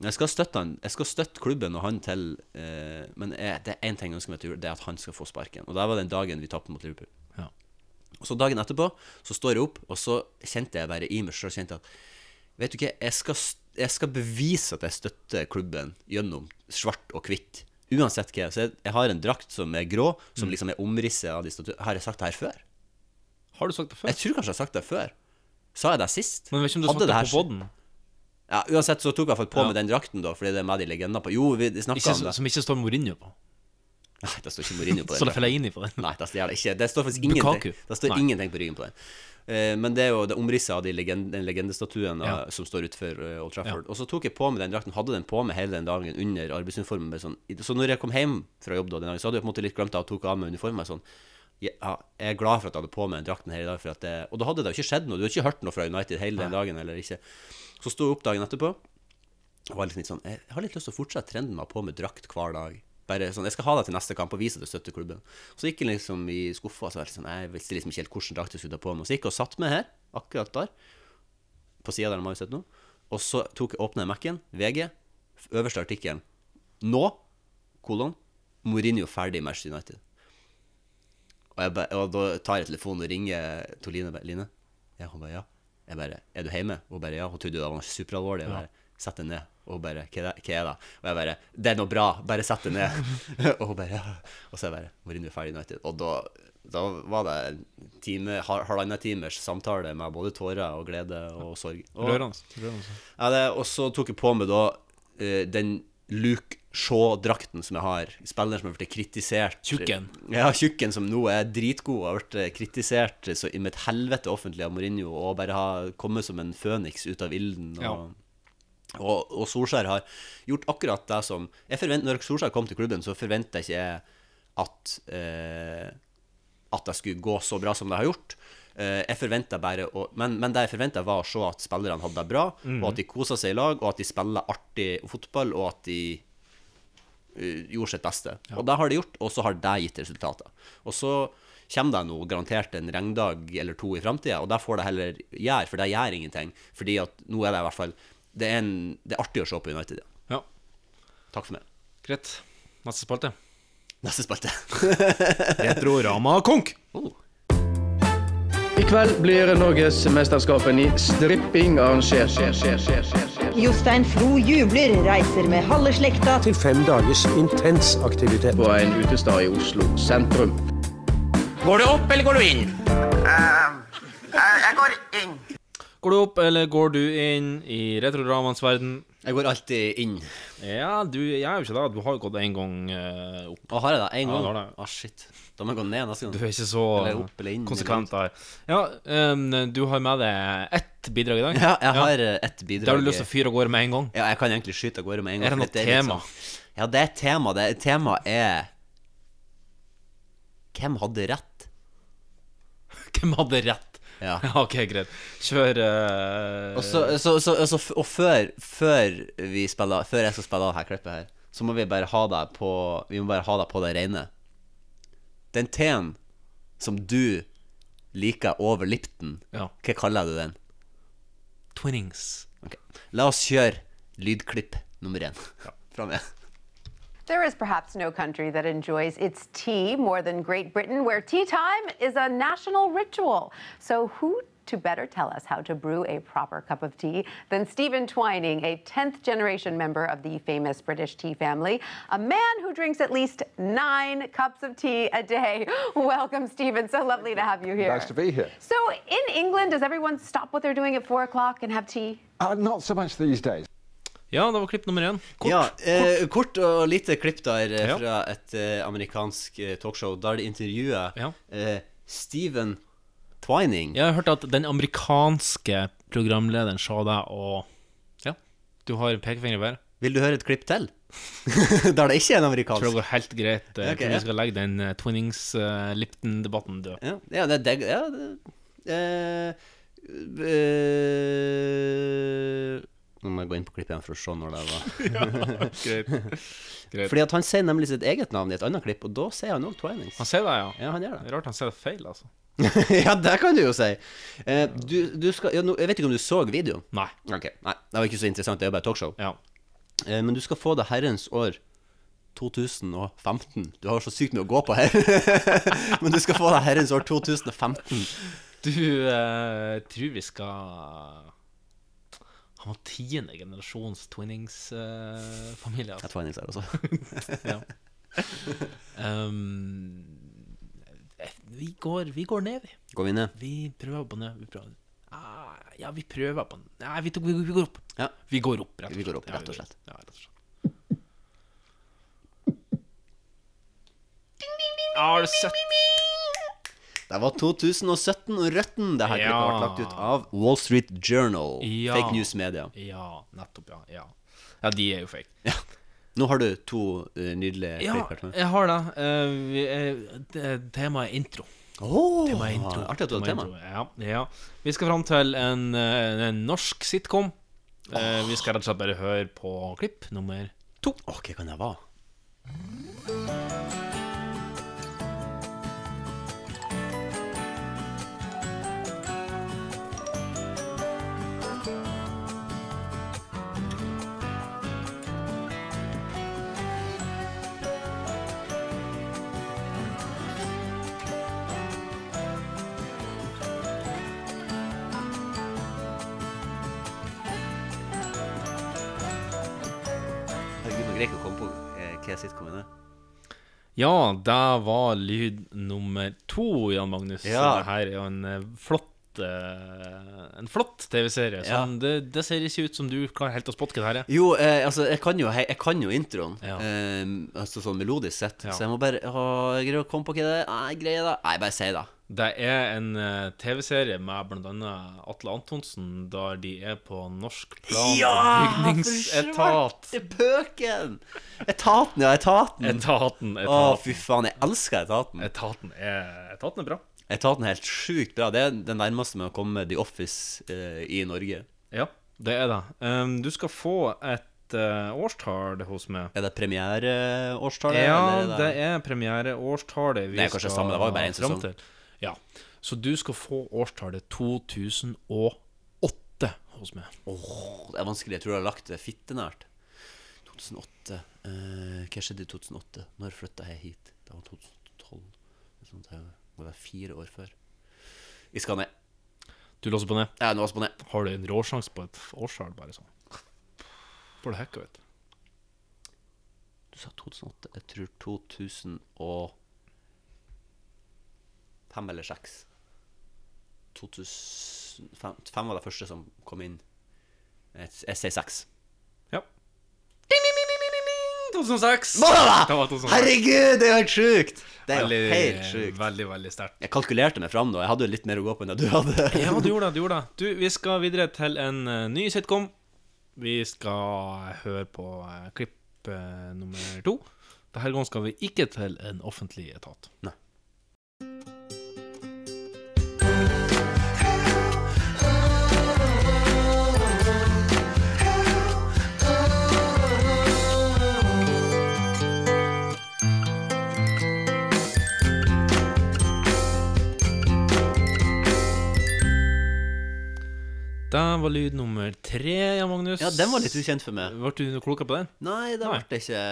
Men Jeg skal støtte, han, jeg skal støtte klubben og han til eh, Men jeg, det er én ting jeg ønsker meg til jul, det er at han skal få sparken. Og det var den dagen vi tapte mot Liverpool. Ja. Og så dagen etterpå så står jeg opp, og så kjente jeg bare i meg selv kjente jeg at Vet du ikke, jeg skal, st- jeg skal bevise at jeg støtter klubben gjennom svart og hvitt. Uansett hva. Så jeg, jeg har en drakt som er grå, som Mm. liksom er omrisset av de statuene. Har jeg sagt det her før? Har du sagt det før? Jeg tror kanskje jeg har sagt det før. Sa jeg det sist? Men vet ikke om du Hadde snakket det det her- på podden Ja, Uansett så tok jeg i hvert fall på Ja. meg den drakten, da, fordi det er med de legendene på Jo, vi snakka ikke, om det. Som ikke står Mourinho på. Nei, det står ikke Mourinho på den. Står drakten. det Fellaini på den? Nei, det står det ikke. Det står faktisk ingenting, Bukaku. det står Nei. ingenting på ryggen på den. Eh, Men det er jo det omrisset av de legend, den legendestatuen Ja. eh, som står utenfor eh, Old Trafford. Og så tok jeg på meg den drakten, hadde den på meg hele den dagen under arbeidsuniformen. Med sånn, så når jeg kom hjem fra jobb da den dagen, så hadde jeg på en måte litt glemt det og tok av meg uniformen. Sånn, ja, jeg er glad for at jeg hadde på meg den drakten hele dagen. For at det, og da hadde det jo ikke skjedd noe. Du har ikke hørt noe fra United hele den dagen, eller ikke. Så sto jeg opp dagen etterpå. Og var liksom litt sånn, jeg har litt lyst til å fortsette trenden med å ha på med drakt hver dag. Bare sånn, Jeg skal ha det til neste kamp og vise at jeg støtter klubben. Så gikk jeg liksom i skuffa og så var jeg litt sånn, jeg visste liksom ikke helt hvilken drakt jeg skulle ta på meg. Så gikk jeg og satt meg her, akkurat der, på sida der de har sett nå. Og så tok jeg åpnet Mac-en, VG, øverste artikkelen. Nå, kolon, Mourinho ferdig i Manchester United. Og, jeg bare, og da tar jeg telefonen og ringer til Line. bare, Line? Ja, hun bare ja. Jeg bare Er du hjemme? Hun bare ja. Hun trodde det var superalvorlig. Jeg bare Sett deg ned. Og hun bare hva er, det, hva er det? Og jeg bare Det er noe bra. Bare sett deg ned. og hun bare ja. Og så jeg bare Mourinho er ferdig i United. Og da, da var det en time, har- halvannen timers samtale med både tårer og glede og sorg. Og, Rørende. Rørende. ja, det, og så tok jeg på meg da eh, den Luke Shaw-drakten som jeg har. Spilleren som har blitt kritisert. Tjukken. Ja, tjukken som nå er dritgod og har blitt kritisert så i mitt helvete offentlig av Mourinho og bare har kommet som en føniks ut av ilden. Og, Ja. og, og Solskjær har gjort akkurat det som jeg forvent, Når Solskjær kom til klubben, så forventa ikke jeg at eh, at det skulle gå så bra som det har gjort. Eh, jeg forventa bare å, men, men det jeg forventa, var å se at spillerne hadde det bra, og at de kosa seg i lag, og at de spiller artig fotball, og at de eh, gjorde sitt beste. Og det har de gjort, og så har det gitt resultater. Og så kommer det nå garantert en regndag eller to i framtida, og det får det heller gjøre, for det gjør ingenting. Fordi at nå er det i hvert fall Det er, en, det er artig å se på United. Ja. Ja, Takk for meg. greit. Neste spalte. Neste spalte. Retrorama konk. Oh. I kveld blir Norgesmesterskapen i stripping arrangert. Jostein Flo jubler, reiser med halve slekta til fem dagers intens aktivitet. På en utestad i Oslo sentrum. Går du opp, eller går du inn i retroramaens verden? Jeg går alltid inn. Ja, du jeg er jo ikke det. Du har jo gått en gang eh, opp. Å, har jeg det én Ja, gang? du har det. Å, shit. Da må jeg gå ned neste gang. Du er ikke så Eller opp eller inn, konsekvent der. Ja, em, du har med deg ett bidrag i dag. Ja, jeg har eh, ett bidrag. Det har du lyst til å fyre av gårde med en gang. Ja, jeg kan egentlig skyte av gårde med en gang. Er det for noe dette litt tema? sånn- Ja, det er et tema. Det er, tema er Hvem hadde rett? Hvem hadde rett? Ja. OK, greit. Kjør eh, Og, så, så, så, så, f- og før, før, vi spiller, før jeg skal spille av dette klippet her, så må vi bare ha det på Vi må bare ha det på det rene. Den teen som du liker over Lipton, Ja. hva kaller du den? Twinnings. Ok. La oss kjøre lydklipp nummer én. Fra meg. There is perhaps no country that enjoys its tea more than Great Britain, where tea time is a national ritual. So, who to better tell us how to brew a proper cup of tea than Stephen Twining, a 10th generation member of the famous British tea family, a man who drinks at least nine cups of tea a day? Welcome, Stephen. So lovely to have you here. Nice to be here. So, in England, does everyone stop what they're doing at four o'clock and have tea? Uh, not so much these days. Ja, det var klipp nummer én. Kort. Ja, eh, kort og lite klipp der eh, Ja. fra et eh, amerikansk eh, talkshow der de intervjuer Ja. eh, Steven Twining. Jeg har hørt at den amerikanske programlederen sa deg og Ja, du har pekefinger i været. Vil du høre et klipp til? der det ikke er en amerikansk. Tror det går helt greit. Jeg Ok, tror ja. vi skal legge den eh, Twinnings eh, Lipton-debatten død. Ja, ja det er deg ja, det, eh, eh, Nå må jeg gå inn på klippet igjen for å se når det var. Greit. Greit. Fordi at han sier nemlig sitt eget navn i et annet klipp, og da sier han òg Twinings. Han ser deg, ja. Ja, han gjør det. Det er Rart han ser deg feil, altså. ja, det kan du jo si. Eh, du, du skal, ja, nå, jeg vet ikke om du så videoen. Nei. Ok, nei, Det var ikke så interessant, det er jo bare talkshow. Ja. Eh, men du skal få det herrens år 2015. Du har så sykt mye å gå på her. men du skal få det herrens år 2015. Du eh, tror vi skal Han var tiende generasjons twinningsfamilie. Jeg altså. tvang her også. ja. um, vi, går, vi går ned, vi. Går vi ned? Vi prøver på ned. Vi prøver. Ah, ja, vi prøver på Nei, vi, tok, vi, vi går opp. Ja. Vi går opp, rett og slett. Vi går opp, Ja, rett og slett. Ja, rett og slett. Har du sett Det var 2017 og Røtten. Det her Ja. klippet ble lagt ut av Wall Street Journal. Ja. Fake news media. Ja, nettopp, ja. Ja, ja de er jo fake. Ja. Nå har du to eh, nydelige Ja, fake med. jeg har det. Eh, vi, eh, det- temaet er intro. Oh, Temaet er intro. artig at du hadde tema. Temaet er intro, Ja, ja. Vi skal fram til en, eh, en norsk sitcom. Eh, vi skal rett og slett bare høre på klipp nummer To. Åh, hva kan det være? Herregud, nå greier jeg ikke å komme på eh, hva sitcomen er. Ja, det var lyd nummer to, Jan Magnus. Ja. Det her er jo en eh, flott eh, En flott TV-serie. Ja. som Det, det ser ikke ut som du klarer helt å spotte hva det her er. Jo, eh, altså, jeg kan jo, hei- jeg kan jo introen, Ja. eh, altså sånn melodisk sett, Ja. så jeg må bare åh, jeg greier å komme på hva det er. Nei, jeg greier det. Nei, bare si det. Det er en eh, TV-serie med bl.a. Atle Antonsen, der de er på norsk plan- og bygningsetat. Det er pøken! Etaten, ja, etaten. Etaten, Å, etaten. fy faen, jeg elsker etaten. Etaten er, etaten er bra. Etaten er helt sjukt bra. Det er det nærmeste med å komme The Office eh, i Norge. Ja, det er det. Um, du skal få et eh, årstall hos meg. Er det premiereårstallet? Ja, eller det er premiereårstallet vi Det er kanskje det samme, det var jo bare en fram sesong. til. Ja, Så du skal få årstallet 2008 hos meg. Åh, det er vanskelig. Jeg tror jeg har lagt det fittenært. 2008 eh, Hva skjedde i 2008? Når flytta jeg hit? Det var 2012. Det er sånn at jeg må være fire år før. Vi skal ned. Du låser på ned. Jeg er nå på ned. Har du en råsjanse på et årstall, bare sånn? Får du hekka, vet du. Du sa 2008. Jeg tror 2005 eller 6. 2005 fem var det første som kom inn. Jeg, jeg sier 6. Ja. 2006! Det var 2006. Herregud, det er jo helt sjukt! Det er Veldig, jo helt sjukt. veldig, veldig sterkt. Jeg kalkulerte meg fram da. Jeg hadde jo litt mer å gå på enn det du hadde. Ja, du gjorde det. du gjorde det Du, Vi skal videre til en eh, ny sitcom. Vi skal høre på eh, klipp eh, nummer to. Denne gangen skal vi ikke til en offentlig etat. Nei. Det var lyd nummer tre, Jan Magnus. Ja, den var litt ukjent for meg. Ble du noe klokere på den? Nei, det Nei. ble det ikke.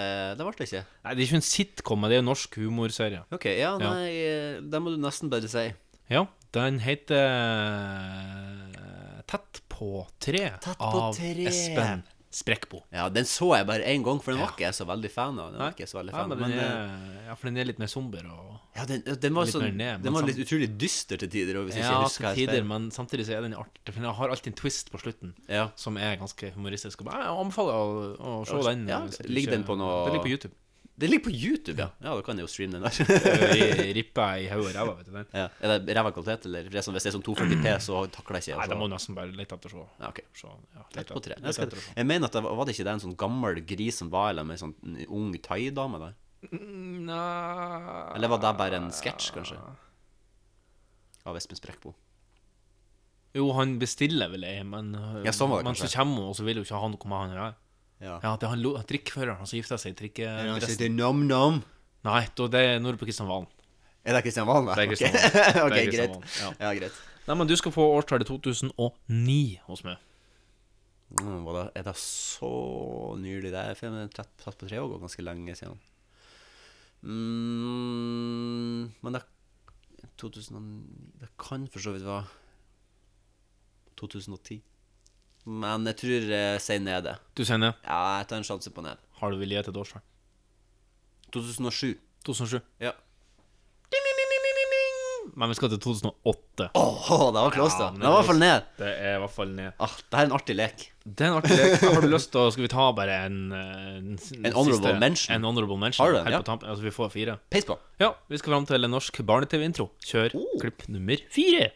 Det ble det ikke. Nei, det er ikke en sitcom, det er en norsk humorserie. Ok, ja, Ja. nei, eh, det må du nesten bare si. Ja, den heter eh, Tett på tre Tett på av tre. Espen Sprekkbo. Ja, den så jeg bare én gang, for den var ikke jeg så veldig fan av. Den var ikke jeg så veldig Ja, fan men av den men, eh, er, ja, for den er litt mer somber og ja, den, ja, den var, litt mer sånn, ned, men den var litt samt- utrolig dyster til tider. og Hvis Ja, jeg ikke til husker tider, helt feil. men samtidig så er den artig. For den har alltid en twist på slutten Ja. som er ganske humoristisk. Og Jeg anbefaler å, å se den. Ja, hvis du ligger ikke- den på noe- Den ligger på YouTube. Det ligger på YouTube, ja. Ja, Da kan jeg jo streame den der. Eh, Rippa i hodet og ræva, vet du den. ja. Er det ræva kvalitet, eller? For det er sånn, hvis det er sånn 240P, så takler jeg ikke Nei, å da se. må du nesten bare lete etter å se. Ja, ok. se. Ja, lete Tett på tre. etter- Jeg, lete skal, etter å se. jeg mener at det var, var det ikke det en sånn gammel gris som var eller med en sånn en ung thaidame der? Mm, Nei Eller var det bare en sketsj, kanskje? Av Espen Sprekkbo. Jo, han bestiller vel ei, men, Ja, sånn var det men så kanskje. kommer hun, og så vil jo ikke han komme han her. Ja. Ja, det er han lo- drikkføreren som gifta seg i Han trikkedressen. sitter nam-nam. Nei, da, det er Nordpå Kristian Valen. Er det Kristian Valen? da? Det er Kristian Ok. Valen. ok, Det er Kristian greit. Valen, Ja, greit. Nei, men du skal få årstallet 2009 hos meg. Mm, var det, er det så nylig? Det er filmen Trett Trett på tre år, og ganske lenge siden. Mm, men det 2009 Det kan for så vidt være 2010. Men jeg tror eh, jeg sier nede. Du sier ned. Ja, jeg tar en sjanse på ned. Har du vilje til et årstall? 2007. 2007. Ja. Men vi skal til 2008. Åh, det var close, da. men Det var i hvert fall ned. Det er i hvert fall ned. Ah, det her er en artig lek. Det er en artig lek. Har du lyst til å Skal vi ta bare en eh, En, en honorable mention? En honorable mention Har du den, Helt ja? på tampen. Altså, vi får fire. Peis på. Ja, vi skal fram til en norsk barne-TV-intro. Kjør Oh. klipp nummer fire.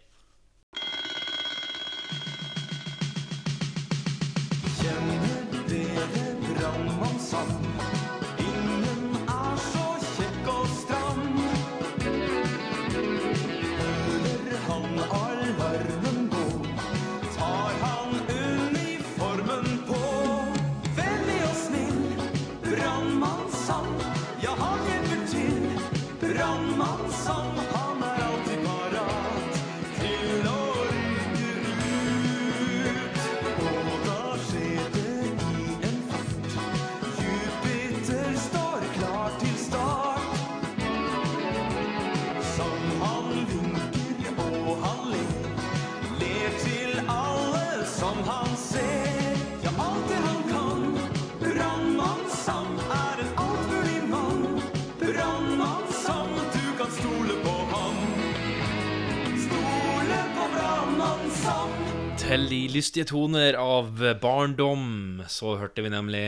Til de lystige toner av barndom, så hørte vi nemlig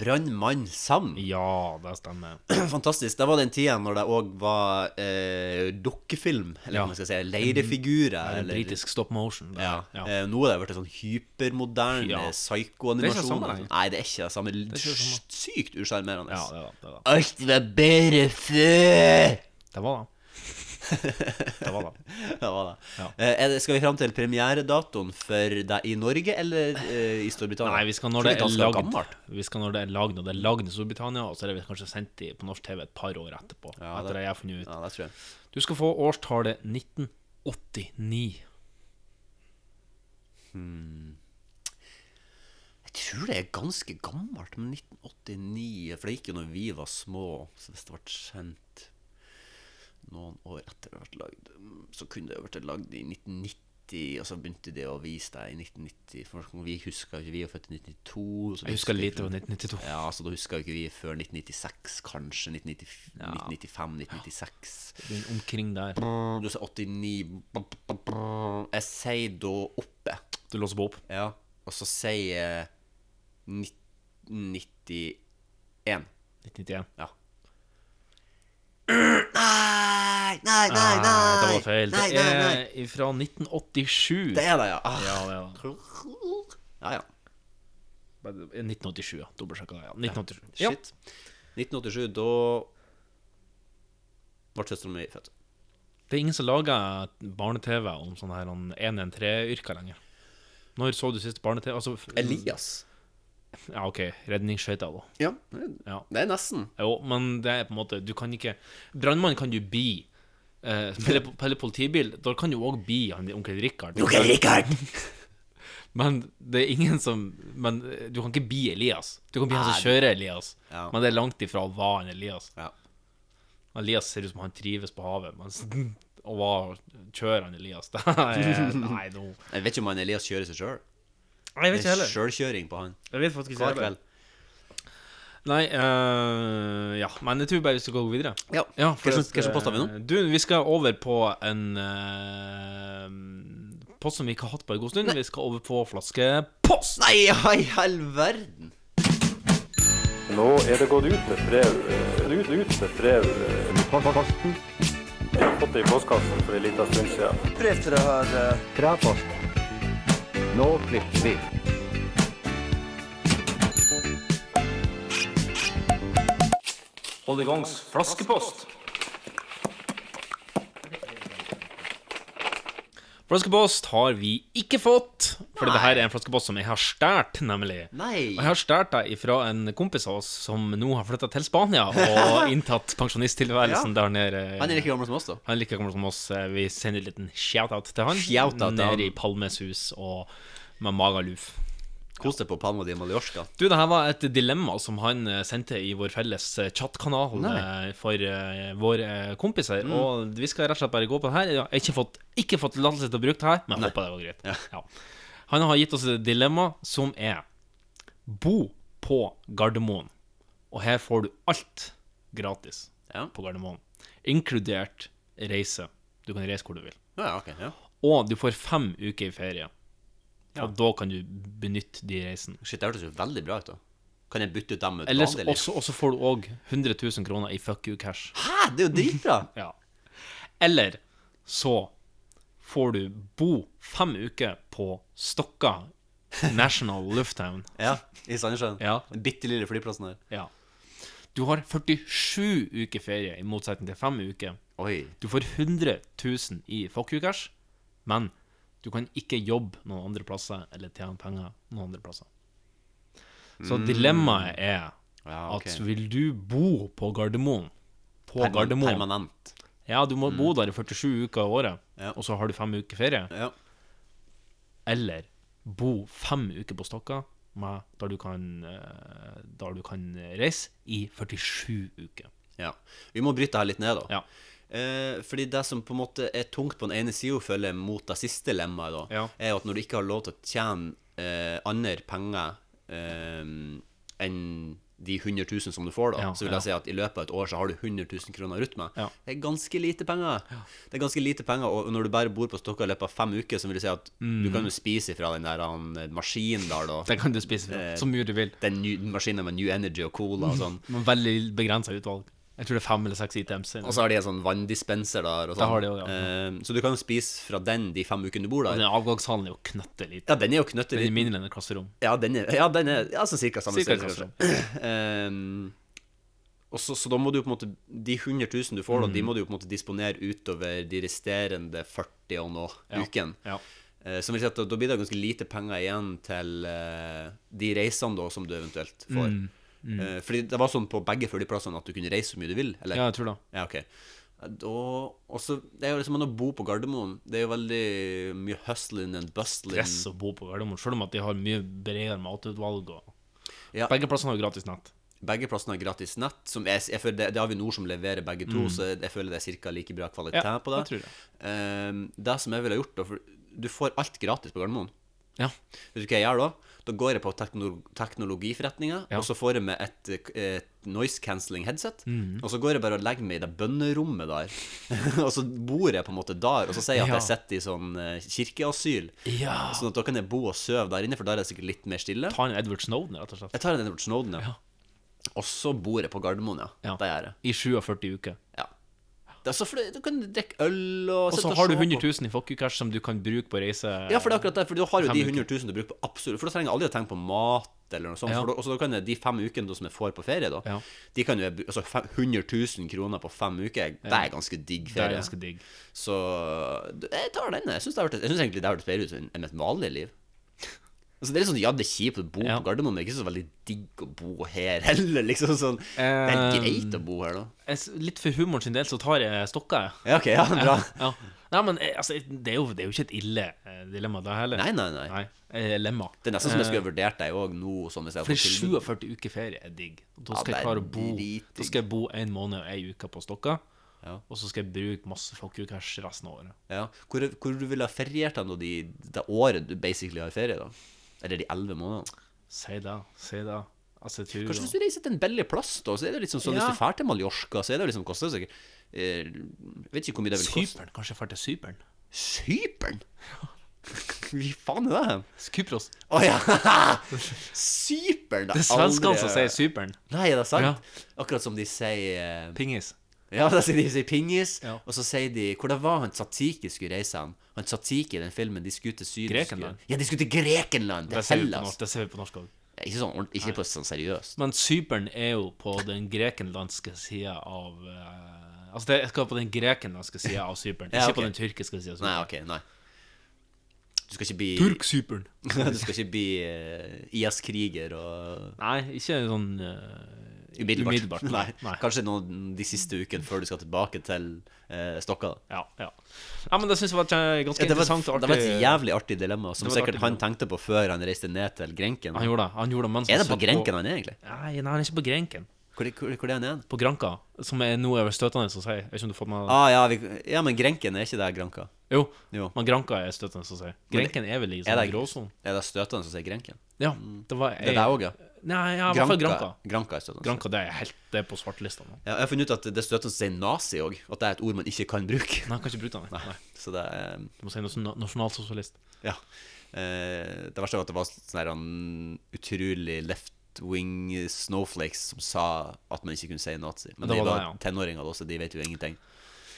Brannmann Sam. Ja, det stemmer. Fantastisk. Det var den tida når det òg var eh, dukkefilm, eller Ja. hva man skal si, leirefigurer. Eller Eller, britisk stop motion. det. ja. ja. Eh, nå er det blitt en sånn hypermoderne Ja. Det er ikke det samme psykoanimasjon. lenger. Nei, det er ikke det samme. er ikke det samme. Sykt usjarmerende. ja det, var, det, var. Alt var bedre før! det var det. Det var det. Det var det. Ja. Eh, er det. Skal vi fram til premieredatoen for deg i Norge eller eh, i Storbritannia? Nei, vi skal når Tror det ikke er han skal lagd. gammelt. Vi skal når det er lagd, og det er lagd i Storbritannia, og så er det kanskje sendt i- på norsk TV et par år etterpå. Ja, etter det- det jeg har funnet ut. Ja, det tror jeg. Du skal få årstallet 1989. Jeg tror det er ganske gammelt, men 1989 For det gikk jo når vi var små, så hvis det ble sendt noen år etter det ble lagd, mm, så kunne det jo vært lagd i 1990, og så begynte de å vise deg i 1990. For vi huska ikke, vi er født i 92. Så vi Jeg husker husker lite ikke- fra 1992. Ja, så da huska ikke vi før 1996, kanskje. 1995, 1996. Den omkring der. Du sa 89 Jeg sier da oppe. Du låser på opp. Ja, og så sier jeg nitt- 91. 1991. Ja. Nei, nei, nei, Nei, nei! Ah, det var feil. Nei, Det nei, nei. er fra 1987. Det er det, ja. Ah. Ja, det er det. Ja, ja. Bare- 1987, ja. Dobbeltsjekka det. Ja. 1987. Ja. Shit. 1987, da ble søstera mi født. Det er ingen som lager barne-TV om sånne her 113-yrker lenger. Når så du sist barne-TV? Altså, f- Elias. Ja, OK. Redningsskøyta, da. Ja, det Ja. det er nesten. Jo, men det er på en måte Du kan ikke Brannmann kan du bli. Eh, eller, eller politibil. Da kan du òg bli han onkel Rikard. Rikard! Men det er ingen som Men eh, du kan ikke bli Elias. Du kan bli han som kjører Elias, Ja. men det er langt ifra å være han Elias. Ja. Elias ser ut som han trives på havet, mens å være kjører han Elias det er, Nei, nå Jeg vet ikke om han Elias kjører seg sjøl. Jeg Det er sjølkjøring på han Jeg vet faktisk hver kveld. Nei, eh, ja. Men jeg tror bare vi skal gå videre. Ja. for Hva at, slags- hva slags post har vi nå? eh, Du, vi skal over på en eh, post som vi ikke har hatt på en god stund. Vi skal over på flaskepost. Nei, ja, i all verden! Nå er det gått ut med brev. eh, Ut, ut med brev. eh, Jeg har fått det i postkassen for en liten stund siden. Nå klipper vi. Hold i gangs flaskepost. Flaskepost har vi ikke fått, for dette her er en flaskepost som jeg har stjålet, nemlig. Nei. Og jeg har stjålet det fra en kompis av oss som nå har flytta til Spania og inntatt pensjonisttilværelsen Ja. der nede. eh, Han er like gammel som oss, da. Han er like gammel som oss. Eh, Vi sender en liten shout-out til han. Shout-out til han. Nede i Palmes hus og med Magaluf. Kos deg på Palma de Mallorca. Du, det her var et dilemma som han eh, sendte i vår felles eh, chatkanal Nei. eh, for eh, våre eh, kompiser. Mm. Og vi skal rett og slett bare gå på det her. Jeg har ikke fått, ikke fått tillatelse til å bruke det her, men jeg håper det var greit. Ja. Han har gitt oss et dilemma som er Bo på Gardermoen, og her får du alt gratis på Gardermoen. Inkludert reise. Du kan reise hvor du vil. Ja, ok, ja. Og du får fem uker i ferie. Ja. Og da kan du benytte de reisene. Shit, det hørtes jo veldig bra ut, da. Kan jeg bytte ut dem med et Ellers vanlig liv? også, også får du òg 100 000 kroner i fuck you cash. Hæ, det er jo dritbra! ja. Eller så får du bo fem uker på Stokka National Lufthavn. Ja, i Sandnessjøen. Ja. Den bitte lille flyplassen der. Ja. Du har 47 uker ferie, i motsetning til fem uker. Oi. Du får 100 000 i fuck you cash, men du kan ikke jobbe noen andre plasser eller tjene penger noen andre plasser. Så Mm. dilemmaet er Ja, ok. at vil du bo på Gardermoen På Perman- Gardermoen Permanent. Ja, du må Mm. bo der i 47 uker av året, og så har du fem uker ferie. Eller bo fem uker på Stokka, med, der, du kan, eh, der du kan reise i 47 uker. Ja. Vi må bryte her litt ned, da. Eh, fordi det som på en måte er tungt på den ene sida, føler jeg, mot det siste lemmaet, da, er jo at når du ikke har lov til å tjene eh, andre penger eh, enn de 100 000 som du får, da, Ja, så vil ja. jeg si at i løpet av et år så har du 100 000 kroner å rutte med. Ja. Det er ganske lite penger. Det er ganske lite penger, og når du bare bor på Stokka i løpet av fem uker, så vil jeg si at du Mm. kan jo spise ifra den der han, eh, maskinen der, da. Den kan du spise fra, så mye du vil. Den ny- maskinen med New Energy og Cola og sånn. Men veldig begrensa utvalg. Jeg tror det er fem eller seks ITMs. Og så har de en sånn vanndispenser der. Og Det sånn. har de også, ja. Ehm, så du kan jo spise fra den de fem ukene du bor Og der. den avgangshallen er jo knøtte liten. Ja, den er jo knøttet Den er mindre enn et klasserom. Ja, den er, ja, den er ja, sånn cirka samme Cirka størrelse, kanskje. Ehm, og så, så da må du jo på en måte De 100 000 du får, da, de Mm. må du jo på en måte disponere utover de resterende 40 og noe Ja, ukene. ja. Eh, som vil si at da, da blir det ganske lite penger igjen til eh, de reisene da som du eventuelt får. Mm, mm. Eh, fordi det var sånn på begge flyplassene at du kunne reise så mye du vil? Eller? Ja, jeg tror det. Ja, ok. Da, også, det er jo liksom man å bo på Gardermoen. Det er jo veldig mye hustling and bustling. Stress å bo på Gardermoen, selv om at de har mye bredere matutvalg. Og... Ja. Begge plassene har jo gratis nett. Begge plassene har gratis nett. Som er, jeg føler det, det har vi Nord som leverer begge to, Mm. så jeg, jeg føler det er ca. like bra kvalitet Ja, på det. jeg tror det. Ehm, det som jeg ville gjort, da for Du får alt gratis på Gardermoen. Ja. Vet du hva jeg gjør da? Da går jeg på tekno teknologiforretninga, Ja. og så får jeg med et, et noise cancelling headset. Mhm. Og så går jeg bare og legger meg i det bønnerommet der. og så bor jeg på en måte der, og så sier jeg at Ja. jeg sitter i sånn eh, kirkeasyl. Ja. Sånn at da kan jeg bo og sove der inne, for der er det sikkert litt mer stille. Ta en Edward Snowden, rett og slett. Jeg tar en Edward Snowden, ja. Og så bor jeg på Gardermoen, ja. Ja. Det gjør jeg. I 47 uker. Det er så fordi du kan drikke øl og Og så sitte har du se på. 100 000 i fuck you cash som du kan bruke på reise. Ja, for det er akkurat det. For da har jo Fem de uker. 100 000 du bruker på absolutt For da trenger jeg aldri å tenke på mat eller noe sånt. Ja. For da, og så da kan jeg, de fem ukene da, som jeg får på ferie, da Ja. De kan jo jeg bru- Altså fem- 100 000 kroner på fem uker, det Ja. er ganske digg Det er ferie. ganske digg. Så du- jeg tar den. Jeg syns egentlig det hørtes bedre ut enn enn mitt vanlige liv. Altså Det er litt sånn, ja, det er kjipt å bo på Gardermoen, men det er ikke så veldig digg å bo her heller. liksom sånn Det er Eh, greit å bo her, da. Jeg s- Litt for humoren sin del så tar jeg stokka, jeg. Ja, ok, ja, bra. Ja. Nei, men eh, altså, det er, jo, det er jo ikke et ille eh, dilemma, det heller. Nei, nei, nei. eh, Lemma. Det er nesten som jeg skulle Eh, ha vurdert deg òg nå. Sånn, hvis jeg hadde For fått tilbud. 47 uker ferie er digg. Og Da Ja, skal det jeg er klare å bo Da dritdigg. skal jeg bo en måned og ei uke på Stokka. Ja. Og så skal jeg bruke masse fuck you cash resten av året. Ja. Hvor, hvor du ville ha feriert deg nå de, det året du basically har ferie? da? Eller de elleve månedene? Si det. Si det. Altså, jeg tror Kanskje hvis du reiser til en billig plass, da, så er det liksom sånn Ja. hvis du drar til Mallorca, så er det jo liksom koster det sikkert eh, Vet ikke hvor mye det vil koste. Cypern. Kanskje jeg drar til Cypern? Cypern? Hvi faen er det? Kypros. Å ja! Cypern! Det er svenskene som sier Cypern. Nei, er det sant? Ja. Akkurat som de sier eh, Pingis. Ja, da sier de, de sier pingis, og så sier de Hvor det var han Tzatziki skulle reise hen? Han Tzatziki i den filmen, de skulle til Syden Grekenland. Ja, de skulle til Grekenland! Det er Det ser vi på Hellas. norsk- det ser vi på norsk òg. Ja, Ikke sånn, ordent- ikke på sånn seriøst. Men Cypern er jo på den grekenlandske sida av eh, Altså, det skal på den grekenlandske sida av Cypern, Ja, ikke på ok. den tyrkiske sida. Nei, ok, nei. Du skal ikke bli Turkcypern. du skal ikke bli eh, IS-kriger og Nei, ikke sånn eh, Umiddelbart. umiddelbart. Nei. Nei. Kanskje noen de siste ukene før du skal tilbake til eh, Stokka. da. Ja, ja. ja, men det syns jeg var eh, ganske Ja, det, var, interessant og det artig. var et jævlig artig dilemma, som Det var et sikkert artig han tenkte på før han reiste ned til Grenken. Han gjorde det. Han gjorde det mens Er det han på satt Grenken han er, egentlig? Nei, nei, han er ikke på Grenken. Hvor, hvor, hvor er han igjen? På Granka, som er nå er støtende å si. Jeg vet ikke om du har fått med Ah, ja, vi, ja, men Grenken er ikke der Granka. Jo, Jo. men Granka er støtende å si. Grenken er vel i Er sånn det- gråsonen. Er det støtende som sier Grenken? Ja, det var Det er der òg, ja. Nei, ja, i hvert fall Granka. Granka er støtende. Granka det er helt det er på svartelista nå. Ja, jeg har funnet ut at det er støtende som sier nazi òg. At det er et ord man ikke kan bruke. Nei, jeg kan ikke bruke den. Nei. Så det er um, Du må si noe sånn na- nasjonalsosialist. Ja. Eh, det verste var at det var sånne her, han, utrolig left-wing snowflakes som sa at man ikke kunne si nazi. Men Det de var var det, ja. tenåringer, da, så de vet jo ingenting.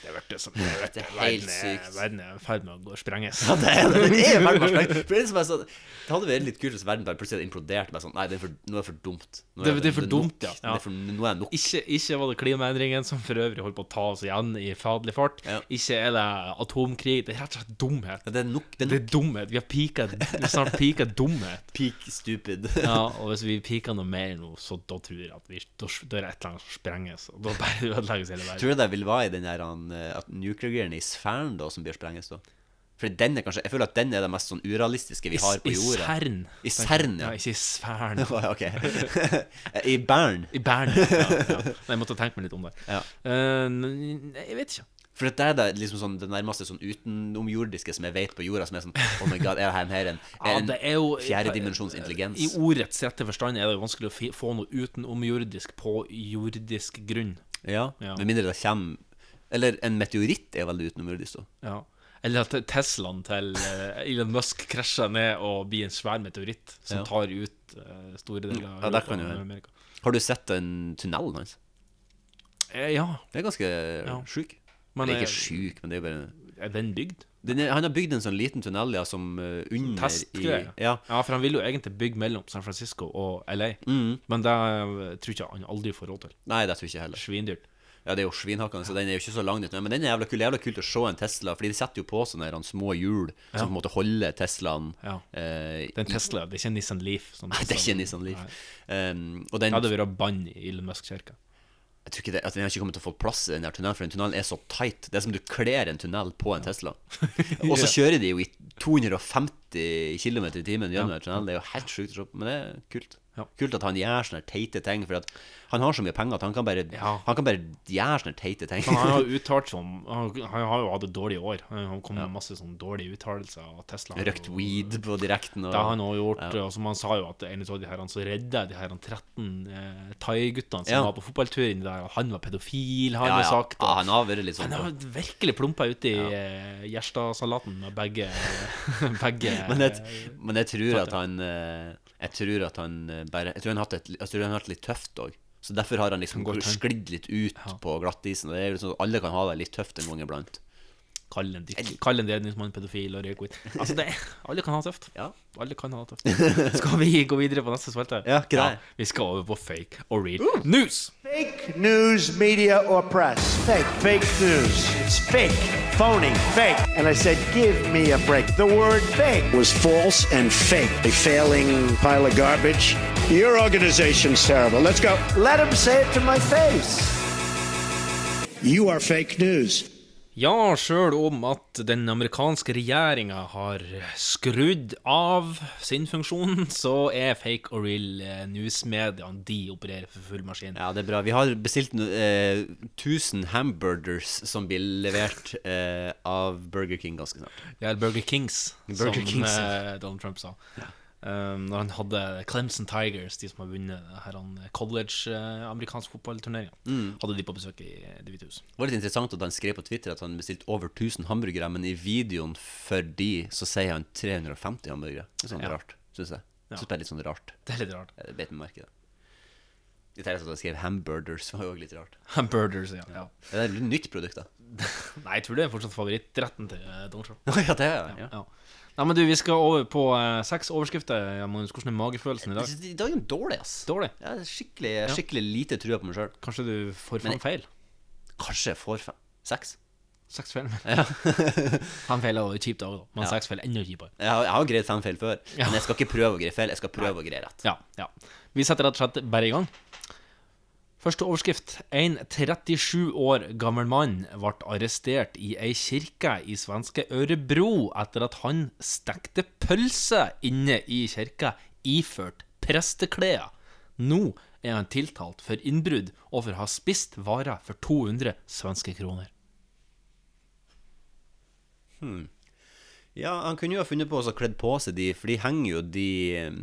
Det er som det er Det er helt sykt. Verden er i ferd med å gå og sprenges. Ja, det er det. Den er verden bare sprengt. For det, er liksom bare sånn, det hadde vært litt kult hvis verden bare plutselig imploderte. Bare sånn, Nei, det er for, nå er det for dumt. Nå Det- det er for dumt, nok. ja. Ja. Det er for, nå er det nok. Ikke, ikke var det klimaendringene som for øvrig holdt på å ta oss igjen i fadelig fart. Ja. Ikke er det atomkrig. Det er rett og slett dumhet. Det er nok. Det er nok. Det er dumhet. Vi har pika, vi har snart pika dumhet. Peak stupid. Ja, og hvis vi piker noe mer nå, så da tror jeg at vi, da, da er det et eller annet som sprenges. Og da bare ødelegges hele verden. Tror du det vil være i den der han, eh, at nuclear-greiene i sfæren da, som blir sprenges, da? For den er kanskje, jeg føler at den er det mest sånn urealistiske vi har på jorda. CERN. I CERN, ja. ja. Ikke i sfæren. ok. I Bern. I Bern. Ja, ja. Nei, Jeg måtte tenke meg litt om det. Ja. Eh, nei, jeg vet ikke. For at det er det, liksom sånn, det nærmeste sånn utenomjordiske som jeg vet på jorda, som er sånn Oh my god, er det her en, her en, Ja, en det er jo fjerdedimensjons intelligens? I ordets rette forstand er det jo vanskelig å fi- få noe utenomjordisk på jordisk grunn. Ja, Ja. med mindre det kommer Eller en meteoritt er veldig utenomjordisk, da. Ja. Eller at Teslaen til eh, Elon Musk krasjer ned og blir en svær meteoritt som Ja. tar ut eh, store deler av Ja, det kan Europa jo og være. Amerika. Har du sett den tunnelen hans? Eh, ja, Det er ganske Ja. sjuk. Men, Eller eh, ikke sjuk, men det er jo bare er den bygd? den er, Han har bygd en sånn liten tunnel ja, som eh, under i Testgreie. ja. Ja, for han vil jo egentlig bygge mellom San Francisco og LA, Mm. men det eh, tror jeg ikke han aldri får råd til. Nei, det tror jeg ikke heller. Svindyrt. Ja, det er jo svinhakkende, så den er jo ikke så lang ut. nå, Men den er jævla kul. Det er Jævla kult å se en Tesla, Fordi de setter jo på sånne her små hjul som på en måte holder Teslaen Ja. eh, Det er en i- Tesla, det er ikke en Nissan Leaf. som Nei, det er ikke Tesla- en Nissan Leaf. Nei. Um, og den Ja, det hadde vært bann i Elon Musk-kirka. Jeg tror ikke det, at Den har ikke kommet til å få plass i den der tunnelen, for den tunnelen er så tight. Det er som du kler en tunnel på en Tesla. Og så kjører de jo i 250 km i timen gjennom den tunnelen. Det er jo helt sjukt å se på, men det er kult. Ja. Kult at han gjør sånne teite ting, for at han har så mye penger at han kan bare, Ja. han kan bare gjøre sånne teite ting. Men Han har jo uttalt seg om Han han har jo hatt et dårlig år. Han kom med masse sånn dårlige uttalelser. av Tesla Røkt weed på direkten. Og, Det har han også gjort. Ja. Og som han sa jo at en av de her han som redda de her 13 eh, thai-guttene som Ja. var på fotballtur inni der, at han var pedofil, har Ja, han ja. jo sagt. Ja, og- han har vært litt sånn han på. har virkelig plumpa uti eh, Gjerstad-salaten med begge, begge eh, Men jeg, men jeg tror at han eh, Jeg tror at han eh, bare Jeg tror han har hatt et, jeg tror han har hatt det litt tøft òg. Så derfor har han liksom Kan gå tønn. sklidd litt ut på glattisen. Og det er jo sånn at alle kan ha det litt tøft en gang iblant. Kall en, dikt- kall en redningsmann pedofil og røyk weed. Altså, det Alle kan ha det tøft. Ja. Alle kan ha det tøft. Skal vi gå videre på neste spalte? Ja, ikke det? Uh! vi skal over på fake og real news. Fake news, media, or press. Fake. Fake news. It's fake. Phony. Fake. And I said, give me a break. The word fake was false and fake. A failing pile of garbage. Your organization's terrible. Let's go. Let him say it to my face. You are fake news. Ja, sjøl om at den amerikanske regjeringa har skrudd av sin funksjon, så er fake og real eh, news-mediene de opererer for full maskin. Ja, det er bra. Vi har bestilt no- eh, 1000 hamburgers som blir levert eh, av Burger King ganske snart. Det er Burger Kings, Burger som Kings, ja. eh, Donald Trump sa. Um, når han hadde Clemson Tigers, de som har vunnet det her han college eh, amerikansk fotballturnering, Mm. hadde de på besøk i eh, Det hvite hus. Det var litt interessant at han skrev på Twitter at han bestilte over 1000 hamburgere, men i videoen for de så sier han 350 hamburgere. Det er sånn Ja. rart, syns jeg. Synes det er litt sånn rart. Det er litt rart. Jeg bet meg merke i det. I tillegg til at han skrev 'hamburgers', var jo også litt rart. Hamburgers, ja. ja. Det er et nytt produkt, da. Nei, jeg tror det er fortsatt favorittretten til eh, Donald Trump. ja, det er ja. Ja. Nei, men du, vi skal over på eh, seks overskrifter. Ja, Magnus, hvordan er magefølelsen i dag? I dag er den dårlig, ass. Dårlig. Ja, det er skikkelig, skikkelig lite trua på meg sjøl. Kanskje du får Men fram feil? Kanskje jeg får fem. seks? Seks feil. Ja. Fem feil er jo kjipt, også, da. men Ja. seks feil er enda kjipere. Jeg har, jeg har greid fem feil før, Ja. men jeg skal ikke prøve å greie feil. Jeg skal prøve å greie rett. Ja, ja. Vi setter rett og slett bare i gang. Første overskrift. En 37 år gammel mann ble arrestert i ei kirke i svenske Ørebro etter at han stekte pølse inne i kirka iført presteklær. Nå er han tiltalt for innbrudd og for å ha spist varer for 200 svenske kroner. Hmm. Ja, han kunne jo ha funnet på å kle på seg de, for de henger jo de eh,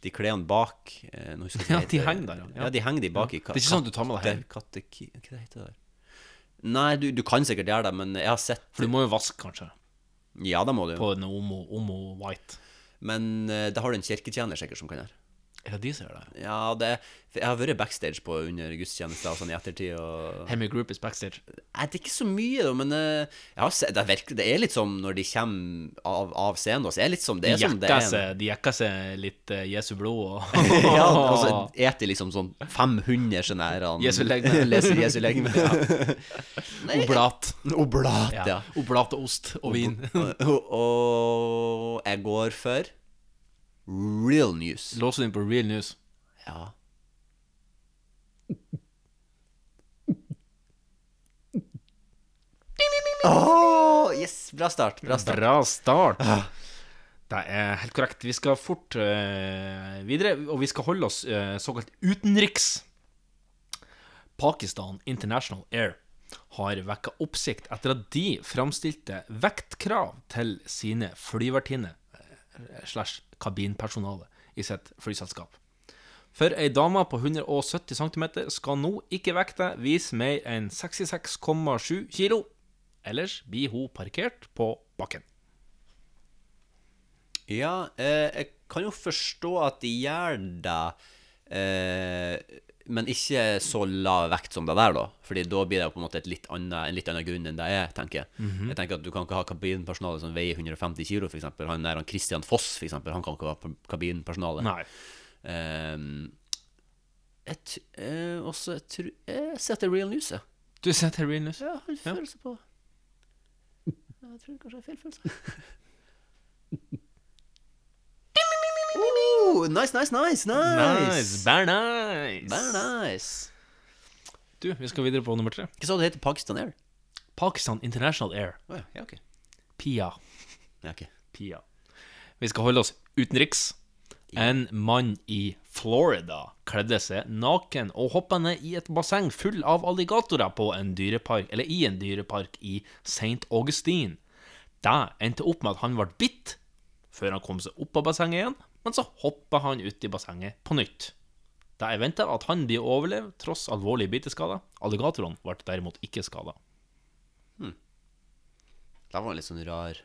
de klærne bak eh, nå husker jeg Ja, hva det de heter. henger der, ja. ja. de henger de bak Ja. i ka- Det er ikke sånn at du tar med deg katte- katteki- Hva det heter det der? Nei, du, du kan sikkert gjøre det, men jeg har sett For du må jo vaske, kanskje, Ja, det må du. på en Omo, omo White. Men eh, det har du en kirketjener sikkert som kan gjøre. Er det de som gjør det? Ja, det for Jeg har vært backstage på under gudstjenester og sånn i ettertid. Og... Hemi Group is backstage. Nei, det er ikke så mye, da, men eh, jeg har sett, det, er virkelig, det er litt som når de kommer av, av scenen. Da, så er det litt som det De er som det jekker er. seg, de jekker seg litt eh, Jesu blod og ja, altså eter liksom sånn 500 sånne her han- Jesu legeme. Leser Jesu legeme. Ja. Nei, Oblat. Oblat, ja. Oblat og ost og vin. Og, og jeg går for real news. Låser du inn på real news? Ja. Åh, yes, bra start. Bra start. Bra start. Ah. Det er helt korrekt. Vi skal fort eh, videre, og vi skal holde oss eh, såkalt utenriks. Pakistan International Air har vekka oppsikt etter at de framstilte vektkrav til sine flyvertinner eh, slash kabinpersonale i sitt flyselskap. For ei dame på 170 cm skal nå ikke vekte vise mer enn 66,7 kilo. Ellers blir hun parkert på bakken. Ja, eh, jeg kan jo forstå at de gjør det, eh, men ikke så lav vekt som det der, da. Fordi da blir det jo på en måte et litt annet, en litt annen grunn enn det er, tenker jeg. Mhm. Jeg tenker at Du kan ikke ha kabinpersonale som veier 150 kilo, f.eks. Han der han Christian Foss, for eksempel, han kan ikke ha p- kabinpersonale. Nei. Ehm, jeg t eh, også, jeg, tror- jeg setter real news, jeg. Du ser til real news? Ja, har en følelse på det. Jeg tror kanskje jeg har feil følelse. Oh, nice, nice, nice, nice. Nice! Bare nice! Very nice. Du, vi skal videre på nummer tre. Hva sa du det heter? Pakistan Air? Pakistan International Air. Å ja, ja, ok. Pia. Ja, ok. Pia. Vi skal holde oss utenriks. En mann i Florida kledde seg naken og hoppa ned i et basseng full av alligatorer på en dyrepark, eller i en dyrepark i St. Augustine. Det endte opp med at han ble bitt før han kom seg opp av bassenget igjen, men så hoppa han ut i bassenget på nytt. Det er venta at han blir overlevd tross alvorlige biteskader. Alligatorene ble derimot ikke skada. Det var en litt sånn rar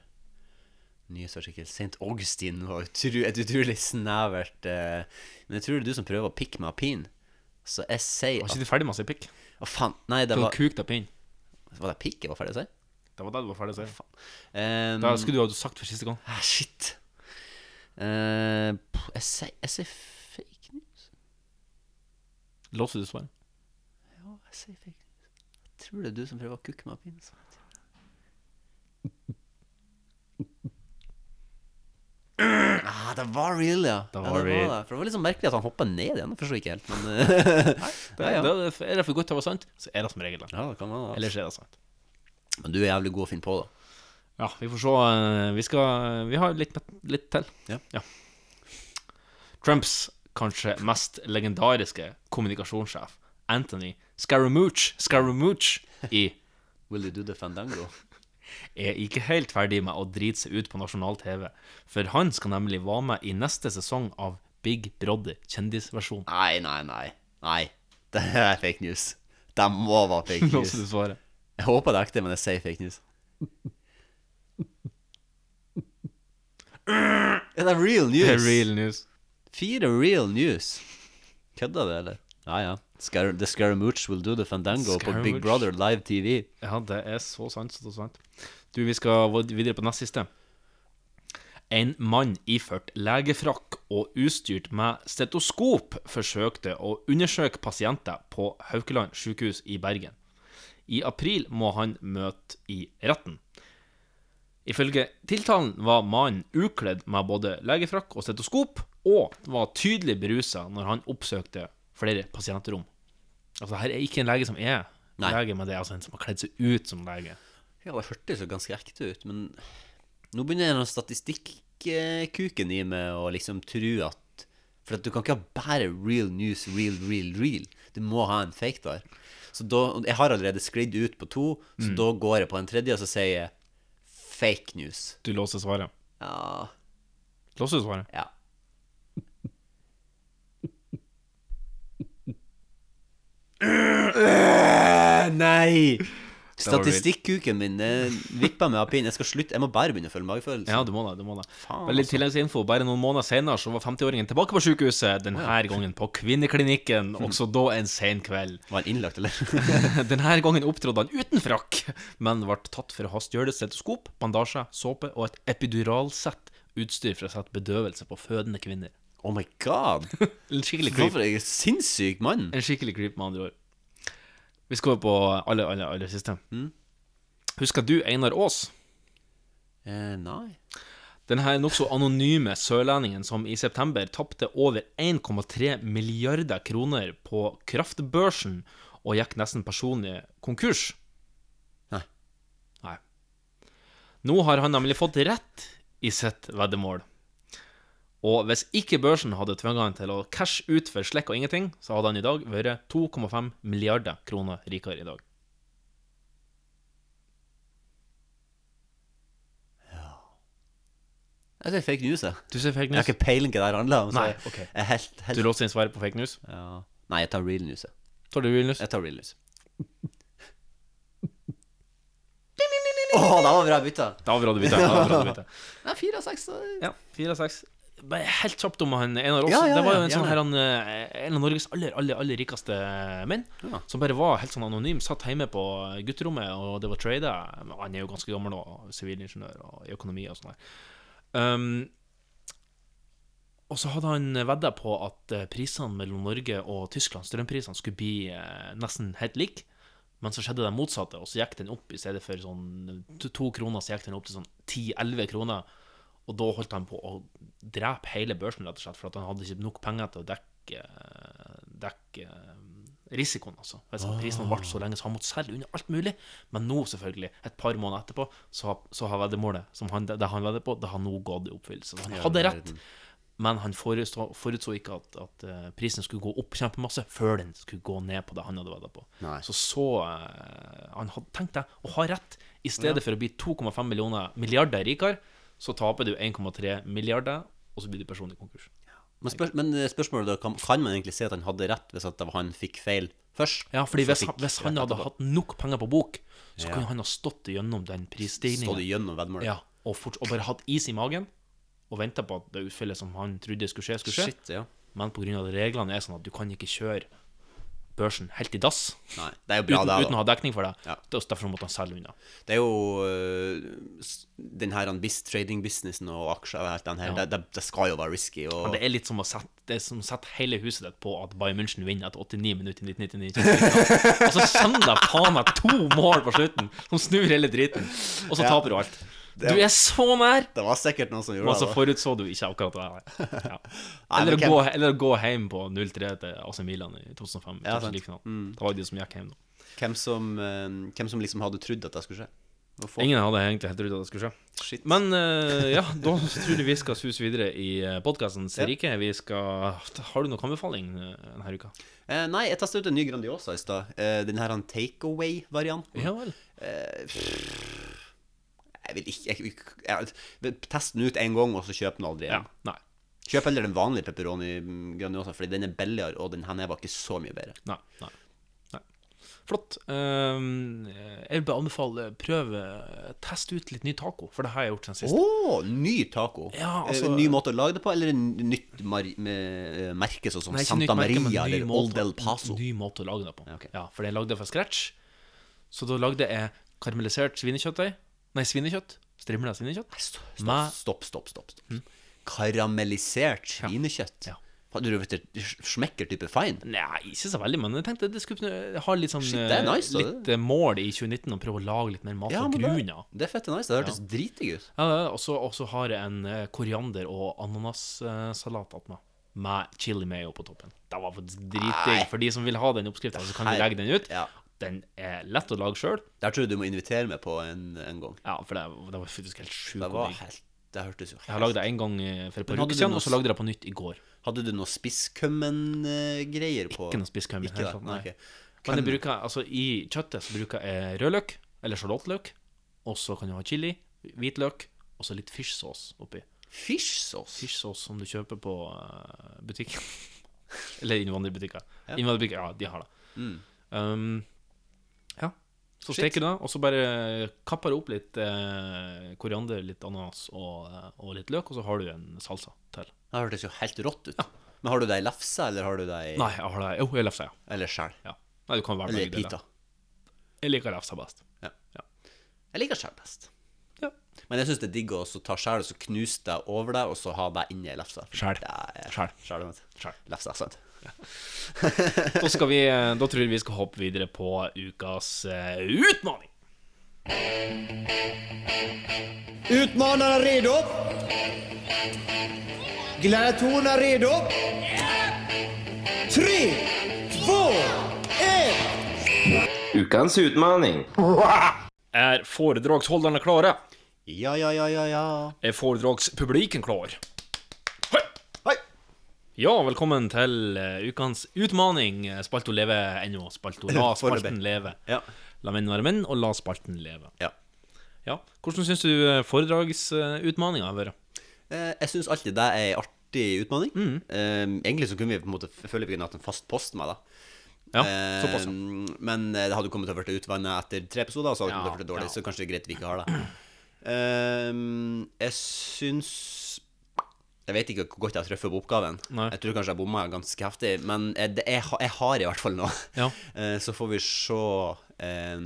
nyhetsartikkel. St. Augustin var utru, et utrolig snevert eh, Men jeg tror det er du som prøver å pikke meg av pinnen. Så jeg sier Var at ikke du ferdig med å si pikk? Å, faen. Nei, det Du var, kuk deg på inn. var det pikk jeg var ferdig å si? Det var det du var ferdig å si. Um, Det skulle du ha sagt for siste gang. Ah, shit. Eh, pff, jeg sier jeg sier fake news. Låser du svaret? Ja, jeg sier fake news. Jeg tror det er du som prøver å kukke meg av pinnen. så jeg tror det. Ah, det var real, ja. Det ja, var real. det. For det var litt sånn merkelig at han hoppa ned igjen. Jeg forstår ikke helt, men eh, Det, ja, ja. det, er det for godt til å være sant, så er det som regel det. ja, det kan man, Ellers er det sant. Men du er jævlig god å finne på, da. Ja, vi får se. eh, Vi, skal, vi har litt, litt til. Ja. Trumps kanskje mest legendariske kommunikasjonssjef, Anthony Scaramucci, Scaramucci i Will you do the fandango? er ikke helt ferdig med å drite seg ut på nasjonal TV, for han skal nemlig være med i neste sesong av Big Brother kjendisversjon. Nei, nei, nei. Nei. Det er fake news. Det må være fake news. Låser du svaret? Jeg håper det er ekte, men jeg sier fake news. Er det real news? Det er real news. Fire real news. Kødda det, eller? Ja, ja. Scar the Scaramouche will do the fandango på Scaramouche. Big Brother live TV. Ja, det er så sant, så sant. Du, vi skal videre på nest siste. En mann iført legefrakk og utstyrt med stetoskop forsøkte å undersøke pasienter på Haukeland sykehus i Bergen. I april må han møte i retten. Ifølge tiltalen var mannen ukledd med både legefrakk og stetoskop, og var tydelig berusa når han oppsøkte flere pasientrom. Altså, her er ikke en lege som er Nei. lege, men det er altså en som har kledd seg ut som lege. Ja, det hørtes jo ganske ekte ut, men nå begynner den statistikkuken i meg å liksom tro at For at du kan ikke ha bare real news, real, real, real. Du må ha en fake der. Så da, og Jeg har allerede sklidd ut på to, så Mm. da går jeg på en tredje, og så sier jeg fake news. Du låser svaret. Ja, Låser du svaret? Ja. Øh, Nei! Statistikkuken min eh, vipper meg av pinnen. Jeg skal slutte, jeg må bare begynne å følge magefølelsen. Ja, du må det. du må det Faen, Vel, litt altså. tilleggsinfo. Bare noen måneder senere så var 50-åringen tilbake på sykehuset, denne gangen på kvinneklinikken, også da en sen kveld. Var han innlagt, eller? denne gangen opptrådte han uten frakk, men ble tatt for å ha stjålet stetoskop, bandasje, såpe og et epiduralsett utstyr for å sette bedøvelse på fødende kvinner. Oh my god! en skikkelig Hva creep. for en sinnssyk mann! En skikkelig creep, med andre ord. Vi skal over på aller, aller, aller siste. Husker du Einar Aas? Eh, nei. Denne nokså anonyme sørlendingen som i september tapte over 1,3 milliarder kroner på kraftbørsen og gikk nesten personlig konkurs. Nei. Nei. Nå har han nemlig fått rett i sitt veddemål. Og hvis ikke børsen hadde tvunget han til å cashe ut for slekk og ingenting, så hadde han i dag vært 2,5 milliarder kroner rikere i dag. Altså, Jeg sier fake news, jeg. Du sier fake Jeg har news? ikke peiling hva det her handler om. så Nei, jeg- ok. jeg er helt, helt... Du låser inn svaret på fake news? Ja. Nei, jeg tar real news, jeg. Tar du real news? Jeg tar real news. Å, det var bra bytta! Det var bra du bytta. det var bra du bytta. Nei, fire av seks. så- Ja, fire av seks. Bare helt kjapt om han Einar Aas. Ja, ja, det var jo en ja, sånn ja. her han, eh, En av Norges aller, aller, aller rikeste menn. Som bare var helt sånn anonym. Satt hjemme på gutterommet, og det var trada. Han er jo ganske gammel nå, sivilingeniør og i økonomi og sånn der. Um, og så hadde han vedda på at eh, prisene mellom Norge og Tyskland, strømprisene, skulle bli eh, nesten helt like. Men så skjedde det motsatte, og så gikk den opp i stedet for sånn to- to kroner, så gikk den opp til sånn 10-11 kroner. Og da holdt han på å drepe hele børsen, rett og slett, for at han hadde ikke nok penger til å dekke, dekke eh, risikoen, altså. Hvis Ah. prisen ble så lenge, så han måtte selge unna alt mulig. Men nå, selvfølgelig, et par måneder etterpå, så, så har veddemålet som han, det han vedder på, det har nå gått i oppfyllelse. Så han Ja, hadde verden. rett. Men han forutså, forutså ikke at, at eh, prisen skulle gå opp kjempemasse før den skulle gå ned på det han hadde vedda på. Nei. Så så eh, Han hadde tenkt deg å ha rett. I stedet for å bli 2,5 millioner milliarder rikere, så taper du 1,3 milliarder, og så blir du personlig konkurs. Men, spør, men eh, spørsmålet da, kan, kan man egentlig si at han hadde rett hvis at det var han fikk feil først? Ja, fordi Så hvis, fikk han- hvis han rett hadde etterpå. hatt nok penger på bok, så Ja. kunne han ha stått gjennom den prisstigningen. Stått gjennom veddemålet. Ja, og, forts- og bare hatt is i magen, og venta på at det utfallet som han trodde skulle skje, skulle skje. Shit, ja. Men pga. reglene er sånn at du kan ikke kjøre børsen helt i dass Nei, det er jo bra uten, det, da. uten å ha dekning for det. Ja. Det er også Derfor måtte han selge unna. Det er jo øh, s- den her han bis- trading-businessen og aksjer og alt den her, Ja. det, det, det skal jo være risky. Og, Men det er litt som å sette, det er som å sette hele huset ditt på at Bayern München vinner etter 89 minutter i 1999. Og så kommer det faen meg to mål på slutten som snur hele driten, og så Ja. taper du alt. Du Det- er så nær! Det var sikkert noen som Og gjorde så det. da. forutså du ikke akkurat det. her. Ja. Nei, Eller, men å hvem- gå, eller å gå hjem på 0-3 til AC Milan i 2005. Ja, sant. Champions League-finalen. Mm. sånn. Det var jo de som gikk hjem nå. Hvem som, øh, hvem som liksom hadde trodd at det skulle skje? Å få- Ingen hadde egentlig helt trodd at det skulle skje. Shit. Men eh, ja, da tror jeg vi skal suse videre i podkastens Ja. rike. Vi skal Har du noen anbefaling eh, denne uka? Eh, nei, jeg testa ut en ny Grandiosa i stad. Eh, den her han takeaway-varianten. Ja vel. Eh, pff, jeg vil ikke jeg, jeg, jeg, Test den ut én gang, og så kjøp den aldri igjen. Nei. Kjøp heller den vanlige pepperoni mm, Grandiosa, Fordi den er billigere, og den her nede var ikke så mye bedre. Nei. nei. nei. Flott. Ehm, jeg vil bare anbefale prøve Test ut litt ny taco, for det har jeg gjort siden Å, sist. ny taco! Ja, Eh, altså- ny måte å lage det på, eller en nytt mar med, eh, merke, sånn som Nei, ikke nytt Santa merke, men Maria ny eller måte- Old El Paso? Ny måte å lage det på. Ja, For jeg lagde det fra scratch. Så da lagde jeg karamellisert svinekjøttdeig. Nei, svinekjøtt. Strimla svinekjøtt. Hm. Stopp, stopp, stopp. stopp, stopp. Karamellisert svinekjøtt. Hadde du vært smekker-type fine? Nei, ikke så veldig, men jeg tenkte det skulle kunne ha litt sånn Shit, det er eh, nice, da. litt eh, mål i 2019 å prøve å lage litt mer mat Ja, fra men det- grunna. det er fette nice. Det hørtes dritdigg ut. Ja, ja, og så- og så har jeg en eh, koriander- og ananassalat attmed meg. Med chili mayo på toppen. Det var faktisk Nei. dritdigg. For de som vil ha den oppskrifta, så kan du Her- legge den ut. Ja. Den er lett å lage sjøl. Der tror jeg du må invitere meg på en, en gang. Ja, for det, det var faktisk helt sjukt. Det var digg. helt Det hørtes jo Jeg har lagd det en gang eh, for et par uker siden, og så lagde jeg det på nytt i går. Hadde du noe spisskømmen-greier på? Ikke noe spisskømmen. Ikke helt det, sant, nei. nei. ok. Men jeg Hvem- bruker, altså, i kjøttet så bruker jeg rødløk, eller sjalottløk, og så kan du ha chili, hvitløk, og så litt fishsauce oppi. Fishsauce? Fishsauce som du kjøper på eh, butikken. eller innvandrerbutikker. Ja. Innvandrerbutikker, ja, de har det. Mm. Um, ja. Så Shit. steker du det, og så bare kapper du opp litt eh, koriander, litt ananas og, eh, og litt løk, og så har du en salsa til. Det hørtes jo helt rått ut. Men har du det i lefse, eller har du det i Nei, jeg har det Jo, jeg lefser, ja. Eller skjell? Ja. Nei, du kan være Eller begge deler. pita. Jeg liker lefsa best. Ja. Jeg liker skjell best. Men jeg syns det er digg å også ta skjell og så knuse det over deg, og så ha det inni ei lefse. Skjell. Det er- Skjell. Skjell, vet du. Lefse, sant. Da, skal vi, eh, da tror jeg vi skal hoppe videre på ukas eh, utfordring. Utmanarna redo? Gladiatorerna redo? Tre, två, ett! Ukens utmaning. Er foredragsholderne klare? Ja, ja, ja, ja, ja. Er foredragspubliken klar? Hei! Ja, velkommen til eh, ukens utmaning. eh, Spalto leve ennå. Spalto la spalten Foreløpig. leve. Ja. La menn være menn, og la spalten leve. Ja. ja. Hvordan syns du eh, foredragsutmaninga har vært? Eh, Jeg syns alltid det er ei artig utfordring. Mm. Eh, egentlig så kunne vi på en måte f- føle vi kunne hatt en fast post med det. Ja, Eh, såpass, ja. Men eh, det hadde jo kommet til å bli utvanna etter tre episoder, og så hadde det kommet til å bli dårlig, så kanskje det er greit vi ikke har det. Eh, jeg syns Jeg vet ikke hvor godt jeg har truffet på oppgaven. Nei. Jeg tror kanskje jeg bomma ganske heftig, men jeg, det, jeg, ha- jeg har i hvert fall noe. Ja. Eh, så får vi se eh,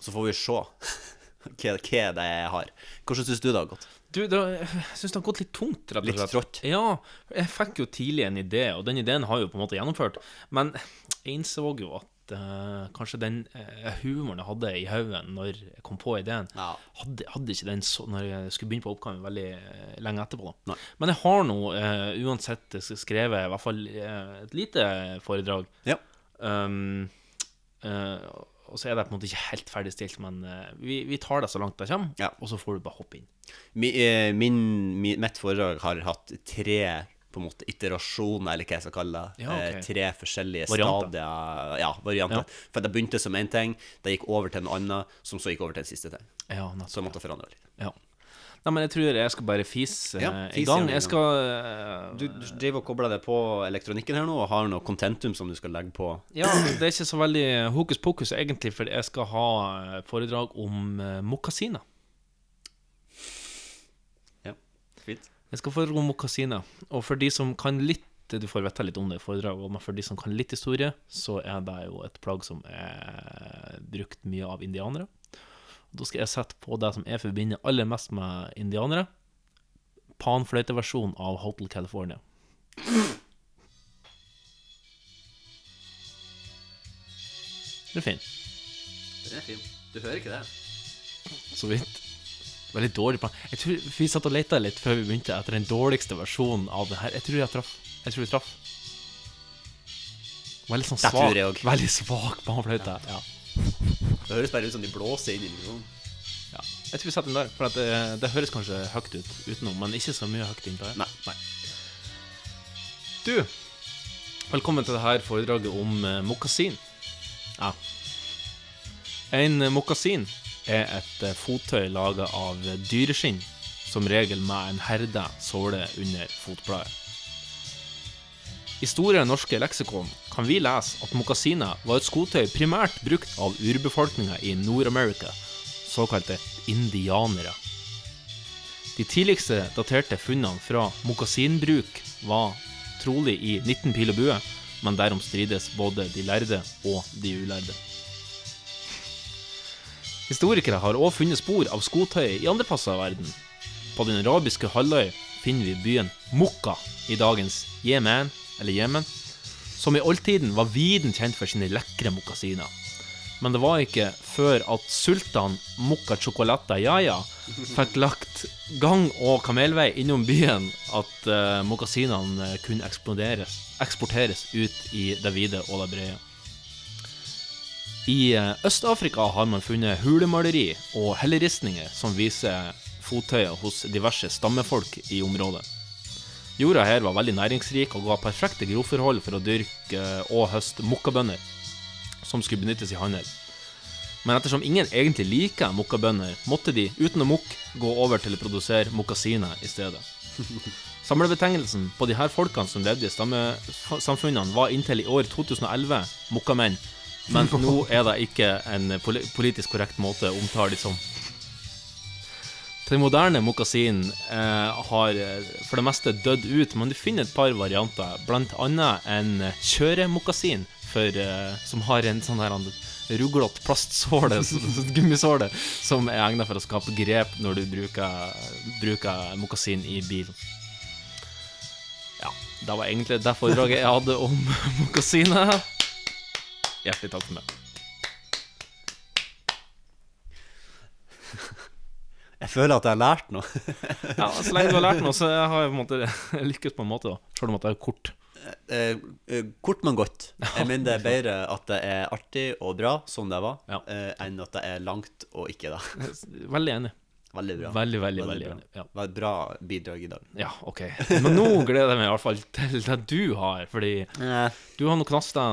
Så får vi se hva, hva det er jeg har. Hvordan syns du det har gått? Du, det, jeg syns det har gått litt tungt, rett og slett. Litt trått? Ja. Jeg fikk jo tidlig en idé, og den ideen har jeg jo på en måte gjennomført. Men jeg innså jo at eh, kanskje den eh, humoren jeg hadde i hodet når jeg kom på ideen, hadde, hadde ikke den så, når jeg skulle begynne på oppgaven veldig eh, lenge etterpå. Da. Men jeg har nå eh, uansett skrevet i hvert fall eh, et lite foredrag. Um, eh, og så er det på en måte ikke helt ferdigstilt, men eh, vi, vi tar det så langt det kommer, og så får du bare hoppe inn. Mi- eh, min, mi- mitt foredrag har hatt tre på en måte iterasjoner, eller hva jeg skal kalle det. Ja, ok. Eh, Tre forskjellige Varianter. stadier. Ja, varianter. Ja. For det begynte som én ting, det gikk over til noe annet, som så gikk over til en siste ting. Ja, nettopp, så jeg måtte forandre litt. Ja. Nei, men jeg tror jeg skal bare fise Ja, eh, fis i gang. igjen i Jeg gang. skal eh, Du, du driver og kobler deg på elektronikken her nå, og har noe contentum som du skal legge på. Ja, det er ikke så veldig hokus pokus egentlig, for jeg skal ha eh, foredrag om eh, mokasiner. Ja, fint. Jeg skal ha foredrag om mokasiner. Og for de som kan litt Du får vite litt om det i foredraget, men for de som kan litt historie, så er det jo et plagg som er brukt mye av indianere. Da skal jeg sette på det som jeg forbinder aller mest med indianere. Panfløyteversjonen av Hotel California. Det er fint. Den er fin. Du hører ikke det? Så vidt. Veldig dårlig plan. Jeg tror Vi satt og leta litt før vi begynte etter den dårligste versjonen av det her. Jeg tror jeg traff. Jeg tror jeg traff. Veldig sånn Det tror svak, jeg også. veldig svak barnefløyte. Ja. Det høres bare ut som de blåser inn i mikrofonen. Jeg tror vi setter den der, for at det, det høres kanskje høyt ut utenom, men ikke så mye høyt innpå her. Nei. Du, velkommen til dette foredraget om eh, mokasin. Ja. En eh, mokasin er et eh, fottøy laga av eh, dyreskinn, som regel med en herda såle under fotbladet. I Store norske leksikon kan vi lese at mokasiner var et skotøy primært brukt av urbefolkninga i Nord-Amerika, såkalte indianere. De tidligste daterte funnene fra mokasinbruk var trolig i 19 pil og bue, men derom strides både de lærde og de ulærde. Historikere har også funnet spor av skotøyet i andre plasser i verden. På den arabiske halvøy finner vi byen Mokka i dagens Jemen, eller Jemen, som i oldtiden var viden kjent for sine lekre mokkasiner. Men det var ikke før at sultan Mokka Chocolata Yaya fikk lagt gang og kamelvei innom byen, at uh, mokkasinene kunne eksploderes, eksporteres ut i det vide og det brede. I eh, Øst-Afrika har man funnet hulemaleri og helleristninger som viser fottøyet hos diverse stammefolk i området. Jorda her var veldig næringsrik og ga perfekte groforhold for å dyrke eh, og høste mokkabønner, som skulle benyttes i handel. Men ettersom ingen egentlig liker mokkabønner, måtte de, uten å mokke, gå over til å produsere mokkasiner i stedet. Samlebetegnelsen på de her folkene som levde i stammesamfunnene, var inntil i år 2011 mokkamenn. Men nå er det ikke en poli- politisk korrekt måte å omtale de som. Den moderne mokkasinen eh, har eh, for det meste dødd ut, men du finner et par varianter, bl.a. en kjøremokkasin for, eh, som har en sånn her ruglete plastsåle, så- så- så- gummisåle, som er egnet for å skape grep når du bruker, bruker mokkasin i bil. Ja, det var egentlig det foredraget jeg hadde om mokkasiner. Hjertelig takk for meg. Jeg føler at jeg har lært noe. Ja, Så lenge du har lært noe, så har jeg på en måte lykkes på en måte, da. Selv om at det er kort. Eh, eh, kort, men godt. Jeg mener det er bedre at det er artig og bra, som det var, eh, enn at det er langt og ikke det. Veldig enig. Veldig bra. Veldig, veldig, veldig bra. enig, ja. Det var et bra bidrag i dag. Ja, ok. Men nå gleder jeg meg i hvert fall til det du har, fordi du har noe knasta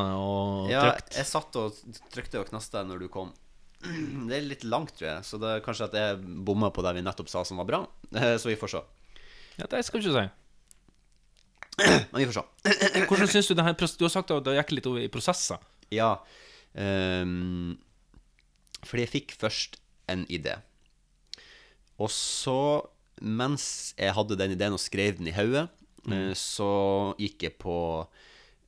Eh, og Ja, trykt. jeg satt og trykte og knaste når du kom. Det er litt langt, tror jeg, så det er kanskje at jeg bomma på det vi nettopp sa som var bra. Eh, Så vi får se. Ja, det skal du ikke si. Men vi får se. Hvordan syns du det her pros- Du har sagt at det gikk litt over i prosesser. Ja. ehm, fordi jeg fikk først en idé. Og så, mens jeg hadde den ideen og skrev den i hodet, eh, Mm. så gikk jeg på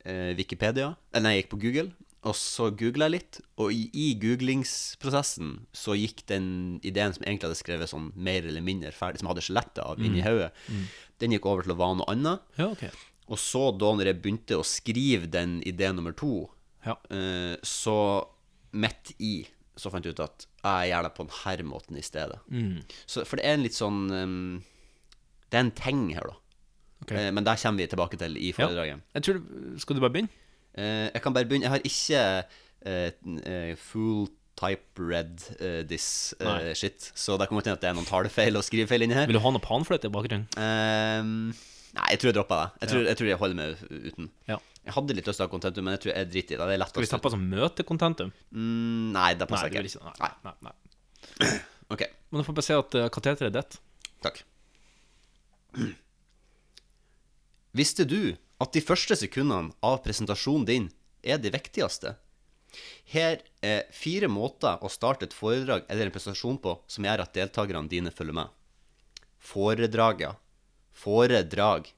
eh, Wikipedia eh, Nei, jeg gikk på Google, og så googla jeg litt. Og i, i googlingsprosessen så gikk den ideen som jeg egentlig hadde skrevet sånn mer eller mindre ferdig, som jeg hadde skjelettet av, inn i Mm. hodet, Mm. den gikk over til å være noe annet. Ja, ok. Og så da når jeg begynte å skrive den idé nummer to, eh, så midt i så fant jeg ut at jeg gjør det på denne måten i stedet. Mm. Så, for det er en litt sånn ehm, Det er en ting her, da. Ok. Eh, men det kommer vi tilbake til i foredraget. Eh, Jeg tror, skal du bare begynne? jeg kan bare begynne. Jeg har ikke eh, n- eh, full type red eh, this eh, Nei. shit, så det kommer til at det er noen talefeil og skrivefeil inni her. Vil du ha noe panfløyte i bakgrunnen? Ehm, nei, jeg tror jeg dropper det. Jeg tror, Ja. jeg tror jeg holder meg uten. Jeg hadde litt lyst til å ha kontentum, men jeg tror jeg driter i det. det er Skal vi steppe som møtekontentum? Mm, nei, det passer sånn. Nei, det ikke. vil ikke- Nei. Ok. Men du får bare se at eh, kateteret er ditt. Takk. Visste du at de første sekundene av presentasjonen din er de viktigste? Her er fire måter å starte et foredrag eller en presentasjon på som gjør at deltakerne dine følger med. Foredraga. Foredrag.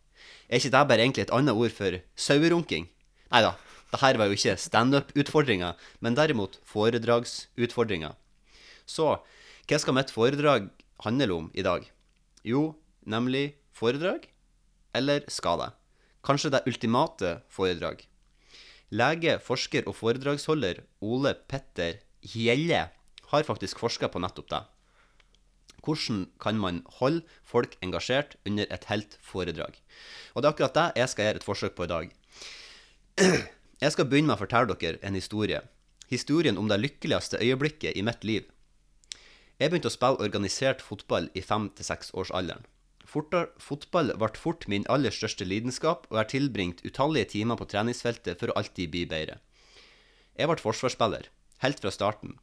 Er ikke det bare egentlig et annet ord for sauerunking? Nei da, det her var jo ikke standup-utfordringa, men derimot foredragsutfordringa. Så hva skal mitt foredrag handle om i dag? Jo, nemlig foredrag eller skade. Kanskje det ultimate foredrag. Lege, forsker og foredragsholder Ole Petter Hjelle har faktisk forska på nettopp det. Hvordan kan man holde folk engasjert under et helt foredrag? Og det er akkurat det jeg skal gjøre et forsøk på i dag. Jeg skal begynne med å fortelle dere en historie. Historien om det lykkeligste øyeblikket i mitt liv. Jeg begynte å spille organisert fotball i fem til seks års alderen. Forta- Fotball ble fort min aller største lidenskap, og jeg har tilbringt utallige timer på treningsfeltet for å alltid bli bedre. Jeg ble forsvarsspiller, helt fra starten.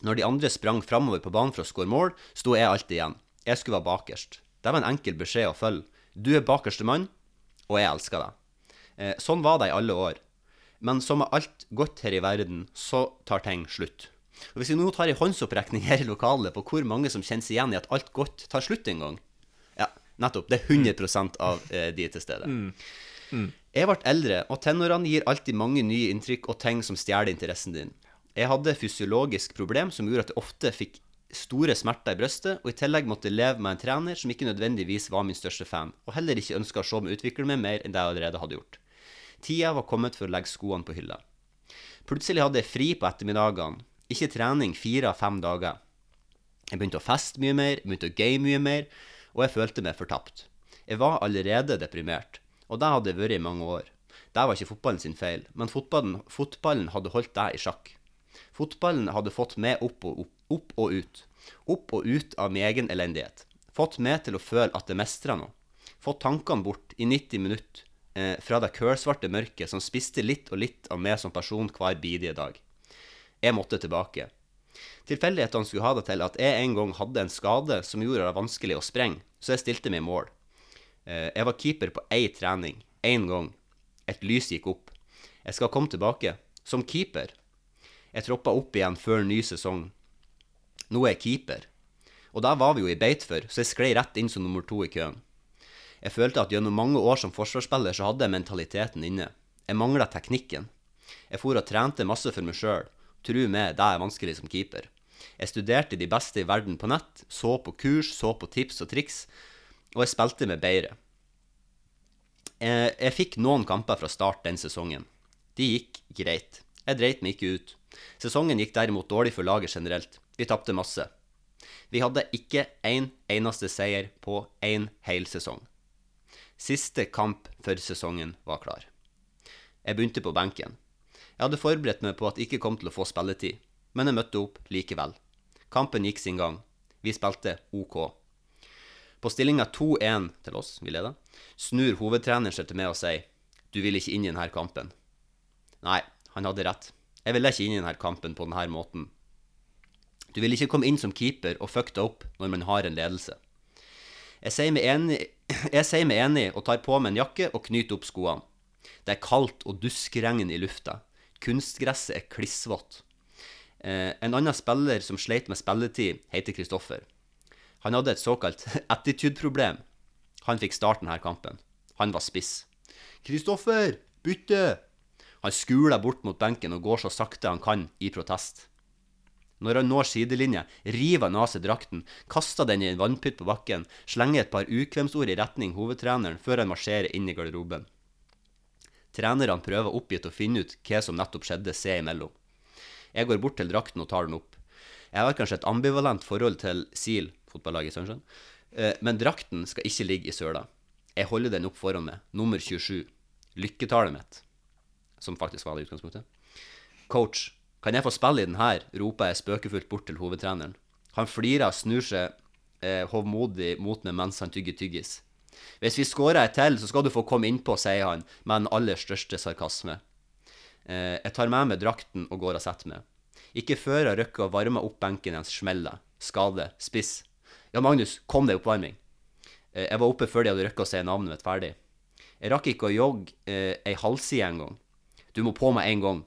Når de andre sprang framover på banen for å skåre mål, sto jeg alltid igjen. Jeg skulle være bakerst. Det var en enkel beskjed å følge. Du er bakerste mann, og jeg elsker deg. Eh, sånn var det i alle år. Men som med alt godt her i verden, så tar ting slutt. Og Hvis vi nå tar en håndsopprekning her i lokalet på hvor mange som kjenner seg igjen i at alt godt tar slutt en gang Ja, nettopp. Det er 100 av eh, de til stede. Mm. Mm. Jeg ble eldre, og tenårene gir alltid mange nye inntrykk og ting som stjeler interessen din. Jeg hadde fysiologisk problem som gjorde at jeg ofte fikk store smerter i brøstet, og i tillegg måtte leve med en trener som ikke nødvendigvis var min største fan, og heller ikke ønska å se meg utvikle meg mer enn det jeg allerede hadde gjort. Tida var kommet for å legge skoene på hylla. Plutselig hadde jeg fri på ettermiddagene, ikke trening fire av fem dager. Jeg begynte å feste mye mer, begynte å game mye mer, og jeg følte meg fortapt. Jeg var allerede deprimert, og det hadde jeg vært i mange år. Det var ikke fotballen sin feil, men fotballen, fotballen hadde holdt deg i sjakk. Fotballen hadde fått meg opp og, opp, opp og ut. Opp og ut av min egen elendighet. Fått meg til å føle at jeg mestra noe. Fått tankene bort i 90 minutter eh, fra det kølsvarte mørket som spiste litt og litt av meg som person hver bidige dag. Jeg måtte tilbake. Tilfeldighetene skulle ha det til at jeg en gang hadde en skade som gjorde det vanskelig å sprenge, så jeg stilte meg i mål. Eh, Jeg var keeper på én trening, én gang. Et lys gikk opp. Jeg skal komme tilbake, som keeper. Jeg troppa opp igjen før ny sesong. Nå er jeg keeper. Og der var vi jo i beit for, så jeg sklei rett inn som nummer to i køen. Jeg følte at gjennom mange år som forsvarsspiller så hadde jeg mentaliteten inne. Jeg mangla teknikken. Jeg for og trente masse for meg sjøl. Tru meg, det er vanskelig som keeper. Jeg studerte de beste i verden på nett, så på kurs, så på tips og triks, og jeg spilte meg bedre. Jeg, jeg fikk noen kamper fra start den sesongen. De gikk greit. Jeg dreit meg ikke ut. Sesongen gikk derimot dårlig for laget generelt. Vi tapte masse. Vi hadde ikke én en eneste seier på én hel sesong. Siste kamp for sesongen var klar. Jeg begynte på benken. Jeg hadde forberedt meg på at jeg ikke kom til å få spilletid, men jeg møtte opp likevel. Kampen gikk sin gang. Vi spilte OK. På stillinga 2-1 til oss, vi leder, snur hovedtreneren seg til meg og sier du vil ikke inn i denne kampen. Nei, han hadde rett. Jeg ville ikke inn i denne kampen på denne måten. Du vil ikke komme inn som keeper og fucke det opp når man har en ledelse. Jeg sier meg enig, jeg sier meg enig og tar på meg en jakke og knyter opp skoene. Det er kaldt og duskregn i lufta. Kunstgresset er klissvått. Eh, en annen spiller som sleit med spilletid, heter Kristoffer. Han hadde et såkalt attitude-problem. Han fikk starten her kampen. Han var spiss. Kristoffer, bytte! Han skuler bort mot benken og går så sakte han kan i protest. Når han når sidelinja, river han av seg drakten, kaster den i en vannpytt på bakken, slenger et par ukvemsord i retning hovedtreneren før han marsjerer inn i garderoben. Trenerne prøver oppgitt å finne ut hva som nettopp skjedde seg imellom. Jeg går bort til drakten og tar den opp. Jeg har kanskje et ambivalent forhold til SIL, fotballaget i Sunshine, eh, men drakten skal ikke ligge i søla. Jeg holder den opp foran meg, nummer 27. Lykketallet mitt, som faktisk var det i utgangspunktet. Coach, kan jeg få spille i den her? roper jeg spøkefullt bort til hovedtreneren. Han flirer og snur seg eh, hovmodig mot meg mens han tygger tyggis. Hvis vi scorer et til, så skal du få komme innpå, sier han med den aller største sarkasme. Eh, jeg tar med meg drakten og går og setter meg. Ikke før jeg rekker å varme opp benken hans, smeller. Skade. Spiss. Ja, Magnus, kom deg i oppvarming. Eh, jeg var oppe før de hadde rukket å si navnet mitt ferdig. Jeg rakk ikke å jogge eh, ei halvside engang. Du må på meg en gang.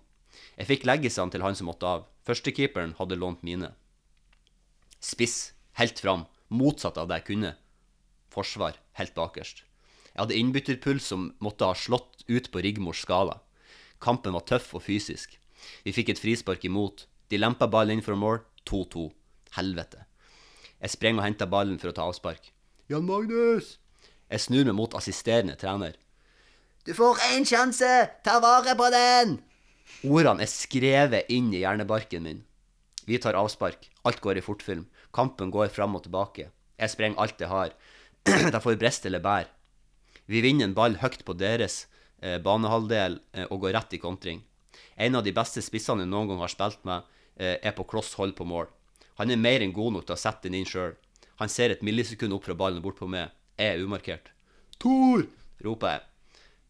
Jeg fikk leggisene til han som måtte av. Førstekeeperen hadde lånt mine. Spiss, helt fram, motsatt av det jeg kunne. Forsvar, helt bakerst. Jeg hadde innbytterpuls som måtte ha slått ut på Rigmors skala. Kampen var tøff og fysisk. Vi fikk et frispark imot. De lempa ballen inn for mål. 2-2. Helvete. Jeg sprenger og henter ballen for å ta avspark. Jan Magnus! Jeg snur meg mot assisterende trener. Du får én sjanse! Ta vare på den! Ordene er skrevet inn i hjernebarken min. Vi tar avspark. Alt går i fortfilm. Kampen går fram og tilbake. Jeg sprenger alt jeg har. De får brist eller bær. Vi vinner en ball høyt på deres eh, banehalvdel eh, og går rett i kontring. En av de beste spissene jeg noen gang har spilt med, eh, er på kloss hold på mål. Han er mer enn god nok til å sette den inn sjøl. Han ser et millisekund opp fra ballen og bort på meg. Jeg er umarkert. Tor! roper jeg.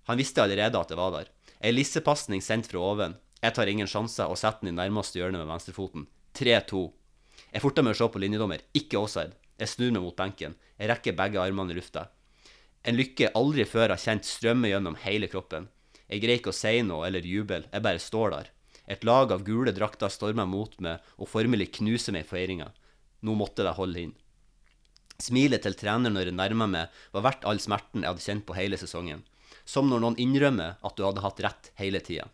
Han visste allerede at jeg var der. Ei lissepasning sendt fra oven. Jeg tar ingen sjanser og setter den i nærmeste hjørne med venstrefoten. 3-2. Jeg forter meg å se på linjedommer, ikke offside. Jeg snur meg mot benken. Jeg rekker begge armene i lufta. En lykke jeg aldri før har kjent strømmer gjennom hele kroppen. Jeg greier ikke å si noe eller jubel, jeg bare står der. Et lag av gule drakter stormer mot meg og formelig knuser meg i feiringa. Nå måtte jeg holde inn. Smilet til treneren når jeg nærmer meg, var verdt all smerten jeg hadde kjent på hele sesongen. Som når noen innrømmer at du hadde hatt rett hele tida.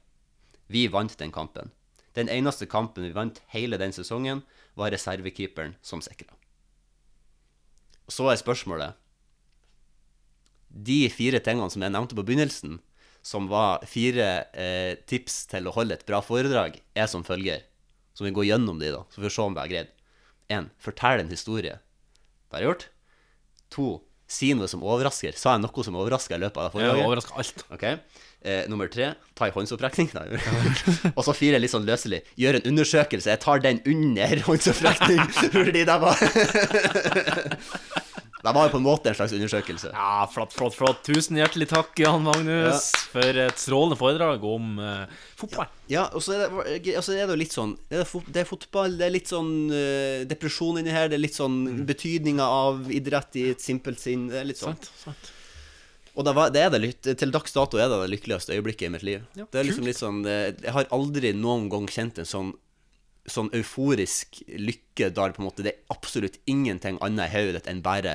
Vi vant den kampen. Den eneste kampen vi vant hele den sesongen, var reservekeeperen som sikra. Så er spørsmålet De fire tingene som jeg nevnte på begynnelsen, som var fire eh, tips til å holde et bra foredrag, er som følger. Så vi går gjennom de, da, så får vi se om vi har greid. 1. Fortell en historie. Det har jeg gjort. 2. Si noe som overrasker. Sa jeg noe som overrasker i løpet av det Jeg foredraget? overrasker alt. Ok. Eh, nummer tre, ta en håndsopprekning. Nei, jeg gjorde- og så fire, litt sånn løselig, gjør en undersøkelse. Jeg tar den under håndsopprekning, fordi det var Det var jo på en måte en slags undersøkelse. Ja, flott, flott, flott. Tusen hjertelig takk, Jan Magnus, for et strålende foredrag om eh, fotball. Ja, og så er det, og så er det jo litt sånn det er, fot, det er fotball, det er litt sånn eh, depresjon inni her, det er litt sånn betydninga av idrett i et simpelt sinn. Det er litt sånn. Sant, sant. Og det, var, det er det, lyk- til dags dato er det det lykkeligste øyeblikket i mitt liv. Ja, det er liksom litt sånn eh, Jeg har aldri noen gang kjent en sånn Sånn euforisk lykke der på en måte det er absolutt ingenting annet i hodet enn bare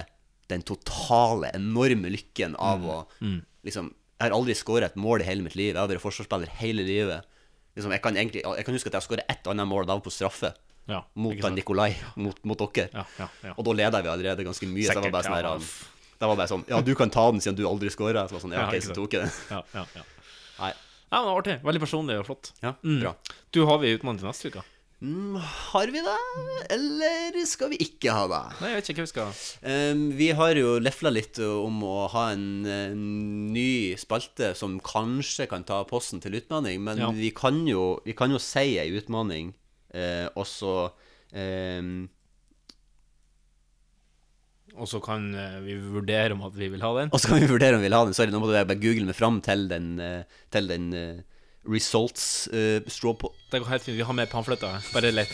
den totale, enorme lykken av å Mm. liksom Jeg har aldri skåra et mål i hele mitt liv. Jeg har vært forsvarsspiller hele livet. Liksom, jeg, kan egentlig, jeg kan huske at jeg har skåra ett annet mål, da var på straffe. Ja, mot ikke han sant. Nikolai, mot, mot dere. ja, ja. Og da leda vi allerede ganske mye. så det var Sikkert, bare sånn her, ja. han- det var bare sånn Ja, du kan ta den siden du aldri scora. Så var det sånn, ja, ok, ikke så sant. tok jeg den. Ja, ja, ja. Nei. ja, men det var artig. Veldig personlig og flott. Ja, Mm. bra. Du, har vi utenlands til neste uke? Mm, har vi det, eller skal vi ikke ha det? Nei, jeg vet ikke hva vi skal Ehm, vi har jo lefla litt om å ha en, eh, ny spalte som kanskje kan ta posten til utmanning, men Ja. vi, kan jo, vi kan jo si ei utmanning, eh, og så ehm, Og så kan eh, vi vurdere om at vi vil ha den. Og så kan vi vurdere om vi vil ha den. Sorry, nå måtte jeg bare google meg fram til den, eh, til den eh, results eh, straw po- Det går helt fint. Vi har med pamfletter. her. Bare let.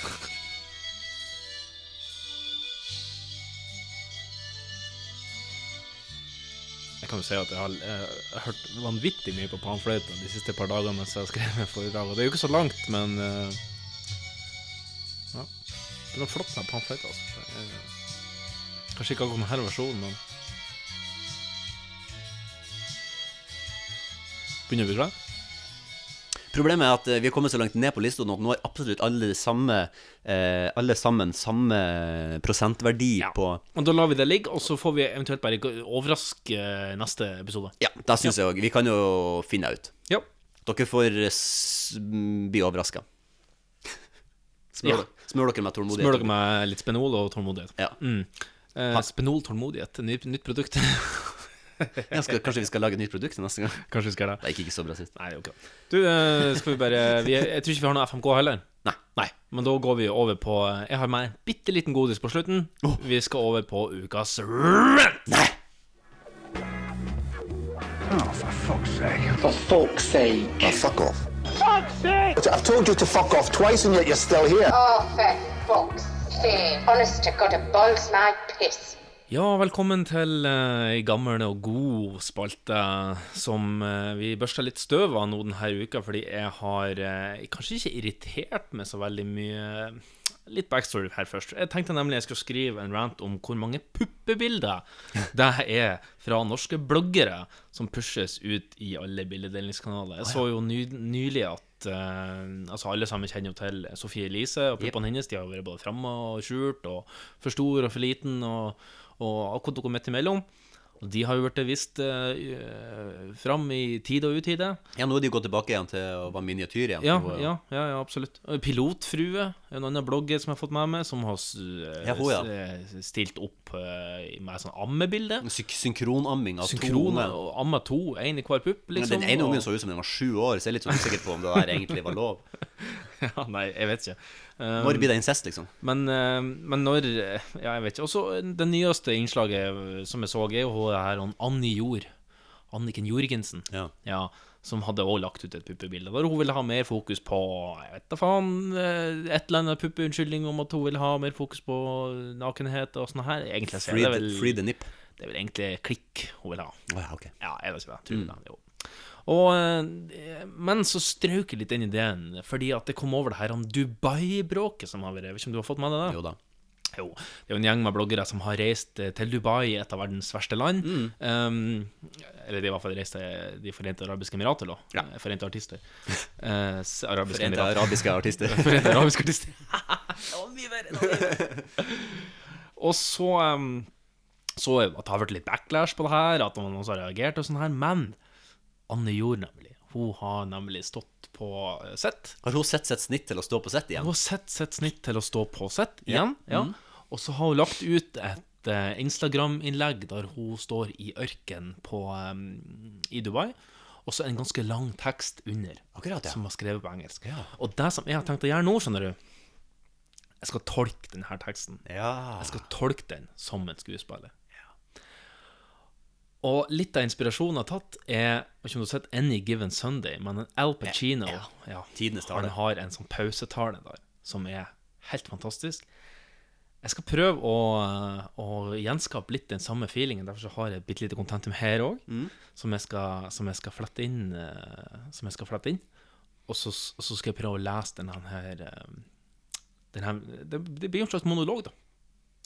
Jeg kan jo si at jeg har eh, hørt vanvittig mye på pamfløyta de siste par dagene mens jeg har skrevet foredrag. Og det er jo ikke så langt, men eh, Ja. Det var flott med pamfløyta, altså. Det er- Kanskje ikke akkurat denne versjonen, men Begynner vi klar? Problemet er at eh, vi har kommet så langt ned på lista nå at nå har absolutt alle, det samme, eh, alle sammen samme prosentverdi på Og da lar vi det ligge, og så får vi eventuelt bare gå- overraske eh, neste episode. Ja, det syns jeg òg. Vi kan jo finne ut. Ja. Dere får eh, s mm, bli overraska. Smør, Ja. dere- smør dere med tålmodighet. Smør dere med litt spenol og tålmodighet. Ja. Mm. Eh, spenol, tålmodighet, nytt, nytt produkt. Ja, skal, kanskje vi skal lage et nytt produkt til neste gang? Kanskje vi skal det. Det gikk ikke så bra sist. Nei, ok. Du, eh, skal vi bare vi, Jeg tror ikke vi har noe FMK heller. Nei. Men da går vi over på eh, Jeg har med en bitte liten godis på slutten. Vi skal over på ukas rant. For fuck's sake. Oh, fuck off. Fuck's sake! I've told you to fuck off twice and yet you're still here. Oh, for fuck's sake. Honest to God, it boils my piss. Ja, velkommen til eh, ei gammel og god spalte som eh, vi børsta litt støv av nå denne uka, fordi jeg har eh, kanskje ikke irritert meg så veldig mye. Litt backstory her først. Jeg tenkte nemlig jeg skulle skrive en rant om hvor mange puppebilder det er fra norske bloggere som pushes ut i alle bildedelingskanaler. Jeg så jo ny, nylig at eh, altså alle sammen kjenner jo til Sofie Elise og puppene hennes. De har jo vært både framme og skjult og for stor og for liten og, og akkurat noe midt imellom. Og de har jo blitt vist eh, fram i tide og utide. Ja, nå er de jo gått tilbake igjen til å være miniatyr igjen. Ja, Hun er jo- ja, ja, ja, absolutt. Og Pilotfrue, en annen blogger som jeg har fått med meg, som har s- eh, Ja, hun, ja. s- stilt opp eh, med sånn ammebilde. Syk synkronamming av to Synkron unger. og amma to, én i hver pupp, Men liksom. Den ene og- ungen så ut som den var sju år, så jeg er litt sånn usikker på om det der egentlig var lov. ja, Nei, jeg vet ikke. Um, Når blir det incest, liksom? Men, eh, men når Ja, jeg vet ikke. Og så det nyeste innslaget eh, som jeg så, er jo hun her hun Annie Jord. Anniken Jorgensen. Ja. som hadde også lagt ut et puppebilde. Der hun ville ha mer fokus på Jeg vet da faen eh, Et eller annet puppeunnskyldning om at hun ville ha mer fokus på nakenhet og sånn her. Egentlig så er Free det the- vel free the nip. Det er vel egentlig klikk hun vil ha. ja, ok. Ja, er det ikke det? Tror det, jo. Og, eh, men så strøk jeg litt inn ideen, fordi at det kom over det her om Dubai-bråket som har vært. Jeg vet ikke om du har fått med deg det? Jo da. Jo, det er jo en gjeng med bloggere som har reist eh, til Dubai, et av verdens verste land. Um, eller de har i hvert fall reist til De forente arabiske emirater, da. Eh, Forente artister. Eh, s- arabiske Forente Emirater. arabiske artister. forente arabiske artister. det var mye verre. det var mye verre. Og så um, så at det har vært litt backlash på det her, at noen også har reagert og sånn her, men Anne Jord, nemlig, hun har nemlig stått på eh, sett. Har hun sett sitt snitt til å stå på sett igjen? Hun har sett sitt snitt til å stå på sett Ja. igjen, ja. Mhm. Og så har hun lagt ut et eh, Instagram-innlegg der hun står i ørken på, eh, i Dubai, og så en ganske lang tekst under, som var skrevet på engelsk. Og det som jeg har tenkt å gjøre nå, skjønner du, jeg skal tolke denne teksten. Jeg skal tolke den som en skuespiller. Og litt av inspirasjonen jeg har tatt, er jeg vet ikke om du har sett Any Given Sunday, men en Al Pacino Ja, ja, Tidenes tale. Han har en sånn pausetale der som er helt fantastisk. Jeg skal prøve å, å gjenskape litt den samme feelingen. Derfor så har jeg et bitte lite contentum her òg, Mm. som, jeg skal- som jeg skal flette inn. eh, Som jeg skal flette inn. Og så, så skal jeg prøve å lese denne her, eh, den her det, det blir jo en slags monolog, da.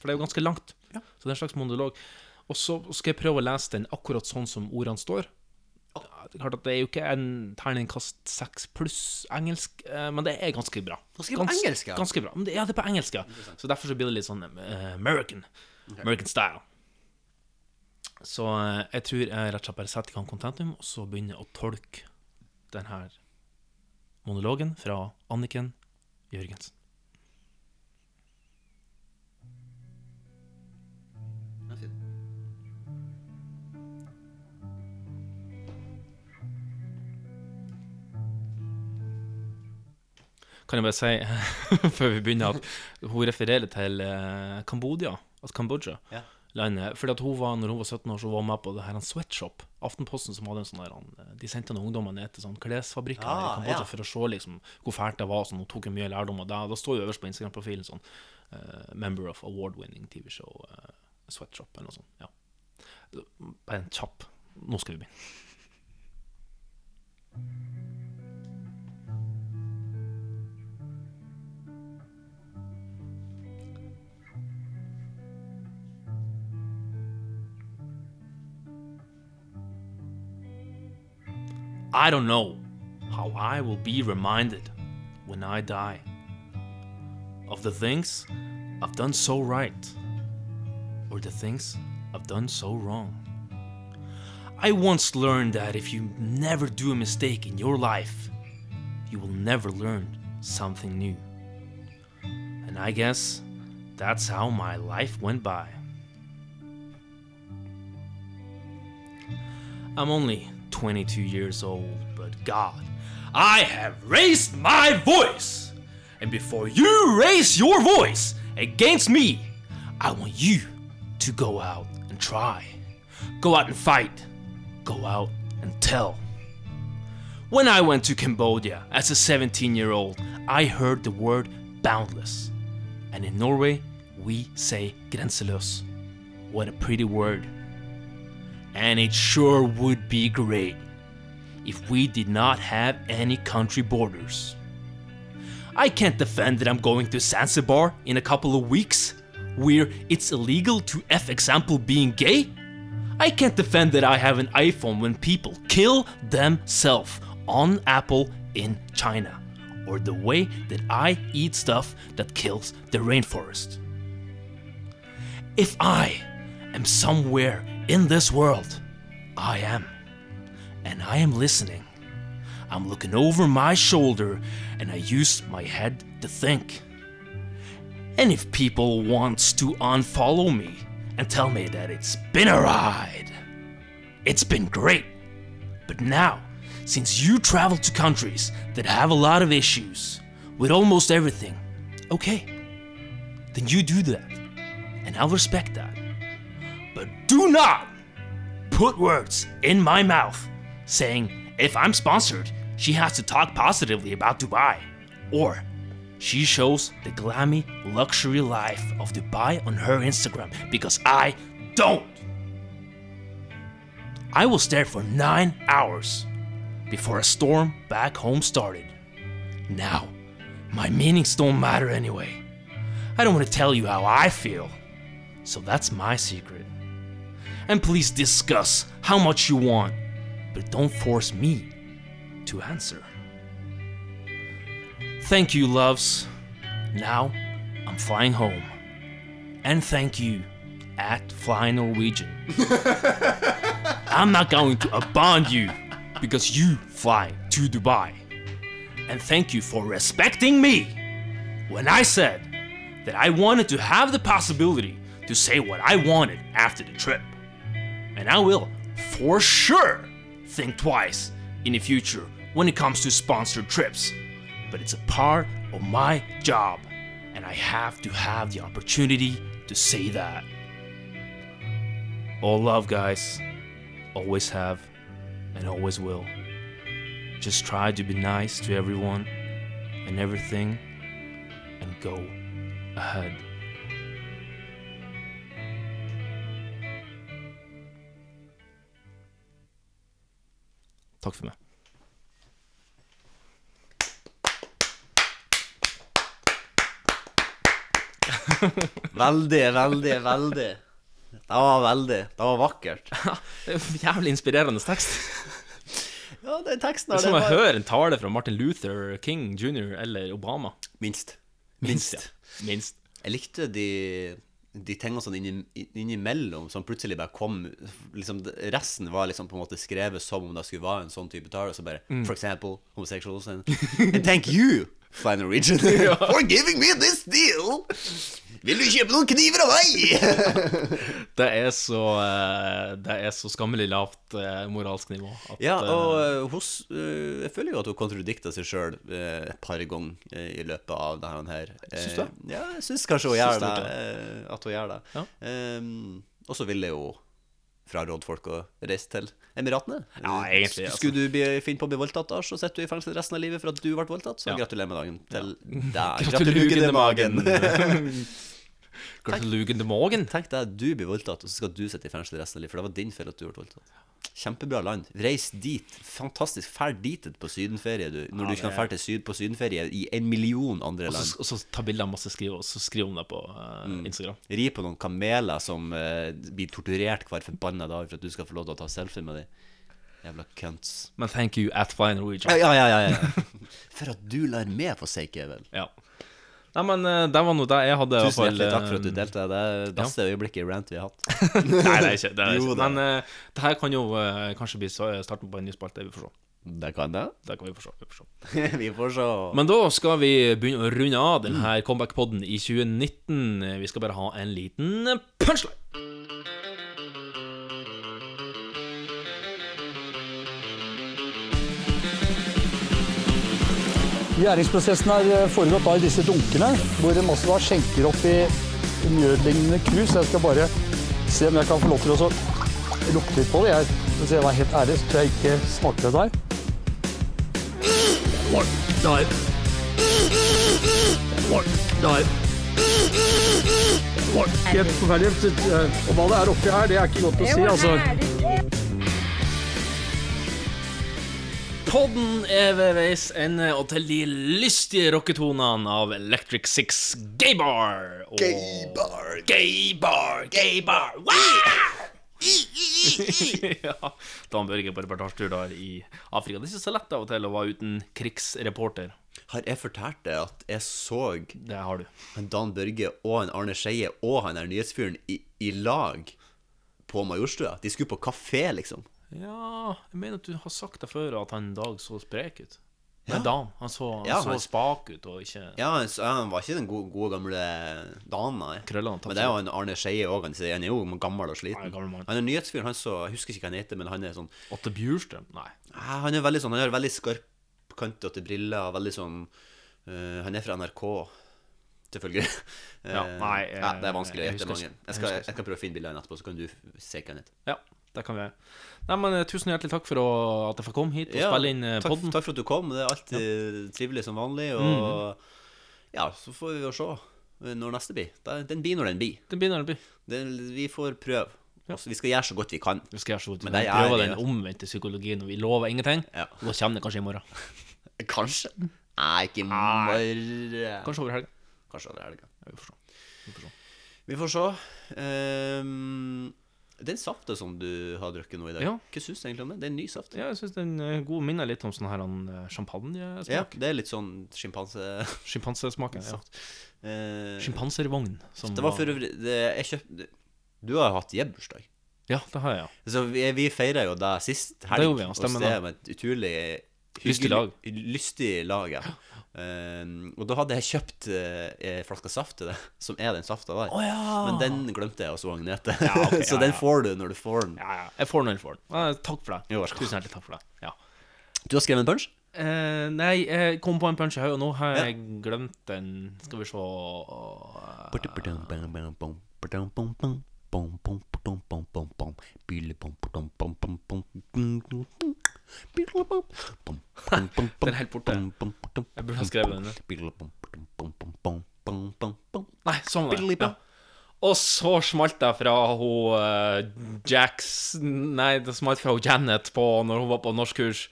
For det er jo ganske langt. Så det er en slags monolog. Og så skal jeg prøve å lese den akkurat sånn som ordene står. Det er klart at det er jo ikke en terningkast seks pluss engelsk, eh, men det er ganske bra. Han skriver på Gans- engelsk, ja. Ganske bra. Men det, ja, det er på engelsk, ja. Så derfor så blir det litt sånn eh, American. American style. Så eh, jeg tror jeg rett og slett bare setter i gang contentum, og så begynner jeg å tolke den her monologen fra Anniken Jørgensen. Kan jeg bare si, før vi begynner, at hun refererer til eh, Kambodia, altså Kambodsja. Ja. Landet, fordi at hun var, når hun var 17 år, så var hun med på det her en sweatshop. Aftenposten som hadde en sånn der, han, de sendte noen ungdommer ned til sånn klesfabrikker her i Ah, Kambodsja ja. for å se liksom, hvor fælt det var. Sånn, hun tok jo mye lærdom av det. Da står jo øverst på Instagram-profilen sånn eh, 'Member of award-winning TV-show eh, sweatshop' eller noe sånt. Ja. Bare en kjapp. Nå skal vi begynne. I don't know how I will be reminded when I die of the things I've done so right or the things I've done so wrong. I once learned that if you never do a mistake in your life, you will never learn something new. And I guess that's how my life went by. I'm only 22 years old, but God, I have raised my voice! And before you raise your voice against me, I want you to go out and try. Go out and fight. Go out and tell. When I went to Cambodia as a 17 year old, I heard the word boundless. And in Norway, we say grenseløs. What a pretty word. And it sure would be great if we did not have any country borders. I can't defend that I'm going to Zanzibar in a couple of weeks, where it's illegal to F example being gay. I can't defend that I have an iPhone when people kill themselves on Apple in China, or the way that I eat stuff that kills the rainforest. If I am somewhere in this world, I am. And I am listening. I'm looking over my shoulder and I use my head to think. And if people wants to unfollow me and tell me that it's been a ride, it's been great. But now, since you travel to countries that have a lot of issues with almost everything, okay, then you do that. And I'll respect that. But do not put words in my mouth saying, if I'm sponsored, she has to talk positively about Dubai. Or, she shows the glammy luxury life of Dubai on her Instagram because I don't. I was there for nine hours before a storm back home started. Now, my meanings don't matter anyway. I don't want to tell you how I feel. So that's my secret. And please discuss how much you want, but don't force me to answer. Thank you, loves. Now I'm flying home. And thank you at Fly Norwegian. I'm not going to abandon you because you fly to Dubai. And thank you for respecting me when I said that I wanted to have the possibility to say what I wanted after the trip. And I will, for sure, think twice in the future when it comes to sponsored trips. But it's a part of my job, and I have to have the opportunity to say that. All love, guys. Always have, and always will. Just try to be nice to everyone and everything, and go ahead. Takk for meg. Veldig, veldig, veldig. Det var veldig. Det var vakkert. Jævlig inspirerende tekst. Ja, den teksten Det her, er som å var- høre en tale fra Martin Luther King jr. eller Obama. Minst. Minst, Minst. Jeg likte de, de tingene sånn inni- innimellom som plutselig bare kom liksom, Resten var liksom på en måte skrevet som om det skulle være en sånn type tale. Så bare Mm. For eksempel homosexuals and, and thank you, Fly Norwegian, for giving me this deal! Vil du kjøpe noen kniver av meg? Det er så, eh, det er så skammelig lavt eh, moralsk nivå. At, ja, eh, og eh, hos, eh, jeg føler jo at hun kontradikta seg sjøl et par ganger eh, i løpet av det her. Eh, Syns du det? Ja, jeg syns kanskje hun Syns gjør du det. det? eh, At hun gjør det. Ehm, og så vil jeg jo fraråde folk å reise til Emiratene. Eh, Ja, egentlig, altså. Skulle du bli, finne på å bli voldtatt, da, så sitter du i fengsel resten av livet for at du ble voldtatt. Så Ja. gratulerer med dagen til Ja. deg. Gratulerer til med magen. Gratulerer til magen. Tenk deg, du blir voldtatt, og så skal du sitte i fengsel resten av livet. For det var din feil at du ble voldtatt. Kjempebra land. Reis dit. Fantastisk. Fær dit på sydenferie, du. Når Ja, du ikke kan det- dra til syd på sydenferie i en million andre og, land. så, og så ta bilder av masse skriv, og så skriv om det på eh, Instagram. Ri på noen kameler som eh, blir torturert hver forbanna dag for at du skal få lov til å ta selfie med dem. Jævla cunts. Men thank you at Fly Norwegian. Ja, ja, ja. ja, ja. for at du lar meg få si Kevin. Ja. Nei, men eh, det var noe det jeg hadde. i hvert Tusen fall, hjertelig takk for at du eh, delte. Det er det beste øyeblikket i rant vi har hatt. Nei, det er ikke det. Er Jo, ikke. det er Men eh, det her kan jo eh, kanskje bli så- starten på en ny spalte. Vi får se. Det kan det. Det kan vi få se. Vi får se. vi får se. Men da skal vi begynne å runde av denne comeback-podden i 2019. Vi skal bare ha en liten punchline. Gjæringsprosessen har eh, foregått da i disse dunkene, hvor en masse da skjenker opp i mjødlignende krus. Jeg skal bare se om jeg kan få lov til å så lukte litt på det. Jeg, hvis jeg var helt ærlig, så tror jeg ikke smakte det der. Nei. Nei. Helt forferdelig. Eh, Og hva det er oppi her, det er ikke godt å si, altså. Podden er ved veis ende, og til de lystige rocketonene av Electric Six Gay Bar. Og... Gay Bar, gay bar, gay bar. ja, Dan Børge på reportasjetur da i Afrika. Det er ikke så lett av og til å være uten krigsreporter. Har jeg fortalt deg at jeg så Det har du. en Dan Børge og en Arne Skeie og han der nyhetsfyren i, i lag på Majorstua? De skulle på kafé, liksom. Ja, jeg mener at du har sagt det før, at han Dag så sprek ut. Nei, Dan. Han så, han Ja, så han- spak ut og ikke Ja, han, så han var ikke den gode, gode gamle Dan, nei. men det er jo han Arne Skeie òg. Han, sier- han er jo gammel og sliten. han er nyhetsfyren, han så Jeg husker ikke hva han heter, men han er sånn Åtte Bjurstrøm? Nei. Ja, Han er veldig sånn, han har veldig skarpkantete briller og veldig sånn eh, Han er fra NRK, selvfølgelig. Ja, Eh, nei, ja, Det er vanskelig å jeg gjette husker mange. ikke. Jeg skal, Jeg husker jeg skal prøve å finne bildene etterpå, så kan du se hva han heter. Ja, det kan vi gjøre. Nei, men eh, tusen hjertelig takk for å, at jeg fikk komme hit og Ja, spille inn eh, takk, podden. takk for at du kom. Det er alltid trivelig som vanlig. Og Mm. ja, så får vi jo se når neste blir. Da- Den blir når den blir. Den blir når den blir. vi får prøve. Altså, vi skal gjøre så godt vi kan. Vi skal gjøre så godt Men vi det kan. er Prøve det den jo. omvendte psykologien, og vi lover ingenting. Og da kommer det kanskje i morgen. Kanskje. Nei, ikke i morgen. Kanskje over helga. Kanskje over helga. Ja, vi får se. Vi får se. Vi får se. Ehm, den saften som du har drukket nå i dag, Ja. hva syns du egentlig om den? Det er en ny saft. Ja, jeg synes den er god minner litt om sånn her han, eh, Ja, champagnesmak. det er litt sånn sjimpanse... Sjimpansesmaken. Ja. Saft. Eh, Sjimpanservogn. som Det var var- for øvrig det, Jeg kjøpte Du har jo hatt jebbursdag. Ja, det har jeg, ja. Så vi, vi feira jo deg sist helg. Det gjorde vi, ja, stemmer og det med et utrolig Lystig lag. Lystig lag, ja. Ehm, og da hadde jeg kjøpt eh, en flaske saft til deg, som er den safta der. Men den glemte jeg hos Agnete. ok, ja, så den ja. får du når du får den. Jeg får den når jeg får den. Eh, Takk for det. Jo, vær så god. Tusen hjertelig takk for det. Ja. Du har skrevet en punch? Eh, nei, jeg kom på en punch her, og nå har jeg glemt den. Skal vi se eh, Den er helt borte. Jeg burde ha skrevet den Nei, sånn var det. Ja. Og så smalt det fra hun eh, Jax Nei, det smalt fra hun Janet på, når hun var på norskkurs.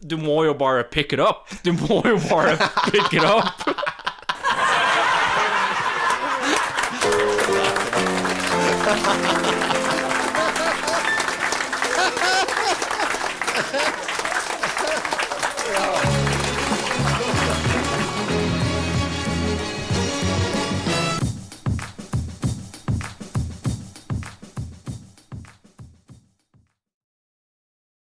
Du må jo bare pick it up! Du må jo bare pick it up! Ja.